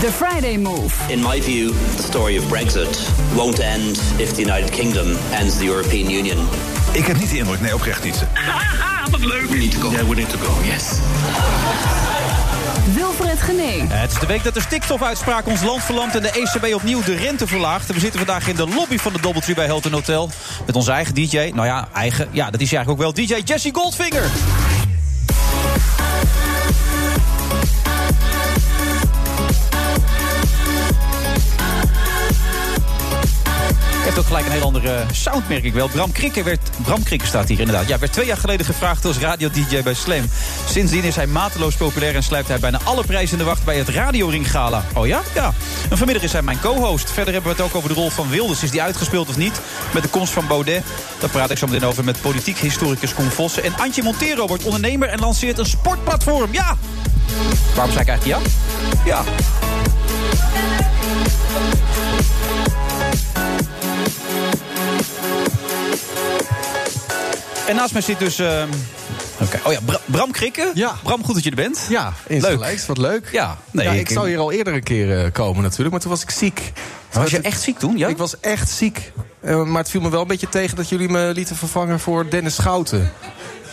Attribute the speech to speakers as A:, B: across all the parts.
A: The Friday Move.
B: In my view, the story of Brexit won't end if the United Kingdom ends the European Union.
C: Ik heb niet de indruk, nee, oprecht niet.
D: Haha, wat leuk! We need to go.
B: Yeah, we need to go, yes.
A: Wilfred Genee.
E: Het is de week dat de stikstofuitspraak ons land verlamt en de ECB opnieuw de rente verlaagt. We zitten vandaag in de lobby van de Doubletree bij Hilton Hotel met onze eigen DJ. Nou ja, eigen, ja, dat is hij eigenlijk ook wel DJ Jesse Goldfinger. heeft ook gelijk een heel andere sound, merk ik wel. Bram Krikke werd... Bram Krikke staat hier inderdaad. Ja, werd twee jaar geleden gevraagd als radio-dj bij Slam. Sindsdien is hij mateloos populair en slijpt hij bijna alle prijzen in de wacht bij het Radioring Gala. Oh ja? Ja. En vanmiddag is hij mijn co-host. Verder hebben we het ook over de rol van Wilders. Is die uitgespeeld of niet? Met de komst van Baudet. Daar praat ik zo meteen over met politiek historicus Koen Vossen. En Antje Montero wordt ondernemer en lanceert een sportplatform. Ja! Waarom zei ik eigenlijk ja? Ja. En naast mij zit dus. ehm, Oké. Oh ja, Bra- Bram Krikke.
F: Ja.
E: Bram, goed dat je er bent.
F: Ja, insgelijks. Wat leuk.
E: Ja, nee,
F: ja, ik,
E: ik-
F: zou hier al eerder een keer eh, komen natuurlijk, maar toen was ik ziek.
E: Was je echt ziek toen? Ja?
F: Ik was echt ziek. Eh, maar het viel me wel een beetje tegen dat jullie me lieten vervangen voor Dennis Schouten.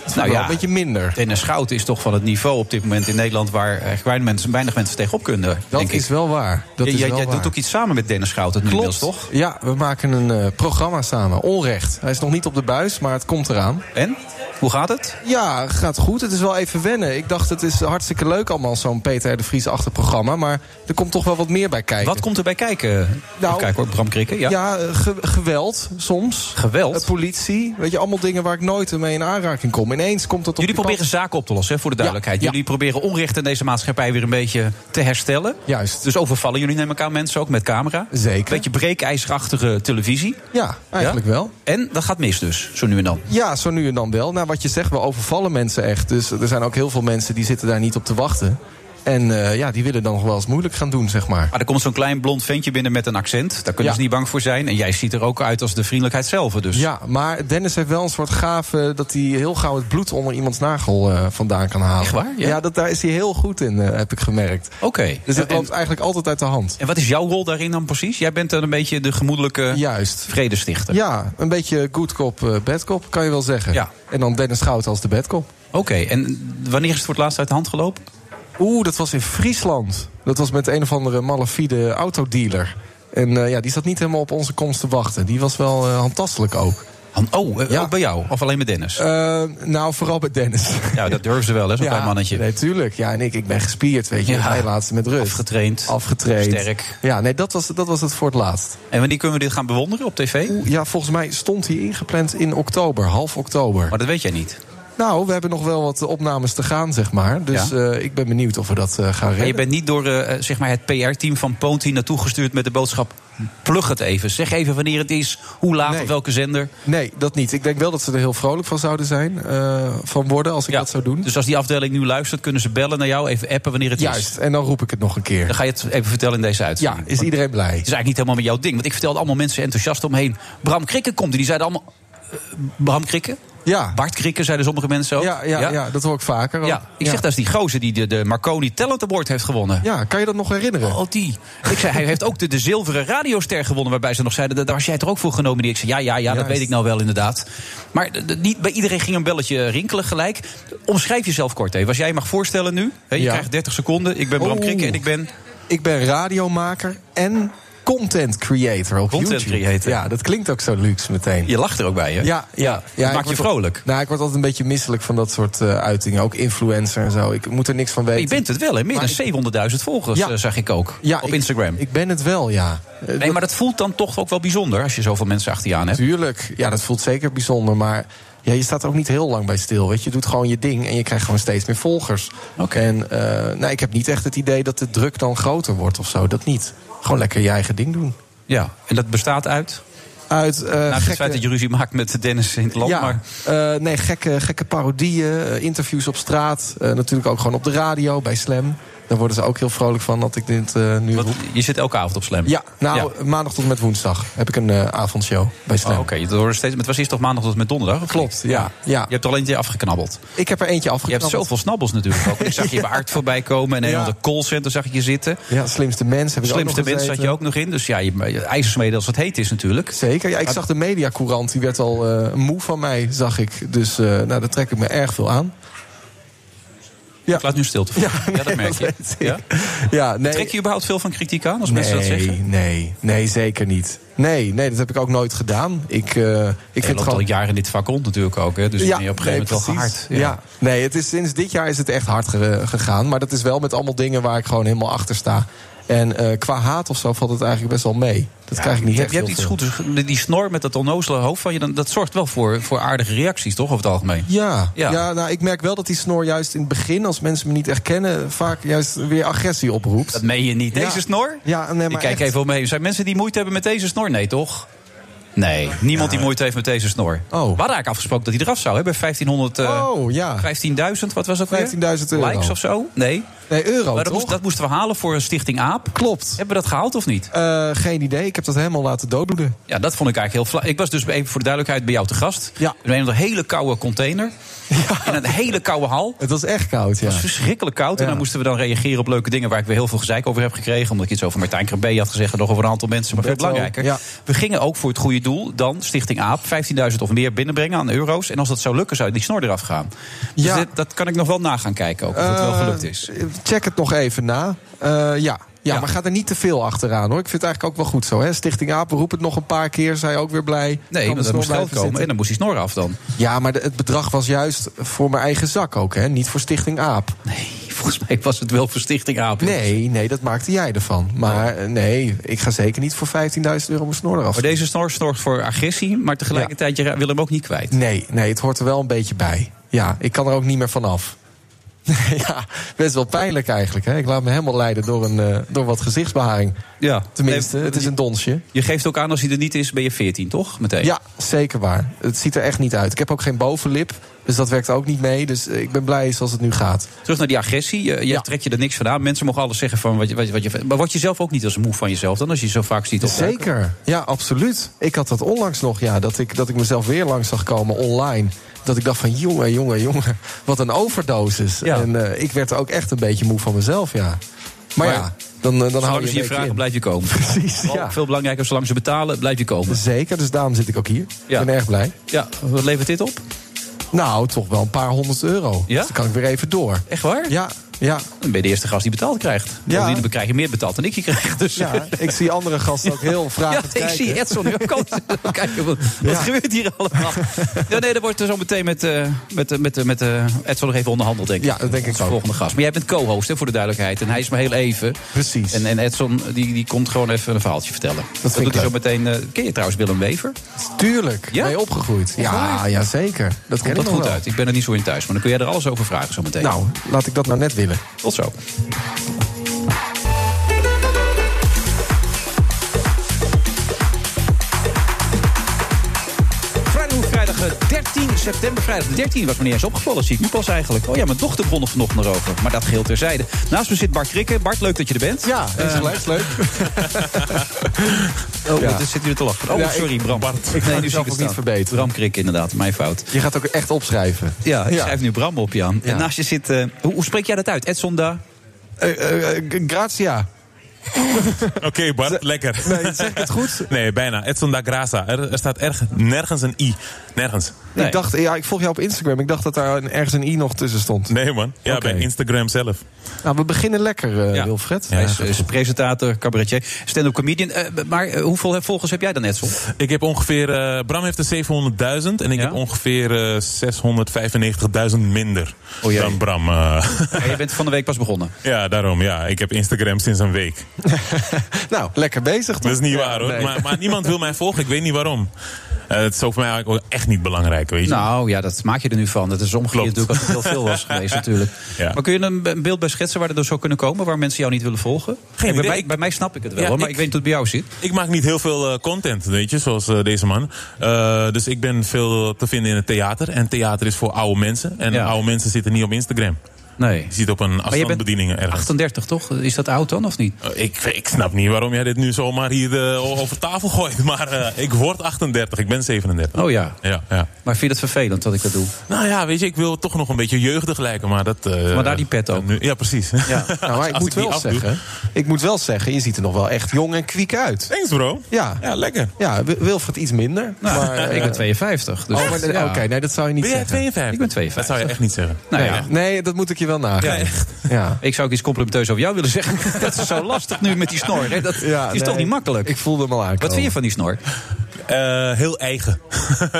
F: Het viel
E: Nou
F: me wel
E: ja.
F: een beetje minder.
E: Dennis Schouten is toch van het niveau op dit moment in Nederland waar eigenlijk weinig mensen, weinig mensen tegenop kunnen.
F: Dat
E: denk
F: is
E: ik.
F: wel waar. Dat
E: Jij-
F: is
E: jij
F: wel
E: jij
F: waar.
E: doet ook iets samen met Dennis Schouten nu inmiddels, toch?
F: Ja, we maken een eh, programma samen. Onrecht. Hij is nog niet op de buis, maar het komt eraan.
E: En? Hoe gaat het?
F: Ja, gaat goed. Het is wel even wennen. Ik dacht, het is hartstikke leuk allemaal, zo'n Peter R. de Vries achterprogramma. Maar er komt toch wel wat meer bij kijken.
E: Wat komt erbij kijken?
F: Nou,
E: Kijk hoor, Bram Krikke. Ja.
F: Ja, eh, ge- geweld soms.
E: Geweld?
F: Eh, politie. Weet je, allemaal dingen waar ik nooit mee in aanraking kom. Ineens komt dat op
E: Jullie
F: je
E: proberen
F: pad.
E: zaken op te lossen, hè, voor de duidelijkheid.
F: ja.
E: Jullie proberen onrecht in deze maatschappij weer een beetje te herstellen.
F: Juist.
E: Dus overvallen jullie, neem ik aan, mensen ook met camera.
F: Zeker.
E: Beetje breekijzerachtige televisie.
F: Ja, eigenlijk
E: Ja?
F: wel.
E: En dat gaat mis dus, zo nu en dan.
F: Ja, zo nu en dan wel. Nou, wat je zegt, we overvallen mensen echt. Dus er zijn ook heel veel mensen die zitten daar niet op te wachten. En eh, ja, die willen dan nog wel eens moeilijk gaan doen, zeg maar.
E: Maar er komt zo'n klein blond ventje binnen met een accent. Daar kunnen
F: Ja.
E: ze niet bang voor zijn. En jij ziet er ook uit als de vriendelijkheid zelf. Dus.
F: Ja, maar Dennis heeft wel een soort gaaf eh, dat hij heel gauw het bloed onder iemands nagel eh, vandaan kan halen.
E: Echt waar? Ja.
F: Ja, dat, daar is hij heel goed in, eh, heb ik gemerkt.
E: Oké.
F: Dus dat
E: En-
F: loopt eigenlijk altijd uit de hand.
E: En wat is jouw rol daarin dan precies? Jij bent dan een beetje de gemoedelijke
F: Juist.
E: vredestichter.
F: Ja, een beetje good cop, eh, bad cop, kan je wel zeggen.
E: Ja.
F: En dan Dennis Schouten als de bad cop.
E: Oké, en wanneer is het voor het laatst uit de hand gelopen?
F: Oeh, dat was in Friesland. Dat was met een of andere malafide autodealer. En eh, ja, die zat niet helemaal op onze komst te wachten. Die was wel eh, handtastelijk ook.
E: Han- oh, eh,
F: Ja.
E: ook bij jou? Of alleen met Dennis?
F: Eh, nou, vooral bij Dennis.
E: ja, dat durven ze wel, hè, zo'n klein mannetje.
F: Nee, tuurlijk. Ja, en ik, ik ben gespierd, weet je.
E: Ja.
F: Hij laatste met rust.
E: Afgetraind.
F: Afgetraind.
E: Sterk.
F: Ja, nee, dat was, dat was het voor het laatst.
E: En wanneer kunnen we dit gaan bewonderen op tv?
F: Oeh, Ja, volgens mij stond hij ingepland in oktober, half oktober.
E: Maar dat weet jij niet.
F: Nou, we hebben nog wel wat opnames te gaan, zeg maar. Dus
E: Ja.
F: eh, ik ben benieuwd of we dat eh, gaan
E: En je
F: redden.
E: bent niet door eh, eh, zeg maar het PR-team van Ponti naartoe gestuurd met de boodschap... plug het even. Zeg even wanneer het is, hoe laat,
F: Nee.
E: op welke zender.
F: Nee, dat niet. Ik denk wel dat ze er heel vrolijk van zouden zijn, eh, van worden, als ik dat zou doen.
E: Dus als die afdeling nu luistert, kunnen ze bellen naar jou, even appen wanneer het is.
F: Juist, en dan roep ik het nog een
E: Dan
F: keer.
E: ga je het even vertellen in deze
F: Ja,
E: uitzending.
F: is
E: Want
F: iedereen blij?
E: Het is eigenlijk niet helemaal met jouw ding. Want ik vertelde allemaal mensen enthousiast omheen. Bram Krikke komt. En die zeiden allemaal... eh, Bram Krikke?
F: Ja,
E: Bart Krikke zeiden sommige mensen ook.
F: ja, ja, ja dat hoor ik vaker. ook.
E: Ja, ik zeg, dat is die gozer die de, de Marconi Talent Award heeft gewonnen.
F: Ja, kan je dat nog herinneren?
E: Oh, die. Ik zei, hij heeft ook de, de zilveren radioster gewonnen. Waarbij ze nog zeiden, daar was jij toch ook voor genomineerd? Ik zei, ja, ja, ja, dat
F: Juist.
E: weet ik nou wel inderdaad. Maar de- de- niet bij iedereen ging een belletje rinkelen gelijk. Omschrijf jezelf kort even. Als jij je mag voorstellen nu. Hè, je
F: Ja.
E: krijgt 30 seconden. Ik ben Bram
F: Oeh.
E: Krikke en ik ben...
F: Ik ben radiomaker en content creator op
E: Content
F: YouTube.
E: creator.
F: Ja, dat klinkt ook zo luxe meteen.
E: Je lacht er ook bij, hè?
F: Ja, ja, ja.
E: maakt
F: ik
E: je
F: word al-
E: vrolijk.
F: nou, ik word altijd een beetje misselijk van dat soort eh, uitingen. Ook influencer en zo. Ik moet er niks van weten.
E: Je bent het wel, hè? Meer
F: Maar
E: dan
F: ik-
E: 700.000 volgers,
F: Ja.
E: eh, zag ik ook.
F: Ja,
E: op
F: ik-
E: Instagram.
F: Ik ben het wel, ja. Eh,
E: nee, maar dat voelt dan toch ook wel bijzonder als je zoveel mensen achter je aan hebt.
F: Tuurlijk, ja, dat voelt zeker bijzonder. Maar ja, je staat er ook niet heel lang bij stil. Weet je. je doet gewoon je ding en je krijgt gewoon steeds meer volgers.
E: Oké.
F: En eh, nou, ik heb niet echt het idee dat de druk dan groter wordt of zo. Dat niet. Gewoon lekker je eigen ding doen.
E: Ja, en dat bestaat uit.
F: uit eh,
E: nou, het
F: gekke-
E: feit dat je ruzie maakt met Dennis in het land.
F: ja,
E: Maar
F: eh, nee, gekke, gekke parodieën, eh, interviews op straat. eh, natuurlijk ook gewoon op de radio bij Slam. Daar worden ze ook heel vrolijk van dat ik dit eh, nu
E: wat,
F: roep.
E: je zit elke avond op Slam.
F: Ja, nou, maandag tot en met woensdag heb ik een eh, avondshow bij
E: Oh,
F: Slam.
E: Oké, je hoorde steeds. maar Het was eerst toch maandag tot en met donderdag? of
F: Klopt,
E: niet?
F: ja, ja.
E: Je hebt er alleen je afgeknabbeld.
F: Ik heb er eentje
E: Je
F: afgeknapt.
E: hebt zoveel snabbels natuurlijk ook. Ik zag je bij Aard voorbij komen en een
F: Ja.
E: ja. callcenter zag ik je zitten.
F: Ja, slimste mens heb ik ook nog
E: Slimste mens zat
F: gezeten.
E: je ook nog in. Dus ja, je, je ijzersmeden als het heet is natuurlijk.
F: Zeker. Ja, ik zag de mediacourant, die werd al eh, moe van mij, zag ik. Dus eh, nou, daar trek ik me erg veel aan.
E: Ik laat nu stilte vallen. Ja, dat merk je.
F: weet ik.
E: Ja?
F: Ja, nee.
E: Trek je überhaupt veel van kritiek aan als mensen
F: nee,
E: dat zeggen?
F: Nee, nee, zeker niet. Nee, nee, dat heb ik ook nooit gedaan. Ik, eh, ik
E: Ik je
F: vind
E: loopt
F: het gewoon...
E: al jaren in dit vak rond natuurlijk ook. Hè? Dus dan ben je op een gegeven moment
F: nee,
E: wel
F: precies.
E: gehaard.
F: Ja. nee, het is, sinds dit jaar is het echt hard ge- gegaan. Maar dat is wel met allemaal dingen waar ik gewoon helemaal achter sta. En eh, qua haat of zo valt het eigenlijk best wel mee. Dat krijg ik niet
E: Je
F: echt
E: hebt, je hebt
F: heel
E: iets
F: veel.
E: goeds. Die- Die snor met dat onnozele hoofd van je, dan- dat zorgt wel voor, voor aardige reacties, toch? Over het algemeen.
F: Ja,
E: Ja.
F: ja. nou, ik merk wel dat die snor juist in het begin, als mensen me niet herkennen, vaak juist weer agressie oproept.
E: Dat meen je niet. Deze
F: Ja.
E: snor?
F: Ja, nee, maar
E: Ik kijk
F: echt.
E: even omheen. Zijn mensen die moeite hebben met deze snor? Nee, toch? Nee, niemand die moeite heeft met deze snor. We hadden eigenlijk afgesproken dat hij eraf zou hebben. 1500... eh,
F: Oh, ja.
E: 15.000, wat was dat weer?
F: 15.000 euro.
E: Likes of zo? Nee.
F: Nee, euro,
E: maar dat,
F: toch?
E: moest- dat moesten we halen voor een Stichting AAP.
F: Klopt.
E: Hebben we dat gehaald of niet?
F: Eh, geen idee, ik heb dat helemaal laten dooddoeden.
E: Ja, dat vond ik eigenlijk heel flauw. Ik was dus even voor de duidelijkheid bij jou te gast.
F: Ja.
E: In een hele koude container. In een hele koude hal.
F: Het was echt koud, ja.
E: Het was verschrikkelijk koud. En
F: Ja.
E: dan moesten we dan reageren op leuke dingen waar ik weer heel veel gezeik over heb gekregen. Omdat ik iets over Martijn Krabbe had gezegd en nog over een aantal mensen. Maar veel
F: Beto,
E: belangrijker.
F: ja.
E: We gingen ook voor het goede doel dan Stichting AAP 15.000 of meer binnenbrengen aan euro's. En als dat zou lukken, zou die snor eraf gaan. Dus
F: Ja.
E: dit- dat kan ik nog wel na gaan kijken ook. Of het wel gelukt is.
F: Eh, Check het nog even na. Eh, ja. Ja,
E: Ja.
F: maar ga er niet te veel achteraan hoor. Ik vind het eigenlijk ook wel goed zo. Hè? Stichting Apen roep het nog een paar keer. Zij ook weer blij.
E: Nee,
F: Kan
E: want er
F: dus
E: moest
F: wel
E: geld
F: blijven
E: komen en
F: zitten.
E: dan moest die snor af dan.
F: Ja, maar de- het bedrag was juist voor mijn eigen zak ook, hè? Niet voor Stichting Aap.
E: Nee, volgens mij was het wel voor Stichting AAP.
F: Nee, nee, dat maakte jij ervan. Maar eh, nee, ik ga zeker niet voor 15.000 euro mijn snor eraf.
E: Maar deze snor zorgt voor agressie, maar tegelijkertijd je wil hem ook niet kwijt.
F: Nee, nee, het hoort er wel een beetje bij. Ja, ik kan er ook niet meer vanaf. ja, best wel pijnlijk eigenlijk. Hè? Ik laat me helemaal leiden door, een, eh, door wat gezichtsbeharing.
E: Ja.
F: Tenminste,
E: Nee,
F: het is een donsje.
E: Je geeft ook aan als hij er niet is, ben je 14, toch? Meteen.
F: Ja, zeker waar. Het ziet er echt niet uit. Ik heb ook geen bovenlip, dus dat werkt ook niet mee. Dus eh, ik ben blij zoals het nu gaat.
E: Terug naar die agressie. Je, je
F: Ja.
E: trekt je er niks van aan. Mensen mogen alles zeggen van wat je, wat je, wat je- Maar word je zelf ook niet als moe van jezelf dan? Als je zo vaak ziet op
F: Zeker. Ja, absoluut. Ik had dat onlangs nog, ja, dat ik, dat ik mezelf weer langs zag komen online. Dat ik dacht van, jongen, jongen, jongen, wat een overdosis.
E: Ja.
F: En eh, ik werd er ook echt een beetje moe van mezelf, ja. Maar,
E: Maar
F: ja, dan, eh, dan hou
E: Zolang
F: je
E: ze je
F: een beetje
E: vragen,
F: in.
E: blijf je komen.
F: Precies,
E: Vooral
F: ja.
E: Veel belangrijker, zolang ze betalen, blijf je komen.
F: Zeker, dus daarom zit ik ook hier.
E: Ja.
F: Ik ben erg blij.
E: Ja, wat levert dit op?
F: Nou, toch wel een paar honderd euro.
E: Ja?
F: Dus dan kan ik weer even door.
E: Echt waar?
F: Ja, ja.
E: Dan ben je de eerste gast die betaald krijgt.
F: Ja.
E: Ja. Dan krijg je meer betaald dan ik je krijg. Dus.
F: Ja, ik zie andere gasten ook heel
E: Ja,
F: vragen
E: ik zie Edson nu ook al zitten kijken. Wat, wat
F: Ja.
E: gebeurt hier allemaal? Ja, nee, dat wordt er zo meteen met, eh, met, eh, met, eh, met eh, Edson nog even onderhandeld, denk ik.
F: Ja, dat denk ik
E: Onze
F: ook.
E: volgende gast. Maar jij bent co-host, hè, voor de duidelijkheid. En hij is maar heel even.
F: Precies.
E: En, en Edson, die, die komt gewoon even een verhaaltje vertellen. Dat,
F: vind ik
E: doet hij zo
F: leuk.
E: meteen. eh, ken je trouwens Willem Wever?
F: Tuurlijk,
E: Ja?
F: ben je opgegroeid. Ja, ja zeker. Dat ken
E: Komt
F: ik
E: dat
F: nog
E: goed
F: wel.
E: uit? Ik ben er niet zo in thuis. Maar dan kun jij er alles over vragen zo meteen.
F: Nou, laat ik dat nou net willen.
E: Tot zo. Vrijdag, vrijdag eh, 13 september. Vrijdag 13 was me niet eens opgevallen. Zie ik nu pas eigenlijk. Oh ja, mijn dochter begon er vanochtend erover. Maar dat geheel terzijde. Naast me zit Bart Krikke. Bart, leuk dat je er bent. Eh,
F: Ja, is gelijk leuk.
E: Oh,
F: Ja.
E: wat is- zit u er te lachen? Oh,
F: Ja, ik-
E: sorry, Bram. Bart.
F: ga
E: nee, nu
F: mezelf
E: zie ik het
F: ook niet
E: staan.
F: verbeteren.
E: Bram Krikke, inderdaad. Mijn fout.
F: Je gaat ook echt opschrijven.
E: Ja, ik
F: Ja.
E: schrijf nu Bram op, Jan.
F: Ja. Eh,
E: En naast je zit... eh, hoe, hoe spreek jij dat uit? Edson da?
F: gratia.
G: Oké, Bart, lekker.
F: Nee, zeg ik het goed?
G: Nee, bijna. Edson da Grasa. Er, er staat erg, nergens een i. Nergens.
E: Nee.
F: Ik dacht, ja, ik volg jou op Instagram. Ik dacht dat daar een- ergens een i nog tussen stond.
G: Nee, man. Ja,
F: Oké.
G: bij Instagram zelf.
F: Nou, we beginnen lekker, eh
E: Ja.
F: Wilfred.
E: Hij is, is presentator, cabaretier, stand-up comedian. Eh, maar eh, hoeveel eh, volgers heb jij dan, Edson?
G: Ik heb ongeveer... eh, Bram heeft er 700.000 en ik
E: Ja?
G: heb ongeveer eh 695.000 minder
E: O, jee.
G: dan Bram. eh.
E: Ja, je bent van de week pas begonnen.
G: ja, daarom. Ja, ik heb Instagram sinds een week.
F: Nou, lekker bezig.
G: Dat is niet
F: Ja,
G: waar, hoor.
F: nee.
G: Maar, maar niemand wil mij volgen. Ik weet niet waarom. Eh, het is ook voor mij eigenlijk ook echt niet belangrijk, weet je.
E: Nou ja, dat maak je er nu van. Dat is omgekeerd
G: Klopt.
E: natuurlijk als het heel veel was geweest natuurlijk.
G: Ja.
E: Maar kun je er een be- een beeld bij schetsen waar dat door zou kunnen komen? Waar mensen jou niet willen volgen? Kijk,
G: idee.
E: Bij, mij, bij mij snap ik het wel,
G: Ja,
E: hoor, maar ik,
G: ik-
E: weet niet hoe het bij jou zit.
G: Ik maak niet heel veel eh, content, weet je, zoals eh, deze man. Eh, dus ik ben veel te vinden in het theater. En theater is voor oude mensen. En
E: Ja.
G: oude mensen zitten niet op Instagram.
E: Nee.
G: Je ziet op een
E: Maar je bent
G: afstandsbediening ergens.
E: 38 toch? Is dat oud dan of niet?
G: Eh, Ik, ik snap niet waarom jij dit nu zomaar hier eh, o- over tafel gooit. Maar eh, ik word 38, ik ben 37.
E: Oh ja.
G: Ja, ja.
E: Maar vind je het vervelend dat ik dat doe?
G: Nou ja, weet je, ik wil toch nog een beetje jeugdig lijken, maar dat... eh,
E: Maar daar die pet ook.
G: nu- ja, precies.
E: Ja.
F: Nou, maar ik
G: Als
F: moet
G: ik die
F: wel
G: afdoe.
F: zeggen, ik moet wel zeggen, je ziet er nog wel echt jong en kwiek uit.
G: Thanks, bro.
F: Ja.
G: Ja, lekker.
F: Ja, Wi- Wilfred iets minder.
E: Nou,
F: maar, eh,
E: ik ben 52. Dus
F: oh, maar,
E: ja.
F: Oké, nee, dat zou je niet
G: Ben jij
F: zeggen.
G: 52?
E: Ik ben 52.
G: Dat zou je echt niet zeggen.
E: Nou ja.
F: Nee, dat moet ik je wel nagaan.
G: Ja, echt.
F: Ja.
E: Ik zou ook iets complimenteus over jou willen zeggen. Dat is zo lastig nu met die snor. Hè? Dat
F: Ja,
E: is
F: nee,
E: toch niet makkelijk?
F: Ik voelde hem al aankomen.
E: Wat vind je van die snor?
G: Eh, heel eigen.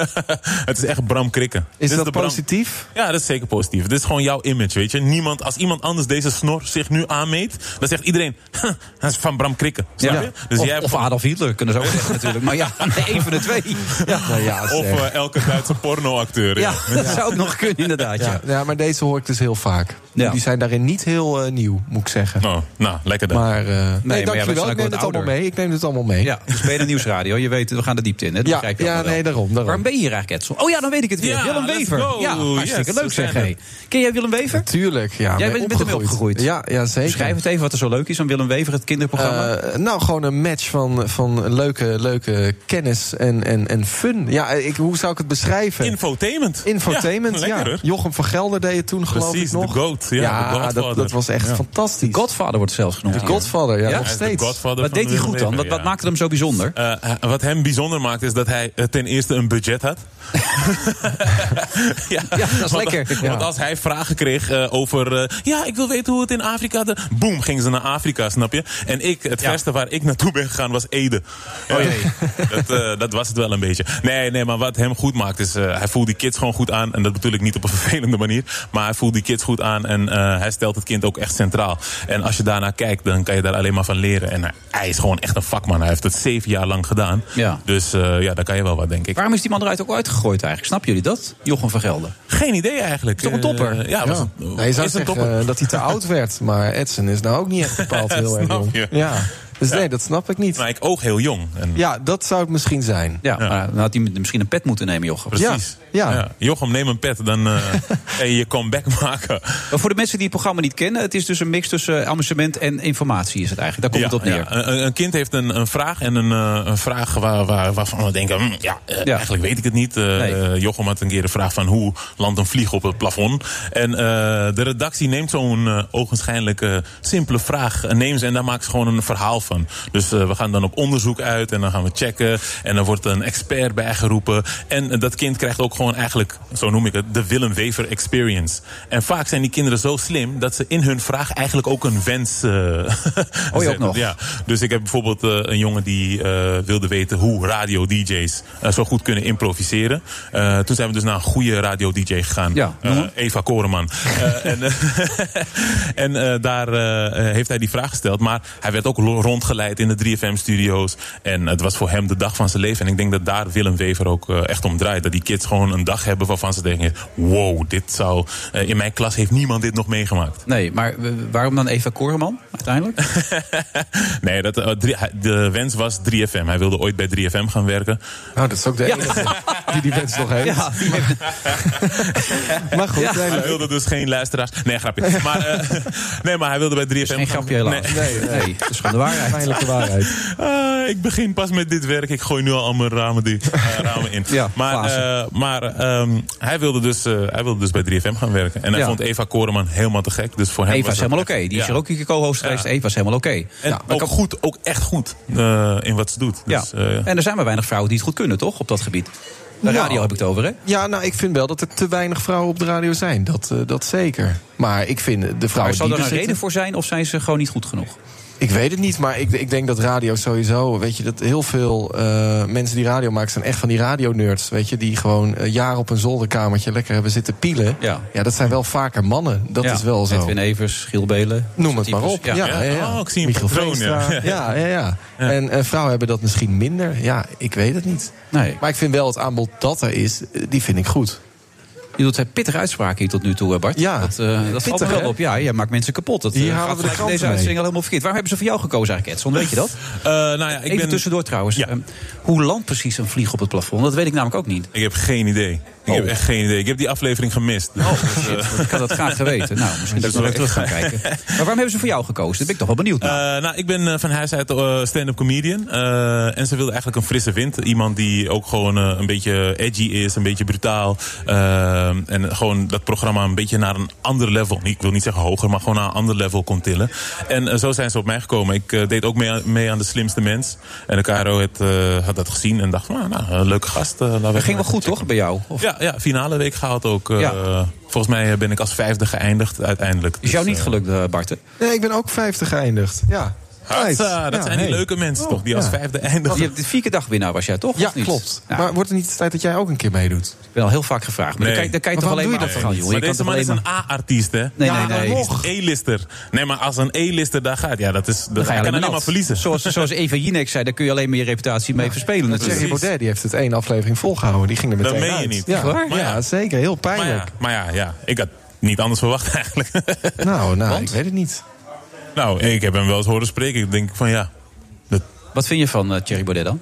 G: het is echt Bram Krikken. Dit
F: Is dat
G: de Bram-
F: positief?
G: Ja, dat is zeker positief. Dit is gewoon jouw image, weet je. Niemand, als iemand anders deze snor zich nu aanmeet... dan zegt iedereen, "Huh, dat is van Bram Krikken. Snap je? Dus
E: of,
G: jij hebt
E: of
G: gewoon-
E: Adolf Hitler, kunnen ze ook zeggen natuurlijk. Maar ja, één van de twee. Ja,
F: Nou ja,
G: of
F: zeg.
G: eh, elke Duitse pornoacteur.
E: ja dat zou ook nog kunnen inderdaad. Ja.
F: ja. ja, maar deze hoor ik dus heel vaak.
E: Ja.
F: Die zijn daarin niet heel eh, nieuw, moet ik zeggen.
G: Oh, nou, lekker dan.
F: Maar, eh nee,
E: maar ja, wij
F: dankjewel.
E: zijn ook wat
F: ik neem het
E: ouder.
F: allemaal mee. Ik neem het allemaal mee.
E: Ja, dus ben je een nieuwsradio, je weet, we gaan er diepte in. Hè? Dat
F: Ja,
E: begrijp je
F: ja,
E: allemaal wel.
F: nee, daarom, daarom.
E: Waarom ben je hier eigenlijk, Edsel? Oh ja, dan weet ik het weer.
G: Ja,
E: Willem
G: let's
E: Wever.
G: go.
E: Ja, hartstikke
G: Yes,
E: leuk
G: we
E: zeg.
G: zijn
E: Hey. Ken jij Willem Wever?
F: Tuurlijk, ja.
E: Jij
F: mee
E: bent- bent ermee opgegroeid.
F: Ja, ja zeker.
E: Schrijf het even wat er zo leuk is aan Willem Wever, het kinderprogramma.
F: Eh, nou, gewoon een match van, van leuke, leuke kennis en, en, en fun. Ja, ik, hoe zou ik het beschrijven?
G: Infotainment.
F: Infotainment,
G: Ja,
F: ja.
G: lekker, hoor.
F: Jochem van Gelder deed het toen, geloof
G: Precies,
F: ik nog.
G: de GOAT, ja, de Godfather.
F: dat, dat was echt
G: Ja.
F: fantastisch.
E: Godfather wordt zelfs genoemd.
F: De Godfather,
E: Ja?
F: ja, nog
G: Hij is de
F: steeds.
G: Godfather
E: Wat
G: van
E: deed hij goed dan?
G: Willem
E: Wat,
G: Wever,
E: wat
G: ja.
E: maakte hem zo bijzonder?
G: Eh, wat hem bijzonder maakt is dat hij eh, ten eerste een budget had. ja,
E: dat is
G: want-
E: lekker.
G: Want als hij vragen kreeg eh, over... eh, ja, ik wil weten hoe het in Afrika... De, boom, gingen ze naar Afrika, snap je? En ik, het verste waar ik naartoe ben gegaan was Ede. Oh dat, eh, dat was het wel een beetje. Nee, nee, maar wat hem goed maakt is... eh, hij voelt die kids gewoon goed aan. En dat bedoel ik niet op een vervelende manier. Maar hij voelt die kids goed aan. En eh, hij stelt het kind ook echt centraal. En als je daarnaar kijkt, dan kan je daar alleen maar van leren. En hij- hij is gewoon echt een vakman. Hij heeft het zeven jaar lang gedaan.
E: Ja.
G: Dus eh, ja, daar kan je wel wat, denk ik.
E: Waarom is die man eruit ook uitgegooid eigenlijk? Snap jullie dat? Jochem van Gelder.
G: Geen idee eigenlijk.
E: Toch een topper?
G: Eh, ja, was
F: Ja.
G: een-
F: Nou, je zou
G: is een
F: zeggen
G: topper.
F: eh, dat hij te oud werd, maar Edson is nou ook niet echt bepaald heel erg
G: Snap
F: jong.
G: je.
F: Ja. Dus nee, dat snap ik niet.
G: Maar ik ook heel jong. En
F: Ja, dat zou het misschien zijn.
E: Ja, maar dan had hij misschien een pet moeten nemen, Jochem.
G: Precies.
F: Ja, ja.
G: Jochem, neem een pet, dan eh en je comeback maken.
E: Maar voor de mensen die het programma niet kennen, het is dus een mix tussen eh, amusement en informatie is het eigenlijk. Daar
G: Ja,
E: komt het op neer.
G: ja. Een, een kind heeft een, een vraag en een, eh, een vraag waar, waar, waarvan we denken... hm, ja, eh,
E: Ja.
G: eigenlijk weet ik het niet. Eh,
E: Nee.
G: eh, Jochem had een keer de vraag van hoe landt een vlieg op het plafond? En eh, de redactie neemt zo'n eh ogenschijnlijk eh, simpele vraag... eh, neemt ze en daar maakt ze gewoon een verhaal van. Dus eh, we gaan dan op onderzoek uit en dan gaan we checken. En dan wordt een expert bijgeroepen. En eh, dat kind krijgt ook gewoon eigenlijk, zo noem ik het... de Willem Wever experience. En vaak zijn die kinderen zo slim... dat ze in hun vraag eigenlijk ook een wens... eh,
E: Oh ook
G: zetten.
E: nog?
G: Ja, ja, dus ik heb bijvoorbeeld eh, een jongen die eh, wilde weten hoe radio-dj's eh, zo goed kunnen improviseren. Eh, toen zijn we dus naar een goede radio-dj gegaan.
E: Ja, Mm-hmm.
G: Eh,
E: noem hem.
G: Eva Koreman. Eh, en eh, en eh, daar eh, eh, heeft hij die vraag gesteld. Maar hij werd ook lo- rondgeleid in de 3FM-studio's. En het was voor hem de dag van zijn leven. En ik denk dat daar Willem Wever ook eh, echt om draait. Dat die kids gewoon een dag hebben waarvan ze denken... wow, dit zou... eh, in mijn klas heeft niemand dit nog meegemaakt.
E: Nee, maar eh, waarom dan Eva Koreman uiteindelijk?
G: nee, dat, eh, drie- hij- de wens was 3FM. Hij wilde ooit bij 3FM gaan werken.
F: Nou, dat is ook de enige die die wens nog heeft.
E: Ja, die heeft-
F: Maar goed,
E: Ja.
F: nee,
G: Hij
F: nee.
G: wilde dus geen luisteraars. Nee, grapje. Maar, eh, nee, maar hij wilde bij 3FM
E: Dus geen
G: gaan-
E: grapje helaas.
G: Nee.
E: Nee, nee, dat is gewoon de waarheid.
F: Pijnlijke waarheid.
G: Ah, ik begin pas met dit werk. Ik gooi nu al, al mijn ramen, die, eh, ramen in.
E: Ja,
G: maar
E: glazen.
G: eh, maar ehm, hij, wilde dus, eh, hij wilde dus bij 3FM gaan werken. En hij
E: Ja.
G: vond Eva Koreman helemaal te gek. Dus voor hem
E: Eva
G: was
E: is
G: dat
E: helemaal oké.
G: echt-
E: Die is
G: ja.
E: er ook een keer co-host geweest. Eva is helemaal oké.
G: En
E: Ja, maar
G: ook,
E: kan-
G: goed, ook echt goed eh, in wat ze doet.
E: ja.
G: Dus, eh,
E: En er zijn maar weinig vrouwen die het goed kunnen, toch? Op dat gebied. De radio
F: Nou.
E: heb ik het over, hè?
F: Ja, nou, ik vind wel dat er te weinig vrouwen op de radio zijn. Dat, eh, dat zeker. Maar ik vind de
E: Maar
F: vrouwen
E: zou
F: die
E: er
F: er
E: een reden
F: zitten...
E: voor zijn of zijn ze gewoon niet goed genoeg?
F: Ik weet het niet, maar ik, ik denk dat radio sowieso... Weet je, dat heel veel eh, mensen die radio maken... zijn echt van die radionerds, weet je... die gewoon eh, jaren op een zolderkamertje lekker hebben zitten pielen.
E: Ja.
F: dat zijn wel vaker mannen. Dat
E: Ja,
F: is wel zo.
E: Edwin Evers, Giel Belen.
F: Noem het
E: Types,
F: maar op. Ja,
E: ja.
F: ja, ja.
G: Oh, ik zie een eh.
F: Michiel
G: patroon, ja.
F: Veenstra. Ja, ja, ja. En eh, vrouwen hebben dat misschien minder. Ja, ik weet het niet.
E: Nee.
F: Maar ik vind wel het aanbod dat er is, eh, die vind ik goed.
E: Je doet zijn pittige uitspraken hier tot nu toe, hè, Bart.
F: Ja.
E: dat, eh, dat valt me
F: Pittig,
E: wel
F: hè?
E: op. Ja, jij maakt mensen kapot. Dat, eh,
F: Hier
E: gaat
F: halen we de
E: gelijk in
F: kranten
E: deze
F: mee.
E: uitzending al helemaal verkeerd. Waarom hebben ze voor jou gekozen eigenlijk, Edson? Weet je dat?
G: Eh, nou ja, ik
E: Even
G: ben...
E: tussendoor trouwens.
G: Ja.
E: Ehm, hoe landt precies een vlieg op het plafond? Dat weet ik namelijk ook niet.
G: Ik heb geen idee. Ik heb echt geen idee. Ik heb die aflevering gemist.
E: Oh, shit. Ik had dat graag geweten. Nou, misschien dat ik nog even terug gaan kijken. Maar waarom hebben ze voor jou gekozen? Daar ben ik toch wel benieuwd naar.
G: Eh, nou, ik ben eh, van huis uit eh, stand-up comedian. Eh, en ze wilde eigenlijk een frisse wind. Iemand die ook gewoon eh, een beetje edgy is, een beetje brutaal. Eh, en gewoon dat programma een beetje naar een ander level. Ik wil niet zeggen hoger, maar gewoon naar een ander level kon tillen. En eh, zo zijn ze op mij gekomen. Ik eh, deed ook mee, aan- mee aan de slimste mens. En de KRO had, eh, had dat gezien en dacht van, ah, nou, een leuke gast. eh, laten we
E: dat
G: even-
E: ging wel goed, toch, bij jou? Of
G: Ja, ja, finale week gehaald ook. eh,
E: Ja.
G: Volgens mij eh, ben ik als vijfde geëindigd uiteindelijk.
E: is jou
G: Dus,
E: niet
G: eh,
E: gelukt, eh, Bart? hè?
F: Nee, ik ben ook 50 geëindigd. Ja.
G: Hatsa,
F: Uit.
G: eh, dat
F: Ja,
G: zijn die
F: hey.
G: leuke mensen
F: Oh,
G: toch, die als
F: ja.
G: vijfde eindigen.
E: Je hebt de vier keer dagwinnaar was jij, toch?
F: Ja,
E: Of niet?
F: klopt.
E: Nou,
F: Maar wordt het niet de tijd dat jij ook een keer meedoet?
E: ik ben al heel vaak gevraagd.
G: Nee.
E: Maar dan kan, je- dan kan je
F: Maar
E: toch alleen
F: waarom
E: maar
F: doe je dat
E: afgaan, joh. Je
G: Maar
E: kan
G: deze
E: toch
G: man
E: alleen
G: is een
E: maar-
G: A-artiest, hè?
E: Nee, nee, nee.
G: Hij is een E-lister. Nee, maar als een E-lister daar gaat, ja, dat is, dat
E: Dan ga je
G: kan alleen
E: nat.
G: maar verliezen.
E: Zoals, zoals Eva Jinek zei, daar kun je alleen maar je reputatie mee verspelen.
F: Thierry
E: natuurlijk.
G: precies.
F: Baudet die heeft het één aflevering volgehouden. Die ging er meteen
G: Dat meen je
F: uit.
G: niet.
F: Ja,
G: Echt waar?
F: ja,
G: Maar ja.
F: zeker. Heel
G: maar
F: pijnlijk.
G: ja, maar ja, ja, ik had niet anders verwacht eigenlijk.
F: Nou, nou ik weet het niet.
G: nou, ik heb hem wel eens horen spreken. Ik denk van ja. dat-
E: Wat vind je van eh, Thierry Baudet dan?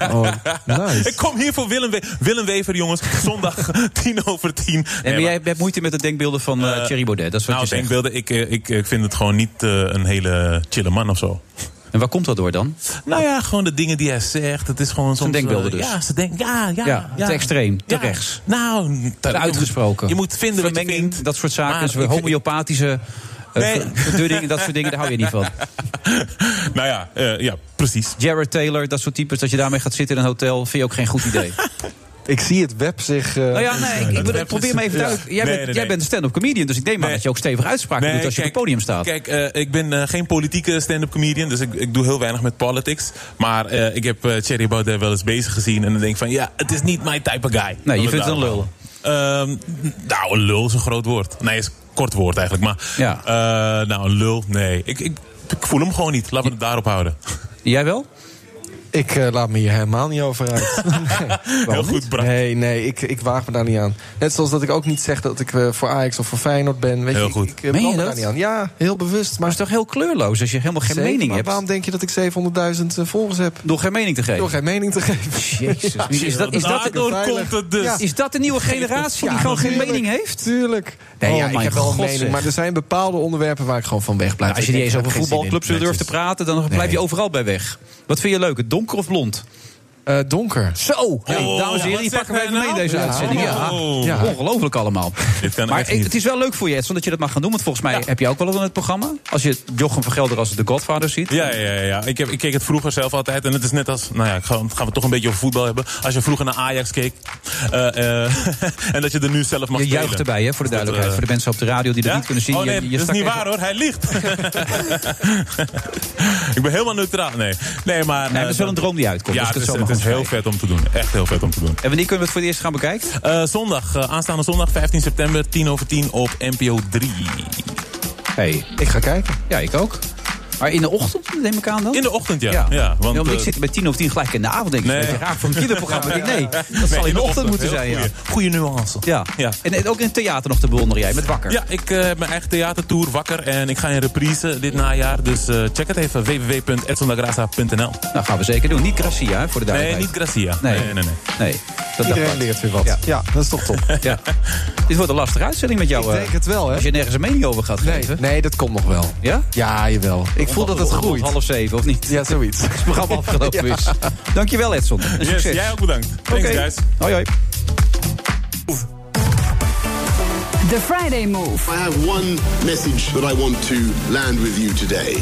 F: Oh, nice.
G: Ik kom hier voor Willem, We- Willem Wever, jongens. Zondag tien over tien.
E: Nee, maar
G: maar-
E: jij hebt moeite met de denkbeelden van eh,
G: Eh,
E: Thierry Baudet. Dat is wat
G: nou,
E: je zegt.
G: denkbeelden, ik, eh, ik, ik vind het gewoon niet eh, een hele chille man of zo.
E: En waar komt dat door dan?
G: Nou ja, gewoon de dingen die hij zegt. Het is gewoon soms...
E: denkbeelden
G: eh,
E: dus.
G: Ja, ze denken... Ja, ja,
E: Ja,
G: ja,
E: te extreem, te rechts.
G: Nou, te- je moet-
E: uitgesproken.
G: Je moet vinden wat je
E: Vermenging,
G: vindt.
E: dat soort zaken.
G: Maar
E: dus
G: Ah, ik-
E: homeopathische eh,
G: Nee.
E: ver- verdunning en dat soort dingen, daar hou je niet van.
G: nou ja, eh, ja, precies.
E: Jared Taylor, dat soort types, dat je daarmee gaat zitten in een hotel, vind je ook geen goed idee.
F: Ik zie het web zich... eh,
E: nou ja, nee, ik, ik bedoel,
G: is-
E: probeer me even
G: ja.
E: duidelijk.
G: Nee,
E: Jij, bent,
G: nee, nee.
E: jij bent een stand-up comedian, dus ik neem aan
G: Nee.
E: dat je ook stevig uitspraken doet als je op het podium staat.
G: Kijk, eh, ik ben eh, geen politieke stand-up comedian, dus ik, ik doe heel weinig met politics. Maar eh, ik heb eh Thierry Baudet wel eens bezig gezien en dan denk ik van, ja, het is niet my type of guy.
E: Nee, je vindt het een
G: Ehm,
E: lul.
G: nou, een lul is een groot woord. Nee, is een kort woord eigenlijk, maar...
E: Ja.
G: eh, nou, een lul, nee. Ik, ik, ik voel hem gewoon niet. Laten we het daarop houden.
E: Jij wel?
F: Ik eh, laat me hier helemaal niet over uit.
G: Heel goed, Bram.
F: Nee, nee, ik, ik waag me daar niet aan. Net zoals dat ik ook niet zeg dat ik eh, voor Ajax of voor Feyenoord ben. Weet
G: Heel
F: je,
G: goed.
F: Ik, ik eh,
E: Meen je
F: brand me
E: dat?
F: daar niet aan. Ja, heel bewust.
E: Maar
F: Maar,
E: het is toch heel kleurloos als je helemaal geen
F: Zeker,
E: mening
F: maar
E: hebt.
F: waarom denk je dat ik 700.000 volgers heb?
E: Door geen mening te geven.
F: Door geen mening te geven.
E: Jezus, wie is dat, is, dat,
G: Daardoor
F: veilig.
G: komt het dus.
F: Ja.
E: is dat de nieuwe generatie die
F: Ja,
E: gewoon geen
F: natuurlijk.
E: mening heeft?
F: Tuurlijk.
E: Nee,
F: oh,
E: ja,
F: ik
E: mijn
F: heb wel een
E: God, zeg.
F: mening. Maar er zijn bepaalde onderwerpen waar ik gewoon van
G: Nou,
F: weg blijf.
E: als je
F: Ik
E: niet eens
F: denk,
E: over
F: ik heb geen zin
E: voetbalclubs
F: in.
E: durft te praten, dan blijf je overal bij weg. Wat vind je leuker, donker of blond?
F: Eh, donker.
E: Zo! Hey,
G: Oh,
E: dames en heren,
G: wat zegt
E: die pakken we
G: hij
E: even mee in
G: nou?
E: deze
G: Ja.
E: uitzending. Ja.
G: Oh.
E: Ja. Ongelooflijk allemaal.
G: Dit kan
E: maar
G: echt
E: ik-
G: niet.
E: het is wel leuk voor je, Edson, dat je dat mag gaan doen. Want volgens mij heb je ook wel wat in het programma. Als je Jochem van Gelder als de Godfather ziet.
G: Ja, ja, ja, ja. Ik, heb, ik keek het vroeger zelf altijd. En het is net als. Nou ja, ik ga- gaan we het toch een beetje over voetbal hebben. Als je vroeger naar Ajax keek. eh, eh, en dat je er nu zelf mag
E: Je
G: spelen.
E: juicht erbij, hè, voor
G: Dat,
E: de duidelijkheid.
G: eh,
E: voor de mensen op de radio die dat
G: ja?
E: niet kunnen zien.
G: Oh nee,
E: je, je
G: dat
E: stak
G: is niet
E: even-
G: waar hoor. Hij liegt. ik ben helemaal neutraal. Nee, nee maar.
E: Nee,
G: eh,
E: dat is wel een droom die uitkomt.
G: Ja,
E: dus
G: het
E: dat
G: is,
E: zal
G: het
E: maar
G: is
E: goed
G: heel
E: zijn.
G: vet om te doen. Echt heel vet om te doen.
E: En wanneer kunnen we het voor het eerst gaan bekijken?
G: Eh, zondag, eh, aanstaande zondag 15 september, 10 over 10 op NPO 3.
E: Hey.
F: Ik ga kijken.
E: Ja, ik ook. Maar in de ochtend, neem ik aan dan?
G: In de ochtend, ja. ja. want,
E: want ik
G: eh,
E: zit bij tien of tien gelijk in de avond. Denk ik,
G: Nee.
E: dat is raar voor een kinderprogramma. Ik denk, nee, dat
G: nee,
E: zal in de ochtend moeten
G: heel
E: zijn. Ja.
G: goeie- Goede nuance.
E: Ja.
G: ja.
E: En, en ook in het theater nog te bewonderen jij, met Wakker.
G: Ja, ik eh, heb mijn eigen theatertour wakker en ik ga in reprise dit najaar. Dus eh, check het even www.edsondagraza.nl.
E: Nou, gaan we zeker doen. Niet Gracia, hè, voor de
G: Nee,
E: duidelijkheid.
G: niet Gracia. Nee, nee, nee.
E: nee. dat dacht
F: Iedereen
E: ik.
F: leert weer wat.
E: Ja.
F: Ja, dat is toch top.
E: Ja. Dit wordt een lastige uitzending met jou.
F: Ik
E: eh,
F: denk het wel, hè?
E: Als je nergens een mening over gaat
F: Nee,
E: geven.
F: nee, dat komt nog wel.
E: Ja?
F: Ja, jawel. Ik voel dat het
E: Om
F: groeit.
E: Half zeven, of niet?
F: Ja, zoiets.
E: Het programma afgelopen is. Dankjewel, Edson. En
G: Yes,
E: succes.
G: jij ook bedankt. Thanks,
E: Oké.
G: guys.
E: Hoi, hoi.
A: The Friday Move.
H: I have one message that I want to land with you today.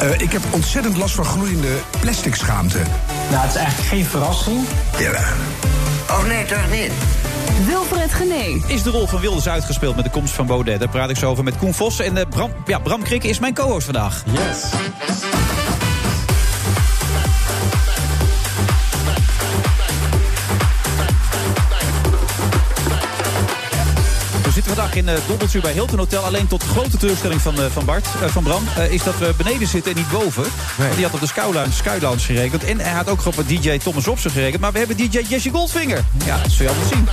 C: Eh, ik heb ontzettend last van groeiende plastic schaamte.
I: Nou, het is eigenlijk geen verrassing.
C: Ja.
I: Oh nee, toch niet?
A: Wilfred Genee.
E: Is de rol van Wilders uitgespeeld met de komst van Baudet? Daar praat ik zo over met Koen Vos. En eh, Bram, ja, Bram Krikke is mijn co-host vandaag.
F: Yes.
E: We zitten vandaag in eh Dobbeltje bij Hilton Hotel. Alleen tot grote teleurstelling van, eh, van, Bart, eh, van Bram eh, is dat we beneden zitten en niet boven. Want die had op de Sky Lounge, Sky Lounge gerekend. En hij had ook op DJ Thomas Robson gerekend. Maar we hebben DJ Jesse Goldfinger. Ja, dat zul je allemaal zien.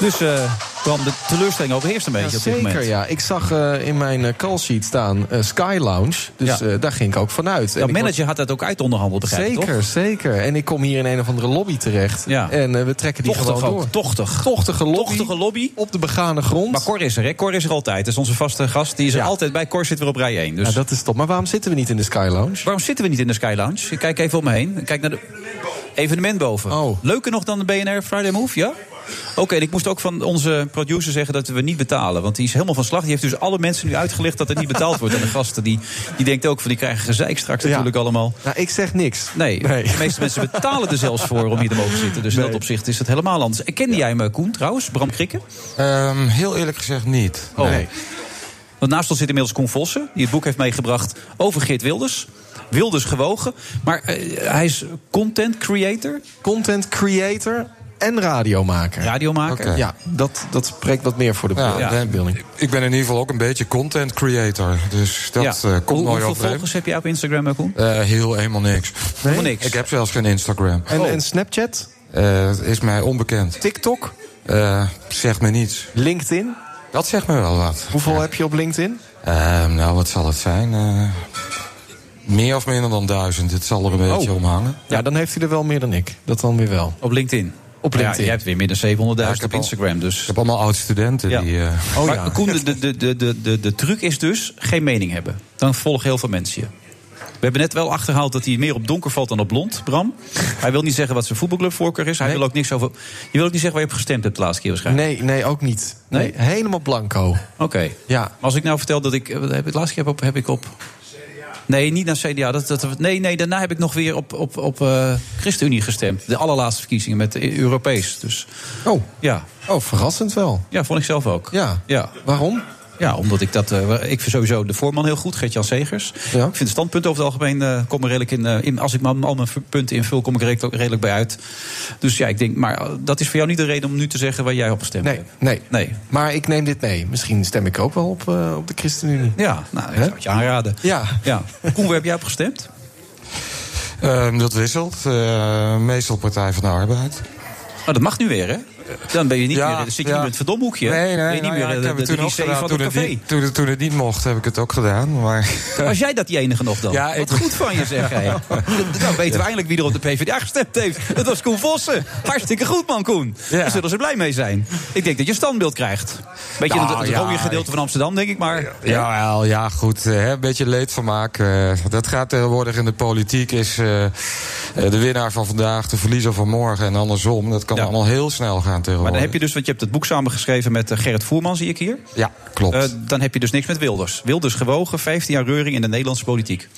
E: Dus eh, Bram, de teleurstelling overheerst een beetje op dit
F: Zeker,
E: moment.
F: ja. Ik zag eh, in mijn eh, call sheet staan eh, Sky Lounge. Dus eh, daar ging ik ook vanuit.
E: Jouw manager had dat ook uitonderhandeld, begrijp ik,
F: Zeker,
E: toch?
F: zeker. En ik kom hier in een of andere lobby terecht.
E: Ja. dus-
F: En eh, we trekken die
E: Tochtig
F: gewoon
E: ook,
F: door.
E: tochtig.
F: Tochtige lobby.
E: Tochtige lobby.
F: Op de begane grond.
E: Maar Cor is er, hè? Cor is er altijd. Dat is onze vaste gast. Die is er altijd bij. Cor zit weer op rij 1. Dus
F: Ja, dat is top. Maar waarom zitten we niet in de Sky Lounge?
E: waarom zitten we niet in de Sky Lounge? Ik kijk even om me heen. Ik Kijk naar de evenement boven.
F: Oh.
E: Leuker nog dan de BNR Friday Move, ja? Oké, en ik moest ook van onze producer zeggen dat we niet betalen. Want die is helemaal van slag. Die heeft dus alle mensen nu uitgelegd dat er niet betaald wordt. En de gasten, die, die denkt ook van die krijgen gezeik straks
F: Ja.
E: natuurlijk allemaal.
F: Nou, ik zeg niks.
E: Nee, de meeste mensen betalen er zelfs voor om hier te mogen zitten. Dus in dat opzicht is het helemaal anders. En kende jij me, Koen, trouwens? Bram Krikke?
I: Ehm, heel eerlijk gezegd niet.
E: Oh.
I: Nee.
E: Want naast ons zit inmiddels Koen Vossen, die het boek heeft meegebracht over Geert Wilders. Wilders gewogen, maar eh, hij is content creator,
F: Content creator en radiomaker.
E: radiomaker.
I: Oké.
F: Ja, dat, dat spreekt wat meer voor de
I: Ja,
F: ja. beelding.
I: Ik ben in ieder geval ook een beetje content creator. Dus dat eh,
E: Hoe-
I: komt mooi
E: hoeveel
I: overeen.
E: volgers heb jij op Instagram, eh, Koen?
I: Eh, heel helemaal niks.
E: Helemaal niks.
I: Ik heb zelfs geen Instagram.
F: En,
E: Oh.
F: en Snapchat,
I: Eh, Het is mij onbekend.
F: TikTok,
I: Eh zegt me niets.
F: LinkedIn.
I: Dat zegt me wel wat.
F: Hoeveel heb je op LinkedIn?
I: Ehm, nou, wat zal het zijn? Eh, meer of minder dan duizend. Het zal er een beetje om hangen.
F: Oh. Ja, dan heeft hij er wel meer dan ik. Dat dan weer wel.
E: Op LinkedIn.
F: Op
E: Ja,
F: LinkedIn.
E: jij hebt weer meer dan 700.000
I: ik heb
E: op
I: al-
E: Instagram, dus...
I: Ik heb allemaal oud-studenten
E: Ja.
I: die... eh,
F: Oh,
E: maar Koen, de, de, de, de, de, de truc is dus geen mening hebben. Dan volgen heel veel mensen je. We hebben net wel achterhaald dat hij meer op donker valt dan op blond, Bram. Hij wil niet zeggen wat zijn voetbalclubvoorkeur is. Hij wil ook niks over. Je wil ook niet zeggen waar je op gestemd hebt de laatste keer waarschijnlijk.
F: Nee, nee, ook niet.
E: Nee?
F: Nee, helemaal blanco.
E: Oké.
F: Ja.
E: Maar als ik nou vertel dat ik. eh, Wat heb ik laatst keer heb op. Heb ik op Nee, niet naar CDA. Dat, dat, nee, nee, daarna heb ik nog weer op, op, op eh, ChristenUnie gestemd. De allerlaatste verkiezingen met de Europees. Dus
F: Oh,
E: ja.
F: oh verrassend wel.
E: ja, vond ik zelf ook.
F: Ja.
E: Ja.
F: Waarom?
E: Ja, omdat ik dat. eh, ik vind sowieso de voorman heel goed, Gert-Jan Segers.
F: Ja.
E: Ik vind het standpunt over het algemeen. eh, kom er redelijk in, eh, in. Als ik maar al mijn v- punten invul, kom ik er redelijk, redelijk bij uit. Dus ja, ik denk. Maar eh, dat is voor jou niet de reden om nu te zeggen waar jij op gestemd
F: Nee,
E: hebt.
F: nee.
E: Nee.
F: Maar ik neem dit mee. Misschien stem ik ook wel op, eh, op de ChristenUnie.
E: Ja, nou, ik zou het je aanraden.
F: Ja.
E: ja. Koen, waar heb jij op gestemd?
I: Ehm, dat wisselt. Eh, meestal Partij van de Arbeid.
E: Maar Oh, dat mag nu weer, hè? Dan ben je niet
I: Ja,
E: meer, dan zit je
I: ja.
E: niet meer in het verdomhoekje.
I: Nee, nee,
E: ben je niet
I: nou
E: meer
I: ja,
E: eh,
I: ik
E: de,
I: heb het
E: de,
I: toen ook
E: 3C
I: gedaan.
E: van
I: Toen
E: het
I: het,
E: café.
I: niet, toen, het, toen het niet mocht, heb ik het ook gedaan. Maar
E: Was jij dat die enige nog dan?
I: Ja, ik-
E: Wat goed van je, zeg jij. Dan weten we eindelijk wie er op de PvdA gestemd heeft. Dat was Koen Vossen. Hartstikke goed, man, Koen.
I: Ja.
E: Daar zullen ze blij mee zijn. Ik denk dat je standbeeld krijgt. Beetje in het,
I: Nou,
E: het
I: ja,
E: rode gedeelte van Amsterdam, denk ik. Maar
I: ja, wel, ja goed. eh, hè, Een beetje leedvermaak. eh, Dat gaat tegenwoordig in de politiek. Is eh, eh, de winnaar van vandaag, de verliezer van morgen en andersom. Dat kan
E: Ja.
I: allemaal heel snel gaan
E: Maar
I: tegenwoordig.
E: dan heb je dus, want je hebt het boek samengeschreven met eh, Gerrit Voerman, zie ik hier.
I: Ja, klopt.
E: Eh, dan heb je dus niks met Wilders. Wilders gewogen, 15 jaar reuring in de Nederlandse politiek.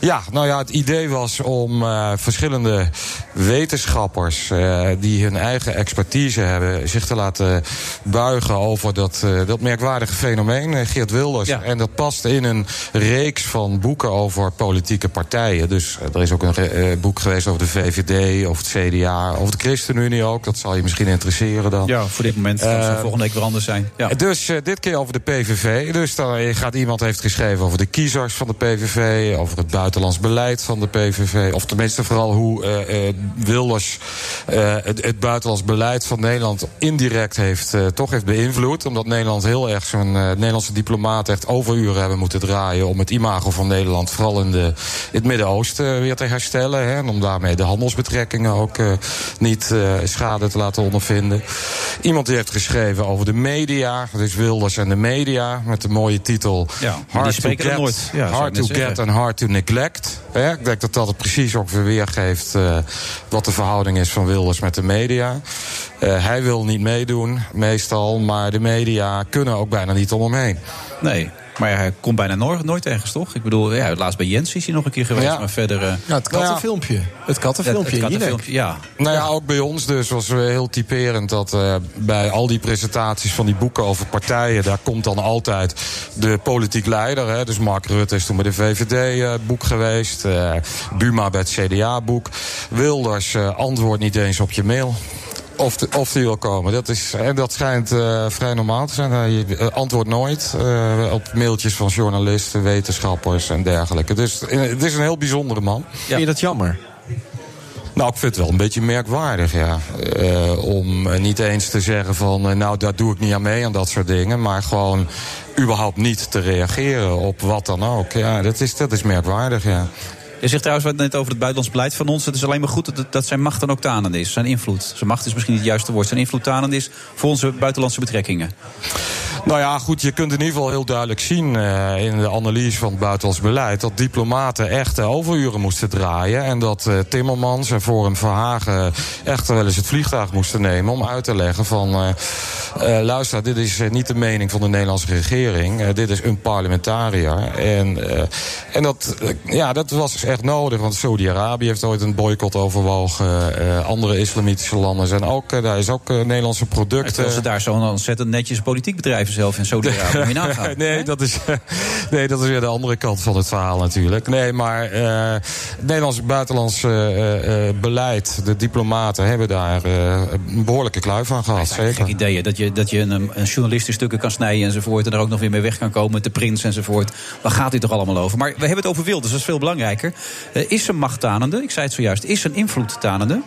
I: Ja, nou ja, het idee was om eh, verschillende wetenschappers eh, die hun eigen expertise hebben, zich te laten buigen over dat, eh, dat merkwaardige fenomeen, eh, Geert Wilders.
E: Ja.
I: En dat past in een reeks van boeken over politieke partijen. Dus eh, er is ook een re- eh, boek geweest over de VVD, over het CDA, over de ChristenUnie ook. Dat zal je misschien interesseren dan. Eh,
E: Ja, voor dit moment. dat zal volgende week weer anders zijn. Ja.
I: Dus eh, dit keer over de PVV. Dus dan gaat iemand heeft geschreven over de kiezers van de PVV, over het buitenlands beleid van de PVV, of tenminste vooral hoe eh, eh, Wilders eh, het, het buitenlands beleid van Nederland indirect heeft eh, toch heeft beïnvloed, omdat Nederland heel erg zijn eh, Nederlandse diplomaat echt overuren hebben moeten draaien om het imago van Nederland vooral in, de, in het Midden-Oosten eh, weer te herstellen hè, en om daarmee de handelsbetrekkingen ook eh, niet eh, schade te laten ondervinden. Iemand die heeft geschreven over de media, dus Wilders en de media, met de mooie titel
E: Ja, maar die spreken er nooit. Ja, zou ik
I: hard to
E: net
I: get
E: zeggen.
I: en hard to neglect. Hè, ik denk dat dat het precies ook weer weergeeft eh, wat de verhouding is van Wilders met de media. Eh, hij wil niet meedoen, meestal, maar de media kunnen ook bijna niet om hem heen.
E: Nee. Maar ja, hij komt bijna nooit, nooit ergens, toch? Ik bedoel, ja, laatst bij Jens is hij nog een keer geweest.
F: Ja.
E: Maar verder... eh,
F: Ja, het kattenfilmpje. Het kattenfilmpje.
E: Het- het
F: in Jinek.
E: kattenfilmpje, ja.
I: Nou ja, ook bij ons dus was weer heel typerend dat eh, bij al die presentaties van die boeken over partijen, daar komt dan altijd de politiek leider. Hè, dus Mark Rutte is toen bij de VVD-boek geweest, eh, Buma bij het CDA-boek. Wilders eh, antwoordt niet eens op je mail. Of, de- of die wil komen. Dat, is, en dat schijnt eh, vrij normaal te zijn. Hij eh, antwoordt nooit eh, op mailtjes van journalisten, wetenschappers en dergelijke. Dus eh, het is een heel bijzondere man.
F: Vind je dat jammer?
I: Nou, ik vind het wel een beetje merkwaardig, ja. Eh, om eh, niet eens te zeggen van, eh, nou, daar doe ik niet aan mee aan dat soort dingen. Maar gewoon überhaupt niet te reageren op wat dan ook. Ja, dat is, dat is merkwaardig, ja.
E: Je zegt trouwens wat net over het buitenlands beleid van ons. Het is alleen maar goed dat, dat zijn macht dan ook tanend is. Zijn invloed. Zijn macht is misschien niet het juiste woord. Zijn invloed tanend is voor onze buitenlandse betrekkingen.
I: Nou ja, goed, je kunt in ieder geval heel duidelijk zien eh, in de analyse van het buitenlands beleid dat diplomaten echt eh, overuren moesten draaien. En dat eh, Timmermans en Forum Verhagen echt wel eens het vliegtuig moesten nemen om uit te leggen van eh, eh, luister, dit is eh, niet de mening van de Nederlandse regering. Eh, dit is een parlementariër. En, eh, en dat, eh, ja, dat was dus echt nodig, want Saudi-Arabië heeft ooit een boycott overwogen. Eh, andere islamitische landen zijn ook, eh, daar is ook eh, Nederlandse producten.
E: Terwijl ze daar zo'n ontzettend netjes politiek bedrijven zelf in Saudi-Arabië. Moet je nagaan.
I: Nee dat, is, nee, dat is weer de andere kant van het verhaal natuurlijk. Nee, maar eh, het Nederlands buitenlands eh, eh, beleid, de diplomaten hebben daar eh, een behoorlijke kluif van gehad.
E: Gek
I: Zeker.
E: idee, hè? dat je, dat je een, een journalist in stukken kan snijden enzovoort. En er ook nog weer mee weg kan komen met de prins enzovoort. Waar gaat dit toch allemaal over? Maar we hebben het over Wilders, dat is veel belangrijker. Eh, is zijn macht tanende? Ik zei het zojuist. Is zijn invloed tanende?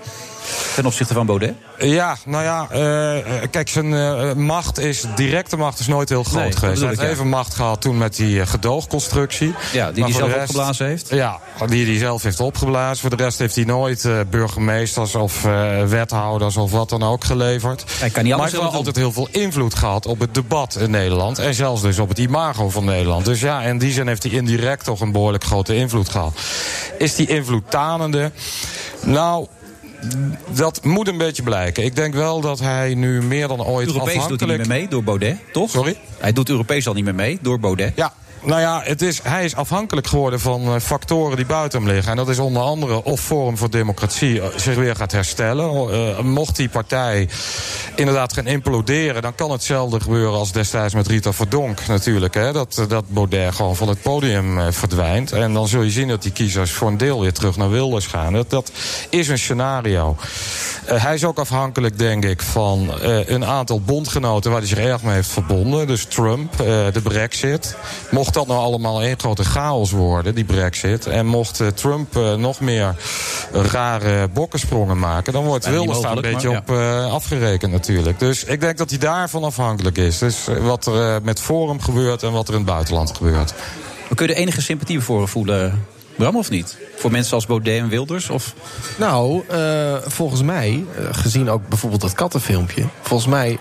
E: Ten opzichte van Baudet?
I: Ja, nou ja, eh, kijk, zijn eh, macht is, directe macht is nooit heel groot
E: Nee, dat
I: geweest. Hij
E: bedoel
I: heeft
E: ik, ja.
I: even macht gehad toen met die eh, gedoogconstructie.
E: Ja, die
I: Maar
E: hij
I: voor de
E: zelf
I: rest-
E: opgeblazen heeft.
I: Ja, die hij zelf heeft opgeblazen. Voor de rest heeft hij nooit eh, burgemeesters of eh, wethouders of wat dan ook geleverd.
E: Hij kan niet
I: maar
E: anders
I: hij heeft wel
E: dan
I: altijd heel veel invloed gehad op het debat in Nederland. En zelfs dus op het imago van Nederland. Dus ja, in die zin heeft hij indirect toch een behoorlijk grote invloed gehad. Is die invloed tanende? Nou. Dat moet een beetje blijken. Ik denk wel dat hij nu meer dan ooit
E: Europees doet hij niet
I: afhankelijk...
E: meer mee door Baudet, toch? Sorry? Hij doet Europees al niet meer mee door Baudet.
I: Ja. Nou ja, het is, hij is afhankelijk geworden van eh, factoren die buiten hem liggen. En dat is onder andere of Forum voor Democratie eh, zich weer gaat herstellen. Eh, mocht die partij inderdaad gaan imploderen, dan kan hetzelfde gebeuren als destijds met Rita Verdonk natuurlijk. Hè? Dat, eh, dat Baudet gewoon van het podium eh, verdwijnt. En dan zul je zien dat die kiezers voor een deel weer terug naar Wilders gaan. Dat, dat is een scenario. Eh, hij is ook afhankelijk, denk ik, van eh, een aantal bondgenoten waar hij zich erg mee heeft verbonden. Dus Trump, eh, de Brexit. Mocht dat nou allemaal één grote chaos worden, die Brexit. En mocht eh, Trump eh, nog meer rare bokkensprongen maken, dan wordt
E: Bijna niet
I: Wilders daar een
E: mogelijk,
I: beetje op eh, afgerekend natuurlijk. Dus ik denk dat hij daarvan afhankelijk is. Dus eh, wat er eh, met Forum gebeurt en wat er in het buitenland gebeurt.
E: We kunnen enige sympathie voor voelen, Bram, of niet? Voor mensen als Baudet en Wilders? Of
F: Nou, eh, volgens mij, eh, gezien ook bijvoorbeeld dat kattenfilmpje... volgens mij,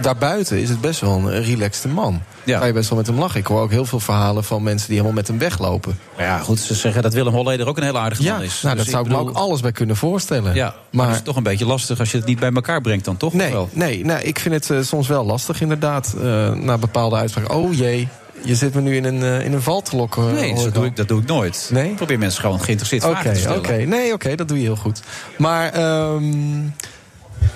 F: daarbuiten is het best wel een relaxte man. Ja. Ga je best wel met hem lachen. Ik hoor ook heel veel verhalen van mensen die helemaal met hem weglopen.
E: ja, goed, ze zeggen dat Willem Holleder ook een heel aardige man is.
F: Nou,
E: Dus
F: dat zou ik
E: bedoel-
F: me ook alles bij kunnen voorstellen.
E: Ja, maar het is toch een beetje lastig als je het niet bij elkaar brengt dan, toch?
F: Nee,
E: Of wel?
F: nee, nou, ik vind het eh, soms wel lastig inderdaad. eh na bepaalde uitspraken. Oh jee, je zit me nu in een, eh, in een val te lokken.
E: Nee,
F: hoor
E: dat
F: ik
E: doe
F: al.
E: ik, dat doe ik nooit.
F: Nee?
E: Ik probeer mensen gewoon geïnteresseerd
F: Oké,
E: vragen te
F: oké.
E: stellen.
F: Nee, oké, dat doe je heel goed. Maar ehm,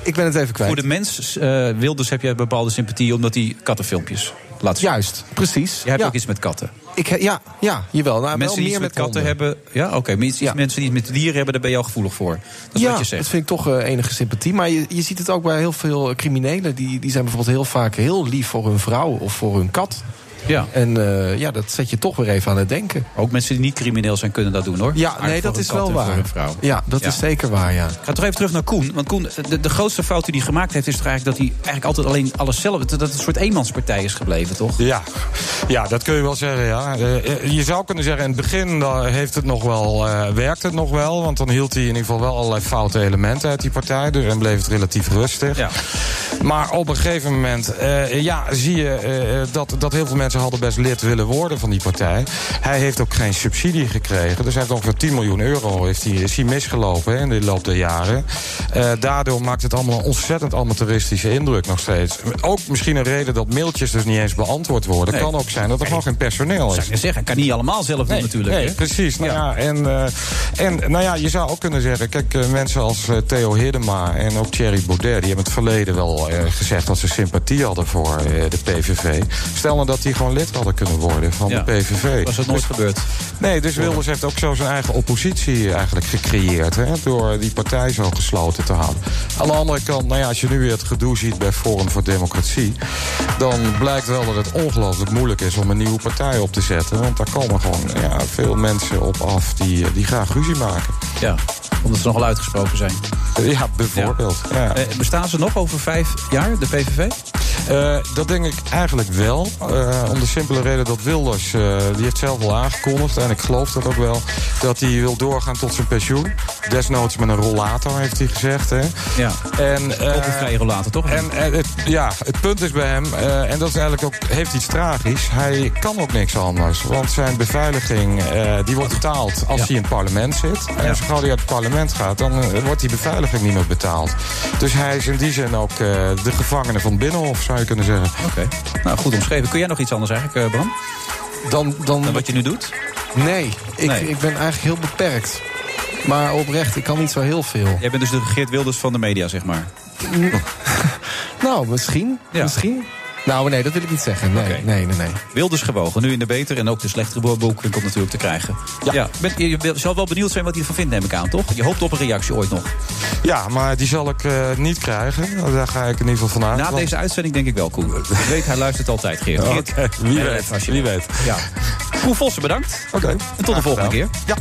F: ik ben het even kwijt.
E: Voor de mens, eh, Wilders, heb jij bepaalde sympathie omdat hij kattenfilmpjes laat zien.
F: Juist, precies.
E: Jij hebt
F: ja.
E: ook iets met katten.
F: Ik, he- ja, ja, jawel. Nou,
E: mensen
F: wel
E: die
F: meer
E: iets met, katten
F: honden.
E: hebben, ja, oké. maar iets- iets- Mensen die iets met dieren hebben, daar ben je al gevoelig voor. Dat is
F: ja,
E: wat je zegt.
F: dat vind ik toch eh, enige sympathie. Maar je, je ziet het ook bij heel veel eh, criminelen. Die, die zijn bijvoorbeeld heel vaak heel lief voor hun vrouw of voor hun kat.
E: Ja.
F: En eh, ja, dat zet je toch weer even aan het denken.
E: Ook mensen die niet crimineel zijn, kunnen dat doen hoor.
F: Ja,
E: Aardig
F: nee,
E: voor
F: dat
E: hun
F: is
E: kat
F: wel
E: en voor
F: waar.
E: hun vrouw.
F: Ja, dat is zeker waar, ja.
E: Ik ga toch even terug naar Koen. Want Koen, de, de grootste fout die hij gemaakt heeft... is toch eigenlijk dat hij eigenlijk altijd alleen alles zelf... dat het een soort eenmanspartij is gebleven, toch?
I: Ja. ja, dat kun je wel zeggen. Ja. Eh, je zou kunnen zeggen, in het begin eh, heeft het nog wel, eh, werkt het nog wel. Want dan hield hij in ieder geval wel allerlei foute elementen uit die partij. Dus en bleef het relatief rustig. Maar op een gegeven moment eh, ja, zie je eh, dat, dat heel veel mensen mensen hadden best lid willen worden van die partij. Hij heeft ook geen subsidie gekregen. Dus hij heeft ongeveer 10 miljoen euro heeft hij, is hij misgelopen hè, in de loop der jaren. Eh, daardoor maakt het allemaal een ontzettend amateuristische indruk nog steeds. Ook misschien een reden dat mailtjes dus niet eens beantwoord worden.
E: Nee.
I: Kan ook zijn dat er gewoon geen personeel is.
E: Zou ik zeggen, kan niet allemaal zelf doen natuurlijk.
I: Nee,
E: hè?
I: precies. Nou ja. en, eh, en nou ja, je zou ook kunnen zeggen... kijk, eh, mensen als eh, Theo Hiddema en ook Thierry Baudet... die hebben het verleden wel eh, gezegd dat ze sympathie hadden voor eh, de PVV. Stel nou dat die gewoon lid hadden kunnen worden van de PVV.
E: Was dat nooit
I: Dus-
E: gebeurd?
I: Nee, dus Wilders heeft ook zo zijn eigen oppositie eigenlijk gecreëerd... Hè, door die partij zo gesloten te houden. Aan de andere kant, nou ja, als je nu weer het gedoe ziet bij Forum voor Democratie... dan blijkt wel dat het ongelooflijk moeilijk is om een nieuwe partij op te zetten. Want daar komen gewoon ja, veel mensen op af die, eh, die graag ruzie maken.
E: Ja, omdat ze nogal uitgesproken zijn.
I: Ja, bijvoorbeeld. Ja.
E: Eh, bestaan ze nog over vijf jaar, de PVV?
I: Eh, dat denk ik eigenlijk wel. Eh, om de simpele reden dat Wilders, eh, die heeft zelf al aangekondigd, en ik geloof dat ook wel, dat hij wil doorgaan tot zijn pensioen. Desnoods met een rollator, heeft hij gezegd. Hè.
E: Ja.
I: En, eh,
E: Op een vrije rollator, toch?
I: En, eh, het, ja, het punt is bij hem, eh, en dat is eigenlijk ook, heeft iets tragisch. Hij kan ook niks anders. Want zijn beveiliging eh, die wordt betaald als
E: Ja.
I: hij in het parlement zit. En
E: Ja.
I: zo gauw hij uit het parlement gaat, dan eh, wordt die beveiliging niet meer betaald. Dus hij is in die zin ook eh, de gevangene van het Binnenhof, zou je kunnen zeggen.
E: Oké. Nou, goed omschreven. Kun jij nog iets anders eigenlijk, eh, Bram?
F: Dan, dan...
E: wat je nu doet?
F: Nee, ik,
E: Nee.
F: ik ben eigenlijk heel beperkt. Maar oprecht, ik kan niet zo heel veel.
E: Jij bent dus de Geert Wilders van de media, zeg maar.
F: nou, misschien.
E: Ja.
F: Misschien. Nou, nee, dat wil ik niet zeggen. Nee, nee, nee, nee.
E: Wilders gewogen, nu in de betere en ook de slechtere boeken komt natuurlijk te krijgen. Ja. Ben- je, je wil- zal wel benieuwd zijn wat hij ervan vindt, neem ik aan, toch? Je hoopt op een reactie ooit nog.
I: Ja, maar die zal ik eh, niet krijgen. Daar ga ik in ieder geval van uit.
E: Na
I: want-
E: deze uitzending denk ik wel, Koen. Ik weet, hij luistert altijd, Geert.
I: Oké,
E: Geert,
I: wie
E: eh,
I: weet,
E: als je
I: wie
E: wil.
I: weet.
E: Ja. Koen Vossen, bedankt.
I: Oké.
E: En tot de volgende keer.
I: Ja.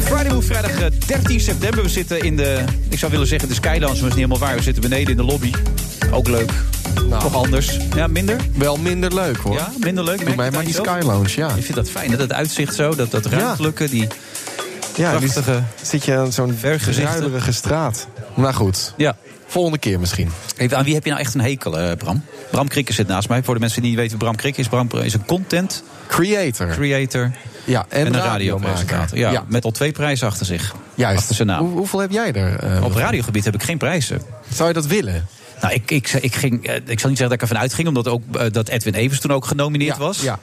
E: Friday Move, vrijdag eh, 13 september. We zitten in de, ik zou willen zeggen de Skylance, maar dat is niet helemaal waar. We zitten beneden in de lobby. Ook leuk. Toch anders. Ja, minder?
F: Nou. Wel minder leuk, hoor.
E: Ja, minder leuk.
F: Doe mij maar die Sky Lounge, ja.
E: Je vindt dat fijn, hè? dat uitzicht zo, dat, dat ruimtelijke, die...
F: Ja, die
E: prachtige
F: zit je aan zo'n
E: vergezichten.
F: ruilerige straat. Nou goed,
E: Ja.
F: volgende keer misschien.
E: Even, aan wie heb je nou echt een hekel, eh, Bram? Bram Krikke zit naast mij. Voor de mensen die niet weten wie Bram Krikke is. Bram eh, is een content
F: Creator.
E: creator
F: ja, en,
E: en, een
F: radiomaker.
E: radiopresentator. Ja, Met al twee prijzen achter zich.
F: juist.
E: Achter zijn naam.
F: Hoe- hoeveel heb jij er? eh,
E: Op radiogebied heb ik geen prijzen.
F: zou je dat willen?
E: Nou, ik, ik, ik, ging, eh, ik zal niet zeggen dat ik ervan uitging, omdat ook eh, dat Edwin Evers toen ook genomineerd was.
F: Ja.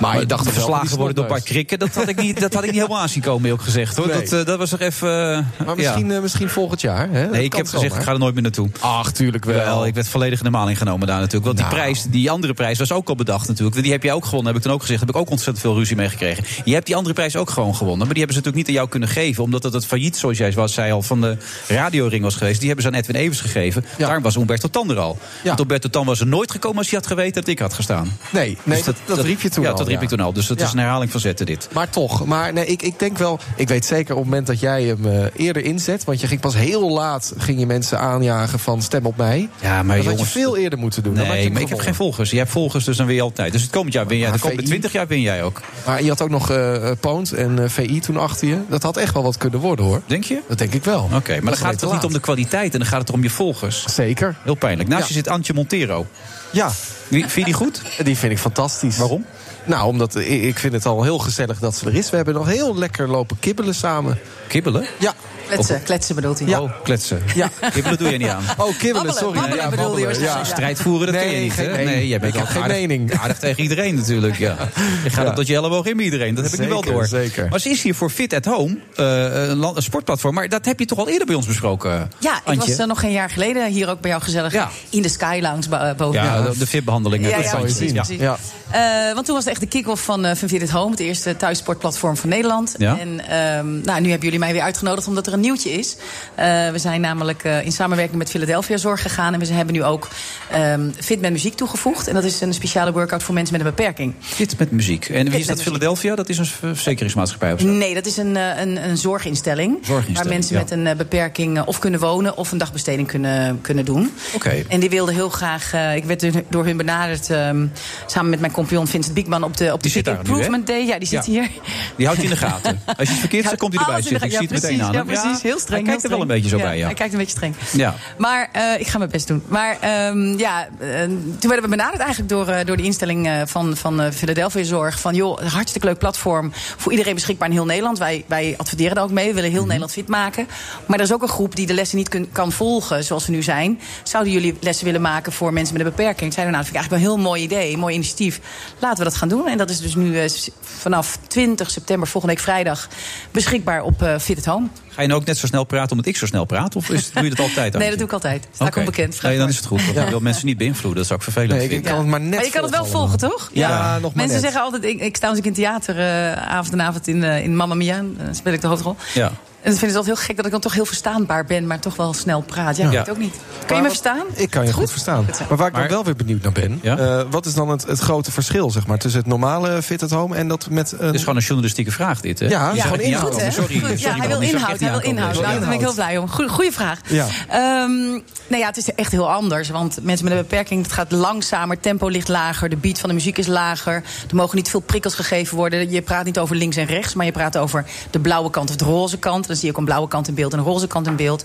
F: Maar, je dacht toch wel van die
E: verslagen worden door Bart
F: snotneus.
E: Krikken, dat had ik niet, dat had ik niet helemaal aanzien komen, eerlijk gezegd. Hoor.
F: Nee.
E: Dat, eh, dat was toch even. eh,
F: Maar misschien,
E: ja.
F: eh, misschien volgend jaar. Hè?
E: Nee, ik heb gezegd, ik ga er nooit meer naartoe.
F: Ach, tuurlijk wel.
E: Wel, ik werd volledig in de maling genomen daar natuurlijk. Want die,
F: Nou.
E: prijs, die andere prijs was ook al bedacht natuurlijk. Want Die heb jij ook gewonnen, heb ik toen ook gezegd. Heb ik ook ontzettend veel ruzie mee gekregen. Je hebt die andere prijs ook gewoon gewonnen. Maar die hebben ze natuurlijk niet aan jou kunnen geven. Omdat dat het failliet, zoals jij was, zei al, van de radioring was geweest. Die hebben ze aan Edwin Evers gegeven.
F: Ja.
E: Daarom was Umberto Tan er al.
F: Ja.
E: Want Umberto Tan was er nooit gekomen als hij had geweten dat ik had gestaan.
F: Nee, nee
E: Dus
F: dat, dat riep je toen
E: ja,
F: al.
E: dat riep
F: ja.
E: ik toen al. Dus dat
F: Ja.
E: is een herhaling van zetten dit.
F: Maar toch, maar nee, ik, ik denk wel, ik weet zeker op het moment dat jij hem eh, eerder inzet, want je ging pas heel laat ging je mensen aanjagen van stem op mij.
E: Ja, maar
F: dat
E: jongens,
F: had je veel eerder moeten doen. Dan had je
E: Nee,
F: hem
E: maar ik heb geen
F: gewonnen.
E: volgers. Jij hebt volgers, dus dan win je altijd. Dus het komend jaar win jij.
F: Maar
E: De komende
F: VI?
E: 20 jaar win jij ook.
F: Maar je had ook nog eh eh, Pound en eh, VI toen achter je. Dat had echt wel wat kunnen worden hoor.
E: Denk je?
F: Dat denk ik wel.
E: Oké, maar dan gaat het toch niet om de kwaliteit en dan gaat het om je volgers.
F: Zeker.
E: Heel pijnlijk. Naast
F: Ja.
E: je zit Antje Montero.
F: Ja,
E: Wie- Vind je die goed?
F: die vind ik fantastisch.
E: Waarom?
F: Nou, omdat eh, ik, ik vind het al heel gezellig dat ze er is. We hebben nog heel lekker lopen kibbelen samen.
E: Kibbelen?
F: Ja.
J: Kletsen, kletsen bedoelt hij.
E: Oh, kletsen.
F: Ja.
E: Kibbelen doe je niet aan.
F: Oh, kibbelen,
J: Babbelen,
F: sorry.
J: babbelen
F: ja,
J: bedoelde je
F: babbelen, ja.
J: waarschijnlijk.
E: Strijd voeren, dat
F: Nee,
E: kun je niet.
F: geen
E: hè?
F: mening.
E: jij bent
F: Ik heb
E: ook
F: geen
E: aardig-
F: mening.
E: Aardig tegen iedereen natuurlijk, ja. Je gaat
F: Ja.
E: op dat je elleboog in bij iedereen. Dat heb ik nu wel
F: Zeker,
E: door.
F: zeker.
E: Maar ze is hier voor Fit at Home, eh, een, land- een sportplatform. Maar dat heb je toch al eerder bij ons besproken,
J: Ja, ik
E: Antje?
J: was eh, nog geen jaar geleden hier ook bij jou gezellig
E: Ja.
J: in de Sky Lounge bo- eh, boven.
E: ja, de, de fitbehandelingen.
J: Ja,
E: dat
J: ja,
E: zou je
J: precies,
E: zien. Ja.
J: precies.
F: Ja.
J: Eh, want toen was het echt de kick-off van, eh van Fit at Home, het eerste thuissportplatform van Nederland.
E: Ja.
J: En ehm, nou, nu hebben jullie mij weer uitgenodigd omdat er een een nieuwtje is. Eh, we zijn namelijk eh, in samenwerking met Philadelphia Zorg gegaan. En we hebben nu ook ehm Fit met Muziek toegevoegd. En dat is een speciale workout voor mensen met een beperking.
E: Fit met muziek. En wie is
J: met
E: dat? Philadelphia? Dat is een verzekeringsmaatschappij of zo?
J: Nee, dat is een, eh, een, een zorginstelling, Waar
E: Zorginstelling,
J: mensen
E: ja.
J: met een eh, beperking eh, of kunnen wonen of een dagbesteding kunnen, kunnen doen.
E: Oké.
J: En die wilden heel graag. eh, ik werd door- door hun benaderd ehm, samen met mijn compagnon Vincent Biekman op de, op de
E: Die zit
J: Fit
E: daar nu, hè?
J: Improvement Day. Ja, die zit
E: Ja.
J: hier.
E: Die houdt je in de gaten. Als je het verkeerd zegt, komt hij erbij
J: Alles in de
E: zitten. Ik
J: ga-
E: zie het
J: ja,
E: meteen aan
J: precies,
E: hem.
J: Ja, precies. Heel streng.
E: Hij kijkt
J: heel
E: er wel
J: streng.
E: een beetje zo bij, ja.
J: Hij kijkt een beetje streng.
E: Ja.
J: Maar eh, ik ga mijn best doen. Maar ehm, ja, eh, toen werden we benaderd eigenlijk door, eh, door de instelling eh, van, van eh, Philadelphia Zorg. Van joh, een hartstikke leuk platform. Voor iedereen beschikbaar in heel Nederland. Wij, wij adverteren daar ook mee. We willen heel Nederland fit maken. Maar er is ook een groep die de lessen niet kun- kan volgen zoals ze nu zijn. Zouden jullie lessen willen maken voor mensen met een beperking? Zeiden we nou, dat vind ik eigenlijk wel een heel mooi idee. Een mooi initiatief. Laten we dat gaan doen. En dat is dus nu eh, s- vanaf 20 september volgende week vrijdag beschikbaar op eh, Fit at Home.
E: Ga je nou ook net zo snel praten omdat ik zo snel praat? Of is, doe je dat altijd?
J: Nee, dat doe ik altijd. Sta ik
E: Oké.
J: onbekend. Vraag
E: Nee, dan
J: maar.
E: is het goed. Want
J: Ja.
E: ik wil mensen niet beïnvloeden. Dat zou ik vervelend
F: Nee, ik
E: vinden.
F: kan het maar net
J: maar je kan het wel
E: volgen
J: volgen, toch?
E: Ja, Ja. nog maar
J: Mensen
E: net.
J: zeggen altijd, ik, ik sta als ik in theater eh, avond en avond in, eh, in Mamma Mia, eh, speel ik de hoofdrol.
E: Ja.
J: En dat vinden ze altijd heel gek dat ik dan toch heel verstaanbaar ben, maar toch wel snel praat. Ja,
F: Ja.
J: ik weet het ook niet. Kun je me verstaan?
F: Ik kan je goed, verstaan. Maar waar ik dan wel weer benieuwd naar ben... eh, wat is dan het, het grote verschil zeg maar, tussen het normale Fit at Home... en dat met een...
E: Het is gewoon een journalistieke vraag, dit. Hè?
F: Ja, het is
E: Die zou
F: gewoon
E: ik niet
F: inhoud.
E: aankomen.
F: Goed,
E: Sorry, sorry.
J: Ja, hij
E: man,
J: wil
E: die zou ik
J: inhoud. Hij
E: echt
J: wil
E: niet
J: inhoud.
E: aankomen.
J: Nou, daar ben ik heel blij om. Goeie, goeie vraag.
E: Ja.
J: Ehm, nou ja, het is echt heel anders. Want mensen met een beperking, het gaat langzamer. het tempo ligt lager. De beat van de muziek is lager. Er mogen niet veel prikkels gegeven worden. Je praat niet over links en rechts. Maar je praat over de blauwe kant of de roze kant. Dan zie je ook een blauwe kant in beeld en een roze kant in beeld.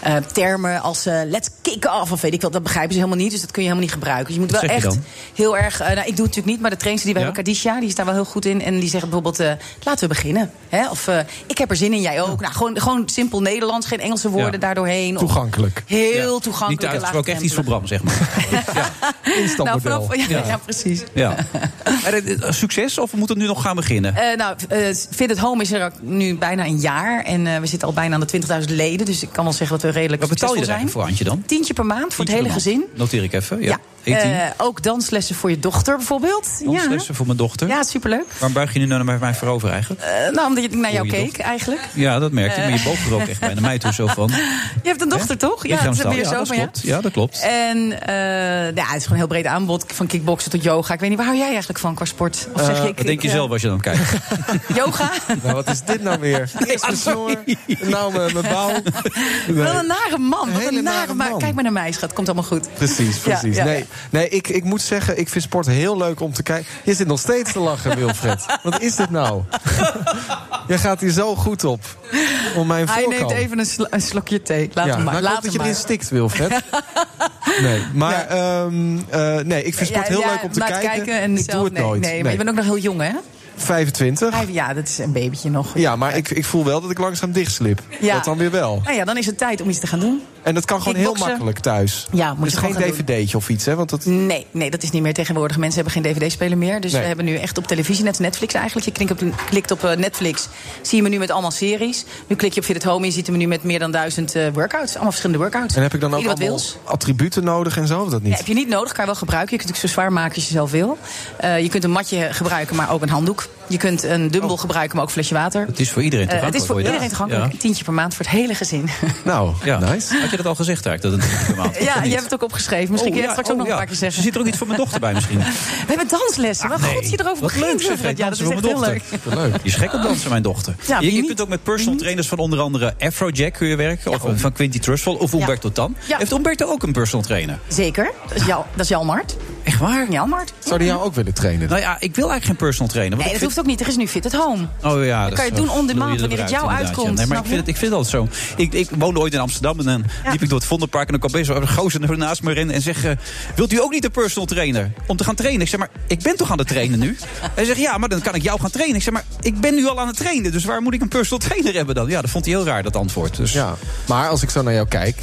J: Eh, termen als eh, let's kick off of weet ik wat. Dat begrijpen ze helemaal niet. Dus dat kun je helemaal niet gebruiken. Dus je moet
E: Wat
J: wel
E: zeg je
J: echt
E: dan?
J: heel erg... eh, nou, ik doe het natuurlijk niet, maar de trainers die we
E: Ja?
J: hebben, Kadisha, die is daar wel heel goed in. En die zegt bijvoorbeeld, eh, laten we beginnen. Hè? Of eh, ik heb er zin in, jij ook. Nou, gewoon, gewoon simpel Nederlands, geen Engelse woorden
E: Ja.
J: daardoorheen. Of
F: Toegankelijk.
J: Heel
E: Niet
J: toegankelijk. en
E: uitgesproken, echt iets voor
J: laagdrempelig.
E: Bram, zeg maar.
J: nou,
E: instapmodel.
J: vanaf, ja,
E: Ja.
J: ja. precies.
E: Ja. Maar het- het- Succes of we moeten nu nog gaan beginnen?
J: Eh, nou, eh, Fit at Home is er ook nu bijna een jaar. En eh, we zitten al bijna aan de 20.000 leden. Dus ik kan wel zeggen dat we redelijk
E: Wat betaal je er
J: succesvol
E: eigenlijk voor, Antje, dan?
J: zijn. Tientje per maand voor het hele gezin.
E: Noteer ik even. Ja. E 18
J: Eh, ook danslessen voor je dochter bijvoorbeeld.
E: danslessen voor mijn
J: Ja,
E: dochter.
J: ja superleuk.
E: Waarom buig je nu nou naar mij voorover eigenlijk?
J: Eh, nou, omdat je naar jou
E: Voor je
J: keek eigenlijk.
E: Ja, dat merk ik. Maar je
J: Eh.
E: boog er ook echt bijna mij toe zo van.
J: Je hebt een dochter, toch? Ja, dat is
E: Lichaamstaal.
J: meer zo
E: Ja, dat
J: van ja.
E: klopt. Ja, dat klopt.
J: En eh, ja, het is gewoon een heel breed aanbod. Van kickboksen tot yoga. Ik weet niet, waar hou jij eigenlijk van qua sport? Of zeg je, ik,
E: Wat denk
J: ik,
E: je
J: eh,
E: zelf als je dan kijkt?
J: Yoga?
F: Nou, wat is dit nou weer? Eerst mijn snor, nou mijn mijn bouw.
J: Wel een nare man. Wat
F: hele
J: een
F: nare
J: nare maar
F: man.
J: Kijk maar naar mij, schat. Komt allemaal goed.
F: Precies, precies.
J: Ja, ja,
F: nee,
J: ja.
F: nee ik, ik moet zeggen, ik vind sport heel leuk om te kijken. Je zit nog steeds te lachen, Wilfred. Wat is dit nou? Je gaat hier zo goed op. Om mijn
J: Hij
F: voorkant.
J: neemt even een, sl- een slokje thee. Laat
F: Ja,
J: hem maar.
F: nou, ik hoop
J: Laat
F: dat
J: hem
F: je
J: maar.
F: erin stikt, Wilfred. Nee, maar ehm, eh, nee, ik vind
J: Ja,
F: sport heel
J: ja,
F: leuk om te
J: naar het
F: kijken.
J: en
F: ik
J: zelf-
F: doe het
J: nee,
F: nooit.
J: Nee, maar je bent ook nog heel jong, hè?
F: 25.
J: Hij- Ja, dat is een babytje nog.
F: Ja, maar ik, ik voel wel dat ik langzaam dichtslip.
J: Ja.
F: Dat dan weer wel.
J: Nou ja, dan is het tijd om iets te gaan doen.
F: En dat kan gewoon heel
J: Kickboksen.
F: makkelijk thuis.
J: Ja, moet
F: dus
J: je gewoon gaan
F: geen
J: doen.
F: dvd'tje of iets, hè? Want dat...
J: Nee, nee, dat is niet meer tegenwoordig. Mensen hebben geen dvd-speler meer. Dus
F: Nee.
J: we hebben nu echt op televisie, net als Netflix eigenlijk. Je klikt op, klikt op eh, Netflix, zie je menu met allemaal series. Nu klik je op Fit at Home en je ziet een menu met meer dan duizend eh, workouts. Allemaal verschillende workouts.
F: En heb ik dan ook
J: Ieder wat
F: allemaal
J: wils.
F: attributen nodig en zo? Of dat
J: Ja,
F: niet?
J: heb je niet nodig, kan je wel gebruiken. Je kunt het ook zo zwaar maken als je zelf wil. Eh, je kunt een matje gebruiken, maar ook een handdoek. Je kunt een
F: Oh.
J: dumbbell gebruiken, maar ook een flesje water.
E: Het is voor iedereen
J: Eh,
E: toegankelijk.
J: het is voor
E: hoor je
J: iedereen
E: dat?
J: toegankelijk. Tientje per maand voor het hele gezin.
F: Nou, nice.
E: Had je dat al gezegd eigenlijk? Dat het een
F: Oh.
E: maand was, of
J: ja,
E: niet?
J: je hebt het ook opgeschreven. Misschien
E: Oh,
J: kun je
E: ja,
J: het straks
E: oh,
J: ook nog
E: ja.
J: een paar keer zeggen.
E: Er zit er ook iets voor mijn dochter bij misschien.
J: We hebben danslessen. Wat goed je erover
E: Ah, Wat
J: begint.
E: leuk, zeg,
J: Wilfred.
E: dansen
J: ja, dat is
E: voor
J: echt
E: mijn
J: heel leuk.
E: dochter. Die is gek op dansen, mijn dochter.
J: Ja,
E: je
J: wie
E: je
J: niet?
E: kunt ook met personal trainers van onder andere Afrojack kun je werken. Of van Quinty Trustful of Umberto Tan.
J: Ja.
E: Heeft Umberto ook een personal trainer?
J: Zeker. Dat is, Jal, dat is Jalmart.
E: Echt waar?
J: Jalmart.
F: Zou die jou ook willen trainen?
E: Nou ja, ik wil eigenlijk geen personal trainer.
J: Nee, dat
E: want ik vind-
J: hoeft ook niet. Er is nu Fit at Home.
E: Oh ja,
J: kan je
E: is-
J: doen on
E: lul
J: demand,
E: je
J: wanneer
E: er
J: het
E: uit,
J: jou
E: inderdaad,
J: uitkomt,
E: ja. Nee, maar
J: snap
E: ik vind,
J: je?
E: het, ik vind dat zo. Ik, ik woonde ooit in Amsterdam en dan liep ik door het Vondelpark... en dan kwam best wel een gozer er naast me in en zegt... eh, wilt u ook niet een personal trainer om te gaan trainen? Ik zeg maar, ik ben toch aan het trainen nu? Hij zegt, ja, maar dan kan ik jou gaan trainen. Ik zeg maar, ik ben nu al aan het trainen... dus waar moet ik een personal trainer hebben dan? Ja, dat vond hij heel raar, dat antwoord. Dus,
F: Ja, maar als ik zo naar jou kijk,